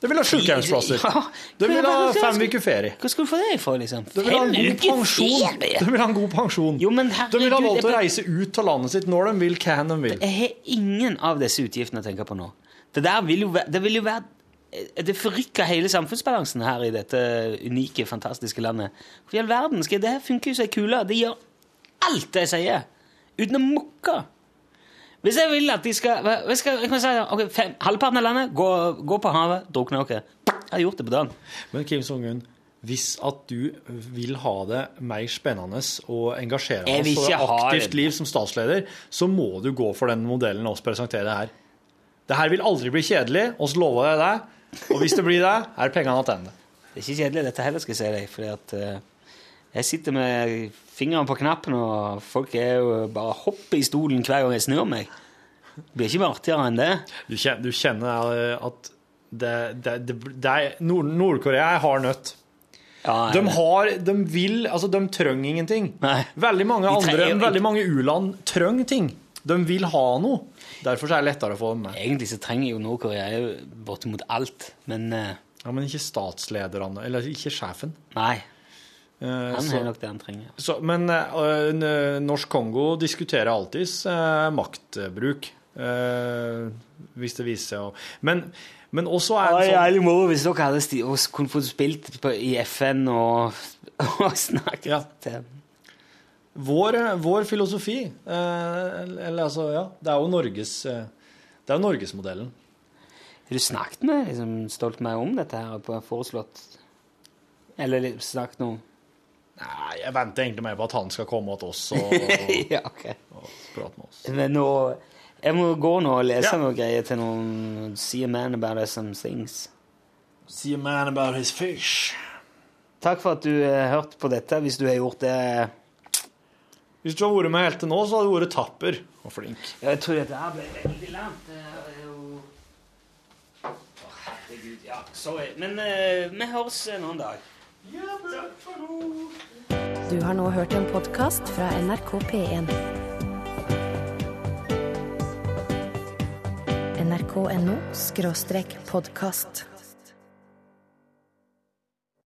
[SPEAKER 3] Det vil ha sjukehjemsplasser.
[SPEAKER 2] Ja.
[SPEAKER 3] Du vil
[SPEAKER 2] Hva-
[SPEAKER 3] ha
[SPEAKER 2] hva-
[SPEAKER 3] fem uker ferie.
[SPEAKER 2] Hvor skal du få det ifra, liksom?
[SPEAKER 3] Du vil ha en
[SPEAKER 2] Fem
[SPEAKER 3] god
[SPEAKER 2] uker
[SPEAKER 3] pensjon.
[SPEAKER 2] ferie?
[SPEAKER 3] Du vil ha en god pensjon.
[SPEAKER 2] Jo, men herregud,
[SPEAKER 3] De vil ha lov til å
[SPEAKER 2] jeg-
[SPEAKER 3] reise ut av landet sitt når de vil, hva enn de vil.
[SPEAKER 2] Jeg har ingen av disse utgiftene å tenke på nå. Det der vil jo være Det, vil jo være, det forrykker hele samfunnsbalansen her i dette unike, fantastiske landet. Hvor i all verden skal det her funke som ei kule? Det gjør alt det jeg sier, uten å mukke. Hvis jeg vil at de skal Jeg, skal, jeg kan si ok, fem, halvparten av landet, gå, gå på havet, drukne dere. Jeg har gjort det på dagen.
[SPEAKER 3] Men Kim Jong-un, hvis at du vil ha det mer spennende og engasjerende
[SPEAKER 2] Jeg vil
[SPEAKER 3] og
[SPEAKER 2] ikke
[SPEAKER 3] et
[SPEAKER 2] ha det.
[SPEAKER 3] aktivt liv som statsleder, så må du gå for den modellen oss presenterer her. Det her vil aldri bli kjedelig, oss lover jeg det. Og hvis det blir det, er pengene tilbake.
[SPEAKER 2] Det er ikke kjedelig dette heller, skal jeg si deg, fordi at eh, jeg sitter med fingeren på knappen, og folk er jo bare hopper i stolen hver gang jeg snur meg. Det blir ikke mer artigere enn det.
[SPEAKER 3] Du kjenner, du kjenner eh, at det, det, det, det er Nord- Nord-Korea er hard nøtt.
[SPEAKER 2] Ja, eh, jeg-
[SPEAKER 3] De har, de vil, altså de trenger ingenting.
[SPEAKER 2] Nei.
[SPEAKER 3] Veldig mange
[SPEAKER 2] De
[SPEAKER 3] andre,
[SPEAKER 2] trenger-
[SPEAKER 3] veldig mange u-land trenger ting. De vil ha noe. Derfor så er det lettere å få dem med.
[SPEAKER 2] Egentlig så trenger jo Nord-Korea jo bortimot alt, men eh,
[SPEAKER 3] Ja, men ikke statslederne, eller ikke sjefen.
[SPEAKER 2] nei,
[SPEAKER 3] Eh,
[SPEAKER 2] han
[SPEAKER 3] så,
[SPEAKER 2] er nok det han trenger.
[SPEAKER 3] så, men eh, n- Norsk Kongo diskuterer alltids eh, maktbruk. eh, hvis det viser seg å Men, men også er det
[SPEAKER 2] Oi,
[SPEAKER 3] sånn
[SPEAKER 2] ærlig moro, hvis dere hadde sti og kunne fått spilt på, i FN og, og snakket
[SPEAKER 3] Ja.
[SPEAKER 2] til
[SPEAKER 3] Vår, vår filosofi eh, Eller altså, ja. Det er jo Norges eh, Det er jo Norgesmodellen.
[SPEAKER 2] Har du snakket med liksom, Stoltenberg om dette her og på- foreslått Eller li- snakket noe?
[SPEAKER 3] Nei, jeg venter egentlig mer på at han skal komme til oss og, og
[SPEAKER 2] ja, ok.
[SPEAKER 3] prate med oss.
[SPEAKER 2] Men eh, nå, jeg må gå nå og lese
[SPEAKER 3] Ja.
[SPEAKER 2] noe greier til noen See a man about us some things.
[SPEAKER 3] See a man about his fish.
[SPEAKER 2] Takk for at du eh, hørte på dette, hvis du har gjort det.
[SPEAKER 3] Hvis du hadde vært med helt til nå, så hadde du vært tapper og flink.
[SPEAKER 2] Jeg tror dette her ble veldig langt. Det her er jo... Å, herregud, ja, sorry. Men eh, vi høres eh, noen dag.
[SPEAKER 1] Du har nå hørt en podkast fra NRK P1. nrk.no podkast.